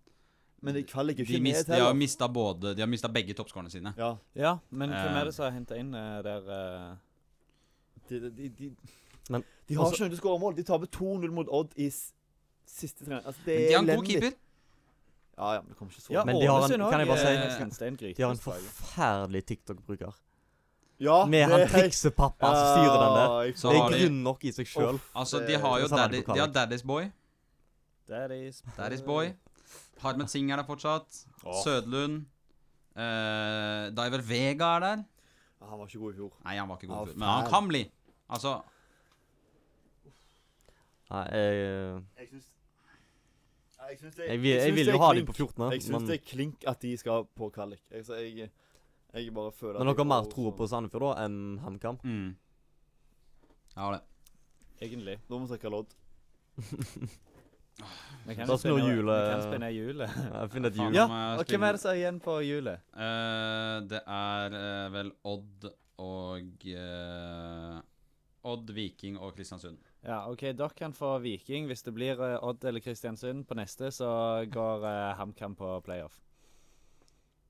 B: Men de kvalik er jo
A: de,
B: ikke
A: mist,
B: ned
A: de har
B: heller.
A: mista både De har mista begge toppskårene sine.
B: Ja,
D: Ja, men hvem
A: Eh.
D: er det som har henta inn eh, der eh,
B: de, de, de, altså-
C: Men-
B: de har
C: også-
B: ikke noe til å skåre mål. De taper 2-0 mot Odd i s siste trening. Altså, det
A: Men
B: er
A: de har en god
B: elendig.
A: keeper.
B: Ja, ja, men det kommer ikke så
D: Ja,
C: Men de har en-
D: Ålesund
C: kan jeg bare
D: også Eh,
A: si-
D: er- det er en gryte
C: De har en
D: på slaget.
C: forferdelig TikTok-bruker.
B: Ja,
C: Med han triksepappa som styrer den der.
A: Så
C: Det
A: har
C: er
A: de-
C: grunn nok i seg sjøl.
A: Altså, de har jo
C: Så er det
A: daddy,
C: på kvalik.
A: de har Daddy's Boy.
D: Daddy's
A: [laughs] Daddy's Boy. Harmet Singh er der fortsatt. Sødlund. Eh, Diver Vega er der.
B: Han var ikke god i fjor.
A: Nei, han var ikke
B: Ah,
A: god. i fjor, men han
B: faen.
A: kan bli. Altså,
C: Nei, jeg, eh,
B: Jeg syns Nei, jeg syns det
C: jeg, vil- jeg
B: syns
C: vil
B: det
C: jo
B: er
C: ha de
B: klink.
C: på 14.,
B: Jeg syns
C: men,
B: det er klink at de skal på kvalik. Jeg, så jeg, jeg bare føler
C: men
B: at
C: dere har
B: jeg-
C: mer tro på Sandefjord da enn HamKam?
A: mm. Ja, det.
D: Egentlig.
B: sånn- Nå må vi trekke lodd.
D: Vi kan
C: Da
D: jo
C: snur
D: spinne-
C: hjulet-
D: Vi kan spinne
C: [laughs]
D: hjulet.
C: Jeg finner et
A: Faen, nå
C: hjul.
D: Ja,
A: må jeg
D: Og
A: spille-
D: hvem er det som er igjen på hjulet?
A: Eh, det er eh, vel Odd og eh, Odd, Viking og Kristiansund.
D: Ja, OK, dere kan få Viking. Hvis det blir eh, Odd eller Kristiansund på neste, så går eh, HamKam på playoff.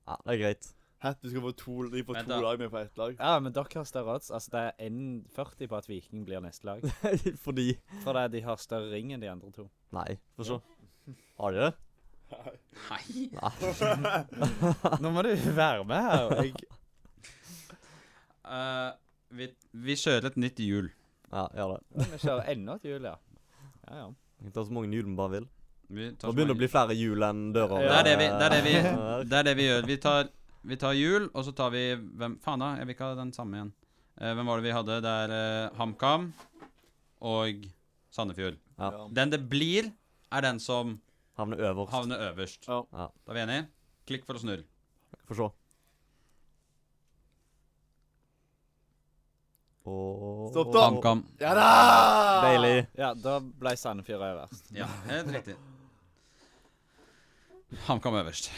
C: Ja, det er greit.
B: Hæ, du skal få to, de får
A: Vent
B: to
A: da.
B: lag med på
A: [laughs]
B: ett lag?
D: Ja, men dere har større odds. Altså, det er 1,40 på at Viking blir neste lag.
C: [laughs] Fordi
D: For det, er de har større ring enn de andre to.
C: Nei, få se. Har de det?
A: Nei!
D: Nå må du være med her. Jeg,
A: Eh, vi, vi kjører et nytt hjul.
C: Ja, gjør det.
D: vi kjører enda et hjul, ja. Ja, ja.
C: Vi kan ta så mange hjul vi bare vil.
A: Vi tar
C: Nå begynner det å bli flere hjul enn
A: Det er
C: dører.
A: det vi, det er det
C: [laughs]
A: vi,
C: Her.
A: det er det vi gjør. Vi tar, vi tar hjul, og så tar vi hvem, Faen, da. Jeg vil ikke ha den samme igjen. Eh, hvem var det vi hadde? Det er eh, HamKam og Sandefjord.
C: Ja.
A: Den det blir, er den som
C: Havner øverst.
A: havner øverst.
B: Ja.
C: Ja.
A: Da er vi enige? Klikk for å snurre.
C: Få se. Og
B: Stopp da.
A: HamKam.
B: Ja da!
C: Deilig.
D: ja da ble Sandefjord øverst.
B: [laughs]
A: Ja, helt riktig. HamKam øverst.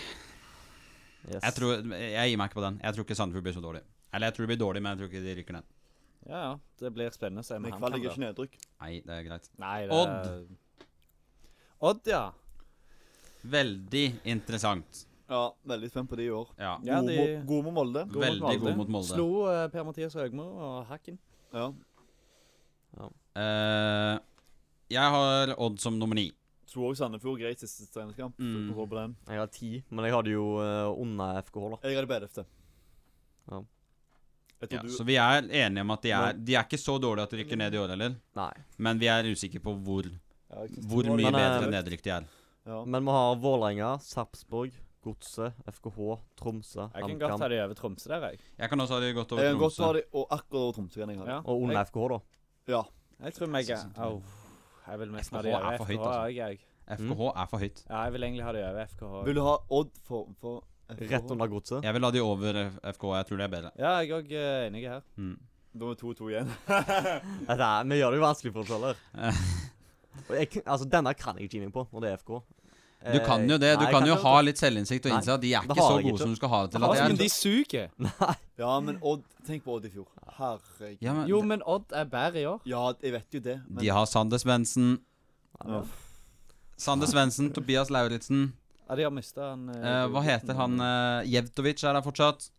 C: Yes.
A: Jeg, tror, jeg gir meg ikke på den. Jeg tror ikke Sandefjord blir så dårlig. Eller jeg tror de blir dårlig, men jeg tror ikke de rykker ned.
D: Ja, ja. Det blir spennende å se
B: Men
D: med
B: kvalik er
D: HamKam.
B: ikke
D: da.
B: nedrykk.
A: Nei, det er greit.
D: Nei, det er
A: Odd.
D: Odd, ja.
A: Veldig interessant.
B: Ja, veldig spent på de i år.
A: Ja.
D: Ja,
B: Gode
D: de-
B: mot- Gode mot Molde.
D: mot
A: Veldig
D: Molde.
A: god mot Molde.
D: Slo eh, Per-Mathias Høgmo og Hakken.
B: Ja.
A: Eh, jeg har Odd som nummer ni.
B: Slo også Sandefjord greit siste treningskamp. så
A: Mm.
B: vi får gå på den.
C: Jeg har ti, men jeg hadde jo uh, under FKH, da.
B: Jeg har det på 11.
C: Ja.
B: Jeg tror
A: Ja,
B: du
A: så vi er enige om at de er
C: Men-
A: De er ikke så dårlige at de rykker ned i år heller.
C: Nei.
A: Men vi er usikre på hvor,
B: Ja, jeg synes
A: hvor
B: det var
A: mye
C: Men,
B: litt-
C: eh,
A: bedre nedrykk de er.
B: Ja.
C: Men vi har Vålerenga, Sarpsborg, Godset, FKH, Tromsø,
D: Jeg kan godt
C: HamKam
D: ta de over Tromsø der, jeg.
A: Jeg kan også ha de gått over
B: Jeg kan Eh, godt ha
A: Tromsø.
B: de og akkurat over Tromsø. kan jeg ha de.
D: Ja.
C: og under FKH, da.
B: ja.
D: Jeg tror meg
A: Jeg synes
D: Au. Jeg vil mest ha
A: FKH
D: de
A: er
D: der.
A: for
D: FKH
A: høyt, altså.
D: er jeg.
A: FKH er for høyt.
D: Ja, jeg vil egentlig ha det over FKH.
B: Vil du ha Odd for, for FK?
C: Rett under godset.
A: Jeg vil ha de over F- FKH. Jeg tror de er bedre.
D: Ja, jeg er òg enig her.
A: Mm.
B: Da er det 2-2 igjen. [laughs]
C: Nei, det er- vi gjør det jo vanskelig for oss
A: [laughs]
C: alle. Og jeg, kan- altså, denne kan jeg ikke inn på, og det er FK.
A: Du kan jo det. Du
C: Eh, nei, jeg
A: kan
C: kan
A: jo
C: ikke.
A: ha litt selvinnsikt og innse at de er
C: det
A: ikke
C: har
A: så
C: jeg
A: gode
C: ikke.
A: som du skal ha det til.
D: Ja,
A: At
D: men
A: de
D: de
A: er.
D: suger.
B: Ja, men Odd Tenk på Odd i fjor. Herregud.
A: Ja,
D: Jo,
A: men
D: men Odd er bedre i år.
B: Ja, jeg vet jo det, men
A: de har Sander Svendsen.
B: Ja.
A: Sander Svendsen, Tobias Lauritzen.
D: Ja, de har mista han eh,
A: Eh, hva heter han eh, Jevtovic er der fortsatt.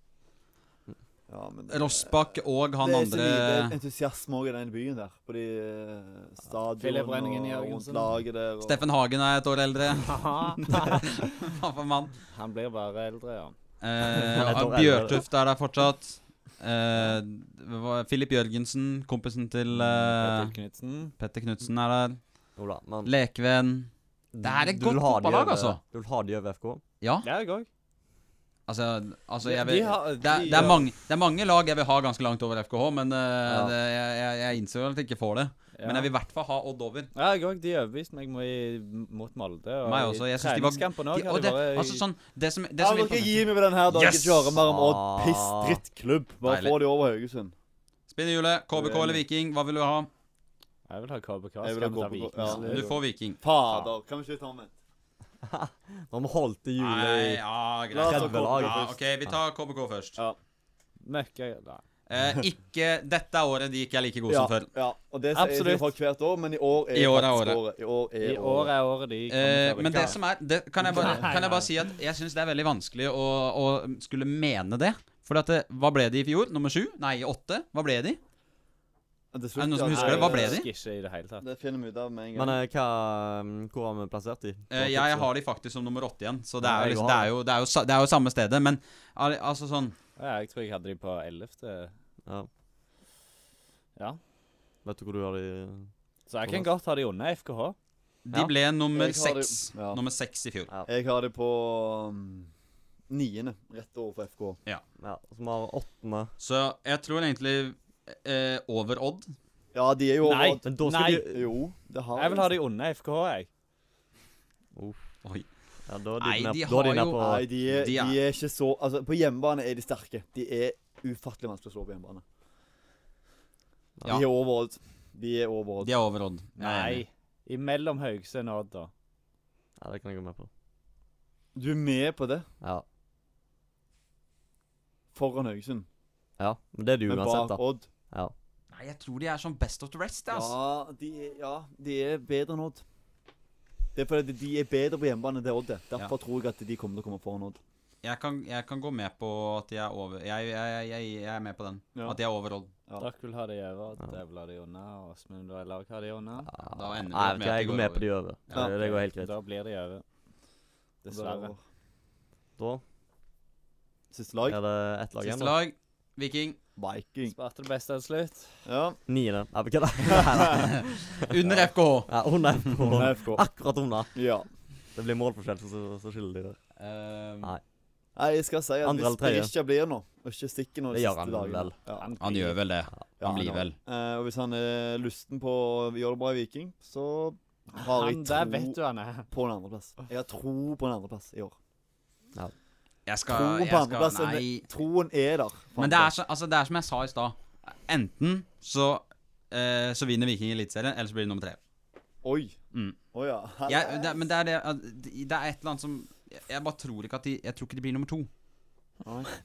B: ja, men det-
A: Rossbakk og han
B: det er så lite
A: andre eh,
B: entusiasme også i den byen der. På de eh, stadion og
D: Filiprenningen i
B: rundt
D: Jørgensen.
B: laget der. Og...
A: Steffen Hagen er et år eldre. [laughs] Hva for mann?
D: Han blir bare eldre, ja.
A: Eh,
C: Et år
A: Bjørtuft er der fortsatt. Eh, hva- Filip Jørgensen, kompisen til eh,
D: Petter Knudsen.
A: Petter Knutsen, er der.
C: Jo da, men
A: Lekven. Det er et
C: du vil
A: godt
C: ha de
A: fotballag,
C: over-
A: altså.
C: Du vil ha de over FK?
A: Ja,
D: Ja, jeg òg.
A: altså, altså
D: De-
A: jeg
D: de
A: vil,
D: har-
A: det, er,
D: de-
A: det, er mange, det er mange lag jeg vil ha ganske langt over FKH, men eh,
C: Ja.
A: det, jeg, jeg, jeg innser jo at jeg ikke får det. Men jeg vil i hvert fall ha Odd over.
D: Ja, jeg òg. De overbeviste meg må i, mot Molde. Og
A: Meg også, jeg synes de var-
D: treningskampen
A: De,
D: òg
A: og
D: hadde
A: det,
D: vært
A: altså sånn, det som, det
B: Ja,
A: som
B: dere
A: imponerer-
B: gir meg med den her, dere
A: Yes!
B: kjører mer om Odd.
C: Ah.
B: Piss drittklubb. Bare
A: Deilig.
B: få de over Haugesund.
A: Spinnehjulet, KBK eller Viking, hva vil du ha?
D: Jeg vil ha KBK.
B: Jeg
D: Så
B: vil ha
D: kan vi ta
B: KBK,
D: Viking.
B: ja.
D: så det er
A: Du
D: jo-
A: får Viking.
B: Fader, kan vi ikke ta med?
C: Nå har vi holdt til
A: Nei,
C: juli.
A: ja,
B: La oss
A: greit.
B: ta
C: 30 lag.
B: KBK
A: Ja,
B: først.
A: OK, vi tar KBK først.
B: Ja.
D: Møkka Nei.
A: Eh, ikke Dette er året de ikke er like gode som
B: Ja,
A: før.
B: ja, og det sier
D: Absolutt.
B: jeg for hvert år, men i år er
A: I år er
B: faktisk
A: året.
B: I år er
D: I år
B: året.
D: er året de kommer til
A: Eh,
D: å rykke
A: men det
D: av.
A: som er det, kan, jeg bare, kan jeg bare si at jeg syns det er veldig vanskelig å, å skulle mene det. For at det, hva ble de i fjor? Nummer sju? Nei, åtte? Hva ble de?
B: Er det
A: Er det noen
B: slutt,
A: som
B: ja?
A: husker det? Hva ble de?
D: Husker Ikke i det hele tatt.
B: Det finner vi ut av med en
C: Men
B: gang.
C: eh, hva, mm, hvor har vi plassert de?
A: Eh, jeg har de faktisk som nummer åtte igjen, så det er,
C: Ja,
A: jo,
C: jeg
A: liksom, det,
C: har
A: er jo, det, er jo, sa- det er jo samme stedet. Men al- altså sånn
D: Ja, jeg tror jeg hadde de på 11.
C: ja.
D: Ja.
C: Vet du hvor du har de?
D: Så jeg kan godt ha de unna FKH.
A: De
C: Ja.
A: ble nummer
B: Jeg har de-
A: seks.
B: ja.
A: Nummer seks i fjor.
D: eh,
B: Jeg har det på um, niende, rett over for FK.
C: Ja, Som har åttende
A: Så jeg tror egentlig eh, over Odd.
B: Ja, de er jo over
D: Nei.
B: Odd.
C: Men da skal
D: Nei.
C: de
B: Jo, det har
D: Jeg vil ha de unna FKH, jeg.
A: Oi.
C: ja, da er de
A: Nei,
C: ned-
A: de
C: da er de
A: har
C: ned
A: jo-
C: på
B: Nei, de er,
A: De
B: de
A: er-
B: er ikke så Altså, på hjemmebane er de sterke. De er ufattelig vanskelig å slå på hjemmebane.
A: Ja.
B: De er over Odd. De er over Odd.
A: De er over Odd. Jeg er enig.
D: Nei. Imellom Haugesund og Odd, da.
C: Ja, det kan jeg gå med på.
B: Du er med på det?
C: Ja,
B: Foran Haugesund.
C: ja. Men det er de
B: Men
C: uansett,
B: bak
C: da.
B: Odd
C: Ja.
A: Nei, jeg tror de er sånn best of the rest.
B: Ja,
A: Altså.
B: de er, ja, de er bedre enn Odd. Det er fordi de er bedre på hjemmebane enn det Odd er. Derfor tror jeg at de kommer til å komme foran Odd.
A: Jeg, kan, jeg kan gå med på at de er over Jeg, jeg, jeg, jeg er med på den.
B: Ja.
A: At de er over Odd.
B: Ja.
D: Dere vil ha de over,
C: Ja.
D: jeg vil ha de unna. og Åsmund og Lag har de unna.
A: Da ender vi
C: Nei,
A: opp med
C: vet
A: at
C: du hva,
A: de
C: jeg
A: går
C: går med
A: over.
C: på de over.
A: Ja.
C: Det, det går helt greit.
D: Da blir de over. Dessverre.
C: Da
B: Siste lag.
C: er det ett lag igjen.
A: Siste
C: da.
A: lag. Viking.
B: [laughs] Viking.
D: Sparte det beste til slutt.
B: Ja.
C: Niende. Nei, men hva da? Nei, nei.
A: Under FKH.
C: Ja, under FK.
B: FK.
A: Ah.
C: Akkurat under.
B: Ja.
C: Det blir målforskjell, så, så skiller de der.
B: Eh,
A: Ehm,
C: Nei.
B: Nei, jeg skal si at
C: Andre
B: hvis
C: eller tredje?
B: det ikke blir noe, og ikke stikker noe de
C: Det gjør
B: siste
C: han
B: dagene
C: vel.
B: Ja.
A: han gjør vel det.
B: Ja,
A: Han blir
B: han
A: vel.
B: Eh, og hvis han er lysten på å gjøre det bra i Viking, så har jeg
D: Han
B: tro
D: der vet du han er.
B: på en andreplass. Jeg har tro på en andreplass i år.
A: Jeg skal,
B: Tro på
A: jeg skal
B: andreplass.
A: Nei.
B: enn- Troen er der. på
A: Men det er,
B: andreplass.
A: så, altså, det er som jeg sa i stad. Enten så, eh, så vinner Viking Eliteserien, eller så blir det nummer tre.
B: Oi. Å
A: Mm.
B: ja.
A: Jeg, det, men det er det at Det er et eller annet som Jeg, jeg bare tror ikke at de Jeg tror ikke de blir nummer to.
B: Nei.
A: Det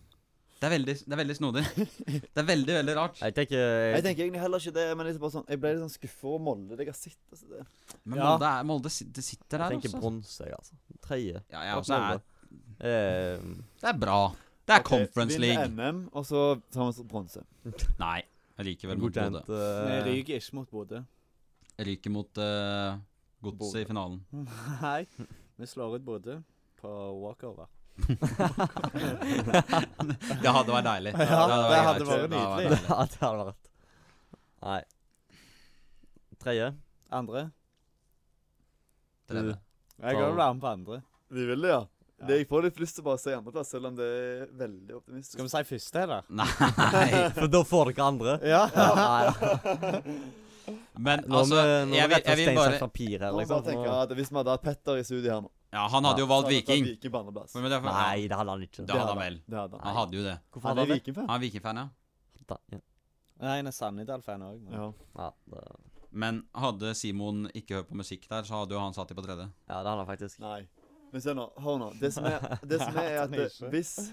A: er veldig, det er veldig snodig. Det er veldig, veldig rart.
C: Jeg tenker
B: Jeg tenker egentlig heller ikke det, men det er bare sånn, jeg ble litt sånn skuffa over Molde. Det jeg har sett. Altså det.
A: Men
D: Ja.
A: Molde, er, Molde si- det sitter der,
C: Jeg tenker
A: altså.
C: bronse, jeg, altså. Tredje.
A: Ja, jeg også er,
C: Eh,
A: det er bra. Det er
B: Ok,
A: Conference League.
B: Vinner NM, og så tar vi bronse.
A: Nei, jeg liker vel mot Bodø.
C: godkjent.
D: Vi
C: Eh,
D: ryker ikke mot Bodø. [laughs]
A: Jeg Ryker mot uh, Godset i finalen.
D: Nei. Vi slår ut Bodø på walkover.
A: Det hadde vært deilig.
D: Ja, det hadde vært nydelig.
C: [laughs] ja, det hadde vært Nei. Tredje.
D: Andre.
A: Tredje.
D: Jeg kan
C: Tolv.
D: vel være med på andre.
B: De vil det, ja?
D: Ja.
B: Det Jeg får litt lyst til å bare si andreplass, selv om det er veldig optimistisk.
D: Skal vi si første, eller?
A: Nei.
C: For da får dere andre.
D: Ja.
C: Ja, ja.
A: Men
C: Nå
A: altså,
C: er vi, nå
A: jeg,
C: er vi
A: vil- jeg
C: rett fra
A: vil
C: stein, saks,
A: bare
C: papir her,
B: Nå må
C: liksom.
B: bare tenke at Hvis vi hadde hatt Petter i studio her nå
A: Ja, han hadde jo valgt
B: så hadde han
A: Viking.
B: tatt Viking på andreplass.
A: Men derfor,
C: Nei, det hadde han ikke.
A: Da- hadde han vel.
B: Det hadde han.
A: Han hadde jo det.
C: Hvorfor
B: Han er
C: hadde han det?
B: Viking-fan.
A: Han er Viking-fan, ja.
C: Da- ja.
E: Nei, han er Sannidal-fan òg.
B: Ja.
C: Ja, det-
A: Men hadde Simon ikke hørt på musikk der, så hadde jo han satt dem på tredje.
C: ja, det hadde han faktisk.
B: Nei. Men se nå. Hør nå. Det som
D: [laughs]
B: er, det som er, er at det, hvis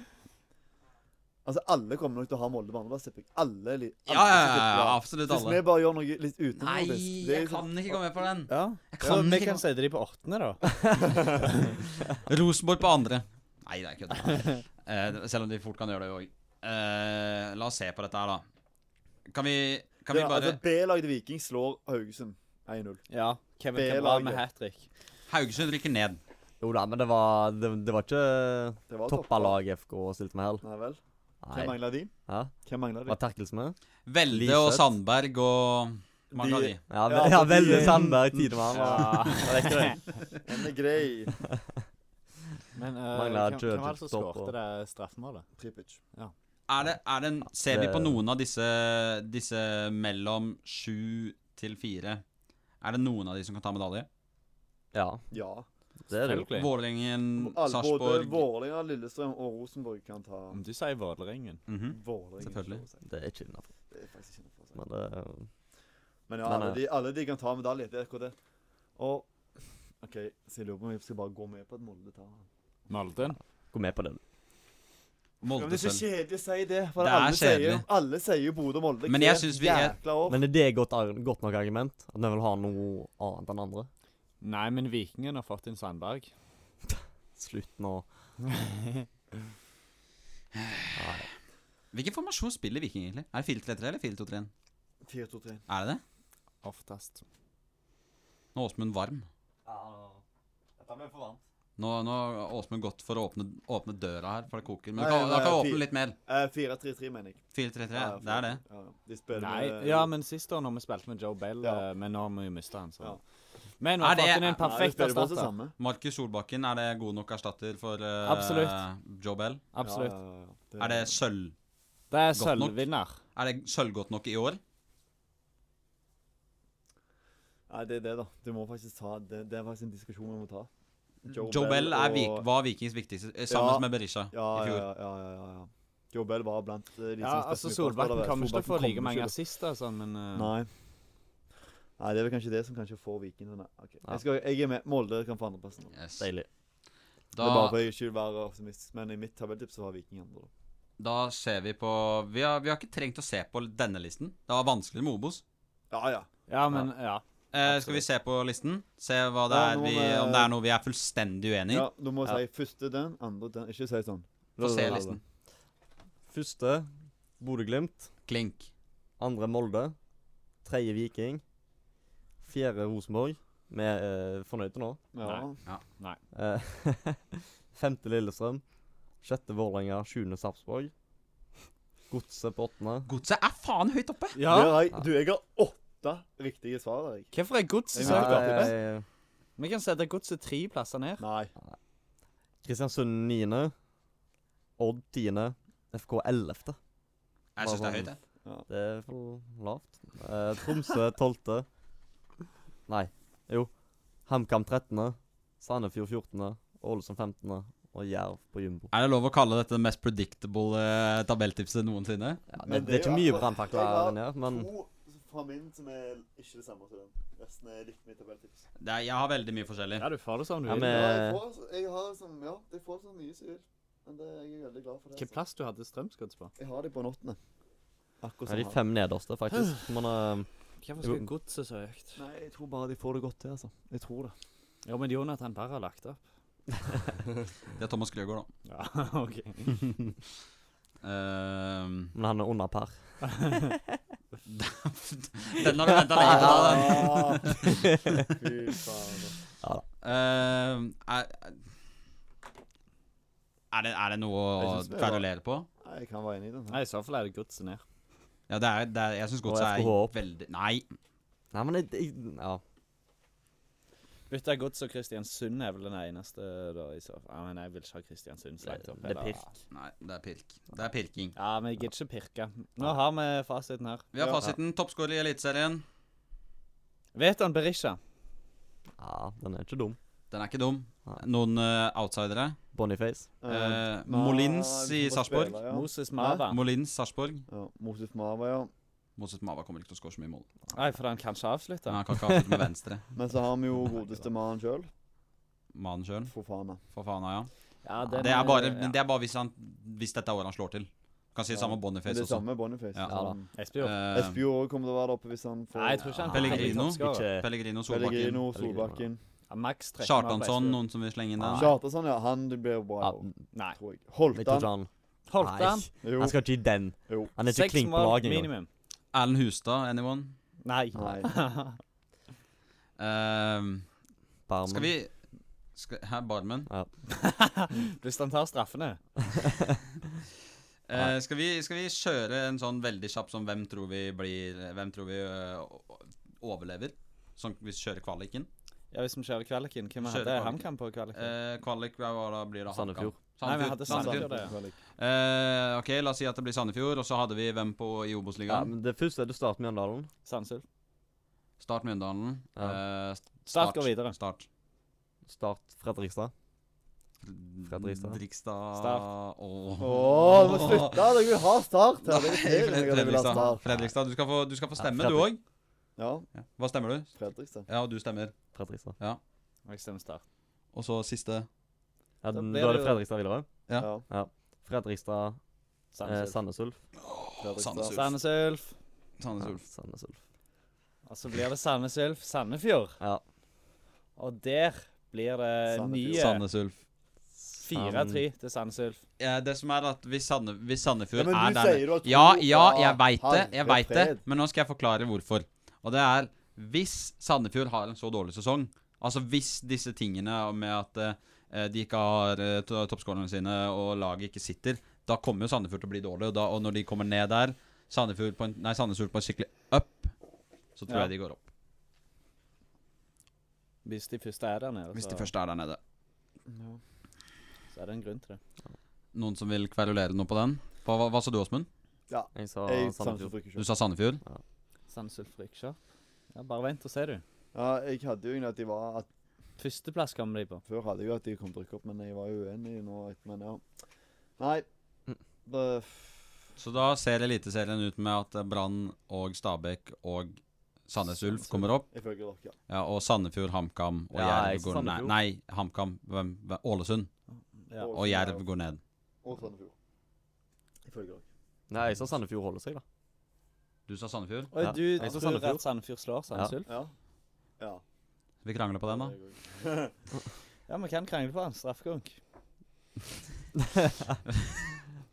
B: Altså, alle kommer nok til å ha Molde på andreplass, tipper jeg. Alle. Li, alle
A: Ja, ja,
B: som
A: ja,
B: tipper.
A: ja absolutt
B: Hvis vi
A: alle.
B: bare gjør noe litt
A: Nei,
B: utenomjordisk det er
A: jeg
B: jo sånn-
A: kan ikke gå med på den.
E: Ja.
A: Jeg
E: ja,
A: kan
E: vi
A: ikke
E: kan sette de på åttende,
D: [laughs]
E: da.
A: Rosenborg på andre. Nei, det er kødd. [laughs] Eh, selv om de fort kan gjøre det òg. Eh, la oss se på dette her, da. Kan vi, kan vi
B: Ja,
A: bare
B: altså, B-laget til Viking slår Haugesund 1-0.
E: Ja. Kevin
B: B-laget.
E: Cabral med hat trick.
A: Haugesund rykker ned.
C: Jo da, men det var, det, det var ikke
B: Det var
C: toppa lag FK stilte med her.
B: Nei vel. Hvem
C: Nei.
B: mangler de?
C: Hæ?
B: Hvem mangler de?
C: Var Terkels med?
A: Velde
C: Liseth.
A: og Sandberg og Mangla de.
B: De-
C: Ja,
B: Ja,
C: ve [laughs] ja
B: fordi-
C: veldig Sandberg. Tidemann.
D: Ja.
B: [laughs] Den er grei.
D: Men eh,
C: Mangler
D: hvem,
C: Judge
D: hvem var det som
C: topp og-
D: skårte det straffemålet?
B: Tripic.
A: Er det, er det en, ser vi
C: det-
B: eh,
A: på noen av disse, disse mellom sju til fire Er det noen av de som kan ta medalje?
C: [laughs] Ja,
B: Ja.
C: det er det jo.
A: Vålerengen,
B: Alle, både
A: Mm, Sarpsborg
B: Vålerenga, Lillestrøm og Rosenborg kan ta
D: Du sier Vålerengen.
A: Mhm.
B: Vålerenga.
A: Selvfølgelig.
B: slår seg.
C: Det er ikke innafor.
B: Det er faktisk ikke noe for seg.
C: Men det
B: Men ja,
C: Nei,
B: alle
C: nei.
B: de, alle de kan ta medalje. Det er akkurat det. Og OK, så jeg lurer på om jeg skal bare gå med på at Molde tar den.
D: Molden.
C: Gå med på det.
B: Ja, men det
A: Molde
B: er så
A: selv.
B: kjedelig å si det. For
A: Det er
B: alle, sier,
A: kjedelig.
B: alle sier jo Bodø og Molde.
A: Men jeg
B: hvert
A: synes vi er-
B: jækla år.
C: Men er det godt, ar- godt nok argument? At vi vil ha noe annet enn andre?
D: Nei, men Vikingen har fått inn Sandberg.
C: Slutt nå.
A: Hvilken formasjon spiller Viking, egentlig? Er det 4-3-3 eller 4-2-3-1?
B: 4-2-3.
A: Er det det?
D: Oftest.
A: Nå er Åsmund varm.
C: Dette ble for varmt.
A: Nå, nå er Åsmund godt for å åpne, åpne døra her, for det koker. Men
B: Nei,
A: du kan,
B: nei,
A: da kan jeg
B: fi-
A: åpne litt mer.
B: Eh, 4-3-3, mener jeg.
A: 4-3-3,
B: Ja,
A: det er det.
B: Ja, ja. de spiller eh,
D: Nei,
B: med-
D: ja, men sist år når vi spilte med Joe Bell,
B: Ja.
D: eh, men nå har vi jo mista han, så
B: Ja.
D: Men vi har
A: Er det-
D: fått inn
A: er-
D: en perfekt
B: Nei, det spiller bare det
D: erstatter.
B: samme.
A: Markus Solbakken, er det god nok erstatter for eh,
D: Absolutt.
A: Joe Bell?
D: Absolutt.
B: Ja, ja, ja.
A: Er det sølv?
D: Det er
A: Godt nok.
D: sølvvinner.
A: Er det sølvgodt nok i år?
B: Nei, det er det, da. Du må faktisk ta Det, det er faktisk en diskusjon vi må ta.
A: Joe Bell er
B: og-
A: vik, var Vikings viktigste, eh, sammen
B: Ja.
A: med Berisha
B: ja,
A: i
B: ja,
A: fjor.
B: ja, ja, ja, ja. Joe Bell var blant eh, de
D: Ja,
B: som spilte
D: altså
B: mye
D: Solbakken
B: fotball,
D: kommer ikke til å få
B: Solbakken
D: like mange
B: kommer ikke
D: assister, sånn, men eh,
B: til å- Nei. Nei, det er vel kanskje det som kanskje får Viking denne. Ok,
C: Ja.
B: Jeg, skal, jeg er med. Molde kan få andreplassen. nå.
A: Yes.
C: Deilig.
B: Det er bare
A: Da,
B: for jeg ikke vil være optimistisk, men i mitt tabelltips så var Viking andre. da.
A: da ser vi på vi har, vi har ikke trengt å se på denne listen. Det var vanskeligere med Obos.
B: Ja, ja.
D: Ja, men ja.
A: Eh, skal vi se på listen? Se hva det
B: Ja,
A: er
B: nå
A: vi,
B: må-
A: om det er noe vi er fullstendig uenig i?
B: ja du må si første den, andre den. Ikke si sånn.
A: Få se listen.
C: Første Bodø-Glimt.
A: Klink.
C: Andre Molde. Tredje Viking. Fjerde Rosenborg. Vi er eh, fornøyde nå.
B: Ja.
C: Eh, [laughs] Femte Lillestrøm. Sjette Vålerenga. Sjuende Sarpsborg. Godset på åttende.
A: Godset er faen høyt oppe!
D: ja.
B: Der har jeg- Du, jeg har åtte riktige svar. Jeg.
D: Hvorfor er godset
B: Ja,
D: så
B: ja, ja.
D: høyt?
C: Eh,
D: Vi kan sette godset tre plasser ned.
B: Nei.
C: Kristiansund 9. Odd 10. FK 11.
A: Jeg syns det er høyt, jeg.
C: Det er for lavt. Eh, Tromsø 12. Nei, jo. HamKam 13. Sandefjord 14. Ålesund 15. Og Jerv på jumbo.
A: Er det lov å kalle dette det mest predictable eh, tabelltipset noensinne?
C: Ja,
B: Men
C: det, det
B: det
C: er ikke
B: er jo
C: mye
B: akkurat-
C: brannfakler
B: det er
C: inni her, men
B: To fra min som er ikke det samme som den. Resten er litt mitt tabelltips.
A: Det er, jeg har veldig mye forskjellig.
D: Ja, du får det som du
C: Ja,
D: vil.
C: men-
B: Ja, jeg
C: Eh.
B: får, jeg har som, ja, jeg får så mye som jeg vil. Men det, jeg er veldig glad for det.
D: Hvilken
B: Altså.
D: plass du hadde Strømsgods på?
B: Jeg har de på nottene. Akkurat
C: ja, de
B: som her.
C: fem nederste, faktisk. Men eh,
D: Hvorfor
C: skal
D: godset så høyt?
B: Nei, jeg tror bare de får det godt til, altså. Jeg tror det.
D: Jo, men Jonathan Berr har lagt opp.
A: Det er Thomas Kløgaard, da.
D: Ja, [laughs] OK.
A: Ehm,
C: men han er under par.
A: den har du
B: [laughs]
A: venta lenge på. Den.
B: Ah! Fy faen. altså.
A: Eh, er, er, det, er det noe å
B: Jeg synes det var-
A: kverulere på?
B: Nei, jeg kan være enig i den. her.
D: Nei, i så fall er det godset ned.
A: Ja, det er, det er, jeg syns godt
C: Og
A: så er
C: FKH opp.
A: veldig Nei.
C: Nei, men jeg, jeg Ja.
D: Bytte gods og Kristiansund er vel den eneste, da, i så fall. Ja, men jeg vil ikke ha Kristiansund så
C: Det,
D: høyt opp.
C: det er
D: eller-
C: pirk.
A: nei, det er pirk. Det er pirking.
D: Ja, men jeg gidder ikke pirke. Nå har vi fasiten her.
A: Vi har fasiten. Toppskårer i Eliteserien.
D: Vet han Berisha?
C: Ja, den er ikke dum.
A: Den er ikke dum.
C: Nei.
A: Noen eh, outsidere.
C: Boniface.
A: Eh, Molins i Sarpsborg.
B: Ja.
D: Moses Mava?
A: Molins, Sarpsborg.
B: Ja, Moses Mava, ja.
A: Moses Mava kommer ikke til å skåre så mye mål.
D: Nei, for han kan ikke
A: Men
D: avslutte.
A: han kan ikke avslutte med venstre.
B: Men så har vi jo godeste mannen sjøl.
A: Mannen sjøl.
B: Fofana.
A: For faen, ja.
D: Ja, den
A: Det er bare,
D: ja.
A: det er bare hvis, han, hvis dette er året han slår til. Du kan si
B: Ja.
A: samme
B: Men
A: Boniface
B: det er
A: også.
B: samme Boniface.
A: Ja.
C: Ja da.
B: Um,
D: Espejord.
A: Eh,
B: Espejord også kommer til å være der oppe hvis han får
D: Nei, jeg tror ikke han
C: Pellegrino?
D: blir toppskårer.
C: Ikke
A: Pellegrino, Solbakken.
B: Pellegrino, Solbakken.
D: Ja, Max trekker meg på
A: Kjartansson,
D: Espejord.
A: noen som vil slenge inn den.
C: Ah,
B: Kjartansson, ja. Han det blir jo bra,
C: Ja,
B: i år,
D: Nei.
B: tror jeg.
C: jeg tror
B: Holtan.
C: ikke han
D: Holdt han?
C: Nei,
B: Jo.
C: han skal ikke i den.
B: jo.
C: Han er ikke
D: Seks
C: klink på
D: mål
C: laget engang.
D: minimum.
A: Erlend Hustad, anyone?
D: Nei.
B: Nei.
A: Eh,
C: Barmen.
A: skal vi skal, Hæ, Barmen?
D: Hvis han tar straffene.
A: Eh, skal, vi, skal vi kjøre en sånn veldig kjapp sånn hvem tror vi blir Hvem tror vi ø, o- overlever? Sånn hvis vi kjører kvaliken.
D: Ja, hvis vi kjører kvaliken. Hvem
A: Vi kjører
D: hadde
A: kvaliken.
D: HamKam på kvaliken?
A: Eh, kvalik hva var da blir det HamKam?
C: Sandefjord.
D: Nei, vi
A: Sandefjord.
D: hadde
A: Sandefjord.
D: Sandefjord, det, ja.
A: Eh, ok, la oss si at det blir Sandefjord, og så hadde vi hvem på i
C: Ja,
A: Obos-ligaen?
C: men det første er du starter med Jøndalen.
D: Sandsulf.
A: Start Mjøndalen. Eh,
D: Start går videre.
A: Start.
C: Start Fredrikstad. Fredrikstad.
A: Drikstad
D: Start.
A: Åh.
B: Å, du må slutte! Jeg vil ha Start her. Det
A: Nei,
B: irriterer meg at jeg vil ha
A: Fredrikstad.
B: Start.
A: Fredrikstad. Du skal få, du skal få
C: Ja,
A: stemme, du òg.
B: Ja,
A: Ja. Hva stemmer du?
B: Fredrikstad.
A: Ja, du stemmer.
C: Fredrikstad.
D: Jeg stemmer Start.
A: Og så siste.
C: Ja,
D: Da
C: da
D: blir
C: er
D: det
C: det
D: jo-
C: Fredrikstad videre.
A: Ja.
B: Ja,
C: Fredrikstad, eh,
D: Sandnes Ulf.
C: Sandnes Ulf.
B: Fredrikstad.
A: Sandnes Ulf. Sandnes
D: Sandnes Ulf.
C: Ja,
A: Ulf.
C: Sandnes Ulf.
D: Og så blir det Sandnes Ulf Sandefjord.
C: Ja.
D: Og der blir det
B: Sandefjord.
D: nye
A: Sandnes Ulf.
C: Um,
D: 4-3 til Sandnes Ulf.
A: Ja, det som er at hvis, Sande, hvis Sandefjord
B: Ja, men
A: er
B: du
A: der
B: sier du har tro
A: Ja, ja,
B: på
A: jeg veit det, jeg
B: Herre
A: vet det.
B: fred.
A: Men nå skal jeg forklare hvorfor. Og det er hvis Sandefjord har en så dårlig sesong Altså hvis disse tingene med at eh, de ikke har eh, to- toppskårerne sine og laget ikke sitter, da kommer jo Sandefjord til å bli dårlig. Og, da, og når de kommer ned der, Sandefjord på en, nei, Sandnes Ulf på en skikkelig up, så tror
D: Ja.
A: jeg de går opp.
D: Hvis de første er der
B: Altså
D: nede,
A: Hvis de
D: så,
A: først er der nede.
B: Ja.
D: så er det en grunn til det.
A: Noen som vil kverulere noe på den? Hva, hva, hva sa du, Åsmund?
C: Jeg sa
B: Jeg
C: Sandefjord.
B: Sandefjord ikke
A: Du
B: selv.
A: sa Sandefjord?
D: Sandnes Ulf rykker ikke opp. Ja, bare vent og se, du.
B: Ja, jeg hadde jo egentlig at de var at
D: Førsteplass kommer de på.
B: Før hadde jeg jo at de kom til å rykke opp, men jeg var jo uenig nå. Men ja. Nei.
D: Mm.
B: Det,
A: Så da ser Eliteserien ut med at Brann og Stabæk og Sandnes Ulf kommer opp.
B: ifølge dere.
A: Ja, og Sandefjord, HamKam og
C: Ja, jeg
A: Jerv
C: sa
A: går ned.
C: Sandefjord.
A: Nei, HamKam hvem, hvem, Ålesund
D: Ja,
A: og Jerv går ned.
B: Og Sandefjord. Ifølge dere.
C: Nei, jeg sa Sandefjord holder seg, da.
A: Du sa Sandefjord.
D: Oi,
C: Ja,
D: du
C: jeg tror
D: tror
C: Sandefjord.
D: at Sandefjord slår Sandnes Ulf?
B: Ja. Ja.
A: Vi krangler på den, da.
D: Ja, vi kan krangle på han. Straffekonk.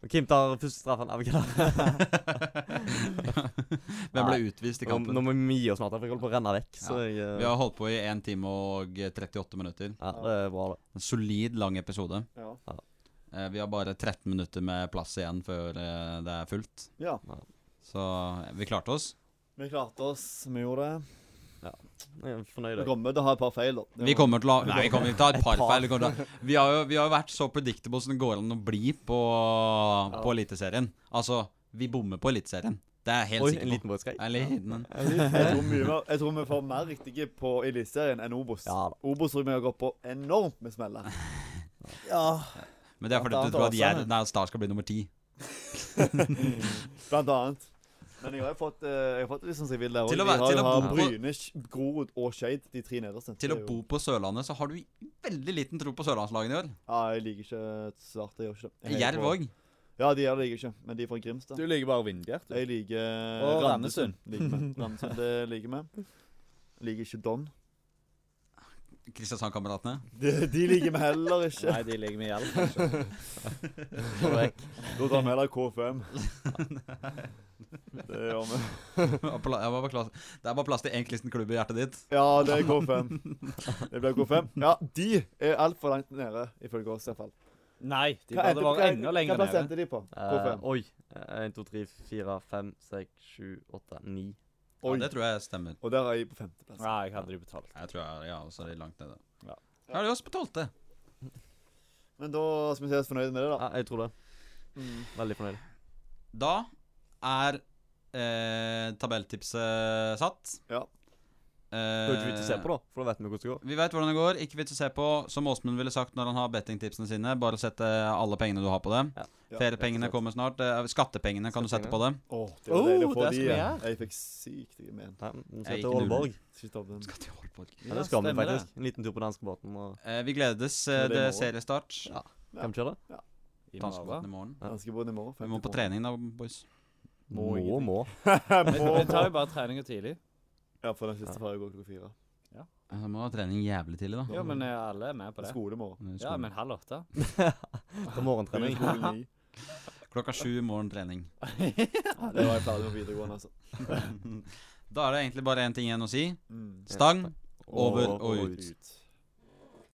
C: Og Kim tar første straffen. Ja, vi kan-
A: [laughs] Hvem ble utvist i
C: Nå nå
A: kampen?
C: må vi gi oss snart, for jeg holder på å renne vekk. Så jeg eh,
A: Vi har holdt på i 1 time og 38 minutter.
C: Ja, det er bra, det.
A: En solid, lang episode.
B: ja.
A: Eh, Vi har bare 13 minutter med plass igjen før eh, det er fullt.
B: Ja.
A: Så eh, vi klarte oss.
B: Vi klarte oss. Vi gjorde det.
C: Jeg er
B: Vi
C: fornøyd. jeg.
B: kommer til å ha et par feil, da.
A: Vi kommer til å Nei, vi kommer til å ta et par
C: par.
A: feil. Vi, kommer til å, vi, har jo, vi har jo vært så predictable som det går an å bli på, på Eliteserien. Altså, vi bommer på Eliteserien. Det er jeg helt
C: Oi, en
A: sikker på.
C: liten brødskrei.
A: En liten en.
B: Jeg tror, mye mer, jeg tror vi får mer riktige på Eliteserien enn Obos.
C: Ja da.
B: Obos tror jeg vi har gått på enormt med
A: [laughs]
B: smeller. Ja.
A: Men det er fordi
D: Blant
A: du tror at
D: annet
A: jeg,
D: Åsane.
A: nei, Star skal bli nummer ti.
B: Blant annet. Men jeg har jo fått, eh, jeg har fått det litt sånn som jeg vil der
A: Til å
B: også.
A: være-
B: De har
A: til å
B: jo hatt
A: bo på-
B: Bryne, Sk- Grorud og Skeid, de tre nederste.
A: Til å
B: Det er
A: bo
B: jo-
A: på Sørlandet så har du veldig liten tro på sørlandslagene i år.
B: Ja, jeg liker ikke Start. Jeg gjør ikke det. Jeg heier
A: Jerv
B: på-
A: òg.
B: Ja, de gjør det jeg ikke. Men de er fra Grimstad.
D: Du liker bare Vindbjart, du.
B: Jeg liker eh,
D: Og
B: Randesund.
D: Randesund.
B: Liker vi.
D: [laughs]
B: Randesund, det liker vi. Liker ikke Don.
A: Kristiansand-kameratene.
B: De, de liker vi heller ikke.
D: Nei, de ligger med hjelp, kanskje.
B: Da tar vi heller KFM. Det gjør vi.
A: Det er bare plass- det er bare plass til én kristen klubb i hjertet ditt.
B: Ja, det er K5. Det blir K5. Ja, de er altfor langt nede, ifølge oss iallfall.
D: Nei, de burde være enda lenger
B: Hva
D: nede.
B: plasserte de på?
C: Eh,
B: K5.
C: oi. Eh, 1, 2, 3, 4, 5, 6, 7, 8, 9.
A: Ja,
B: Oi.
A: det tror jeg stemmer.
B: Og der er jeg på femteplass.
D: Ja, jeg hadde de betalt.
A: Jeg tror jeg, ja, så er de langt nede.
D: Ja.
A: Da er de også på tolvte.
B: Men da skal vi se oss fornøyde med det, da.
C: Ja, jeg tror det.
B: Mm.
C: Veldig fornøyd.
A: Da er eh, tabelltipset satt. Eh,
B: Ja.
C: Det er jo ikke vits i å se på, da, for da vet vi hvordan det går.
A: Vi vet hvordan det går. Ikke vits å se på. Som Åsmund ville sagt når han har bettingtipsene sine, bare sett eh, alle pengene du har på det.
C: Ja.
B: Ja,
A: Feriepengene kommer snart. eh, Skattepengene kan du sette på det.
B: Åh, det var
D: Oh,
B: deilig å få
D: der
B: de
D: skal vi
B: igjen. Jeg fikk sykt jeg men.
C: Nei,
A: Jeg
C: men så
A: gikk
C: til Aalborg.
B: Skal vi ta opp den?
A: Skal til Aalborg.
C: Ja, det skal vi
D: stemmer det.
C: faktisk. En liten tur på danskebåten. og-
A: Eh, Vi gledes. eh,
B: Men det er i
A: Det er
B: morgen.
A: seriestart.
C: Ja. Kan vi kjøre?
D: I
A: Danskebåten
D: morgen.
A: i morgen.
C: Ja.
B: Ganske bra i morgen.
A: Vi må på trening da, boys.
B: Må
C: Må, må.
B: ingenting.
D: Vi vi [laughs] tar jo bare treninga tidlig.
B: Ja, for den siste ferja går klokka fire.
A: Ja, Så må du ha trening jævlig tidlig, da.
D: Jo, men eh, alle er med på det.
B: Skole i morgen.
D: Ja, men halv åtte.
C: Ta [laughs] morgentrening.
B: Skole ni.
A: Klokka sju i morgen trening.
B: Ja, det var jeg ferdig med på videregående, altså.
A: Da er det egentlig bare én ting igjen å si.
B: Mm.
A: Stang over og
C: Og
A: ut.
B: Ut.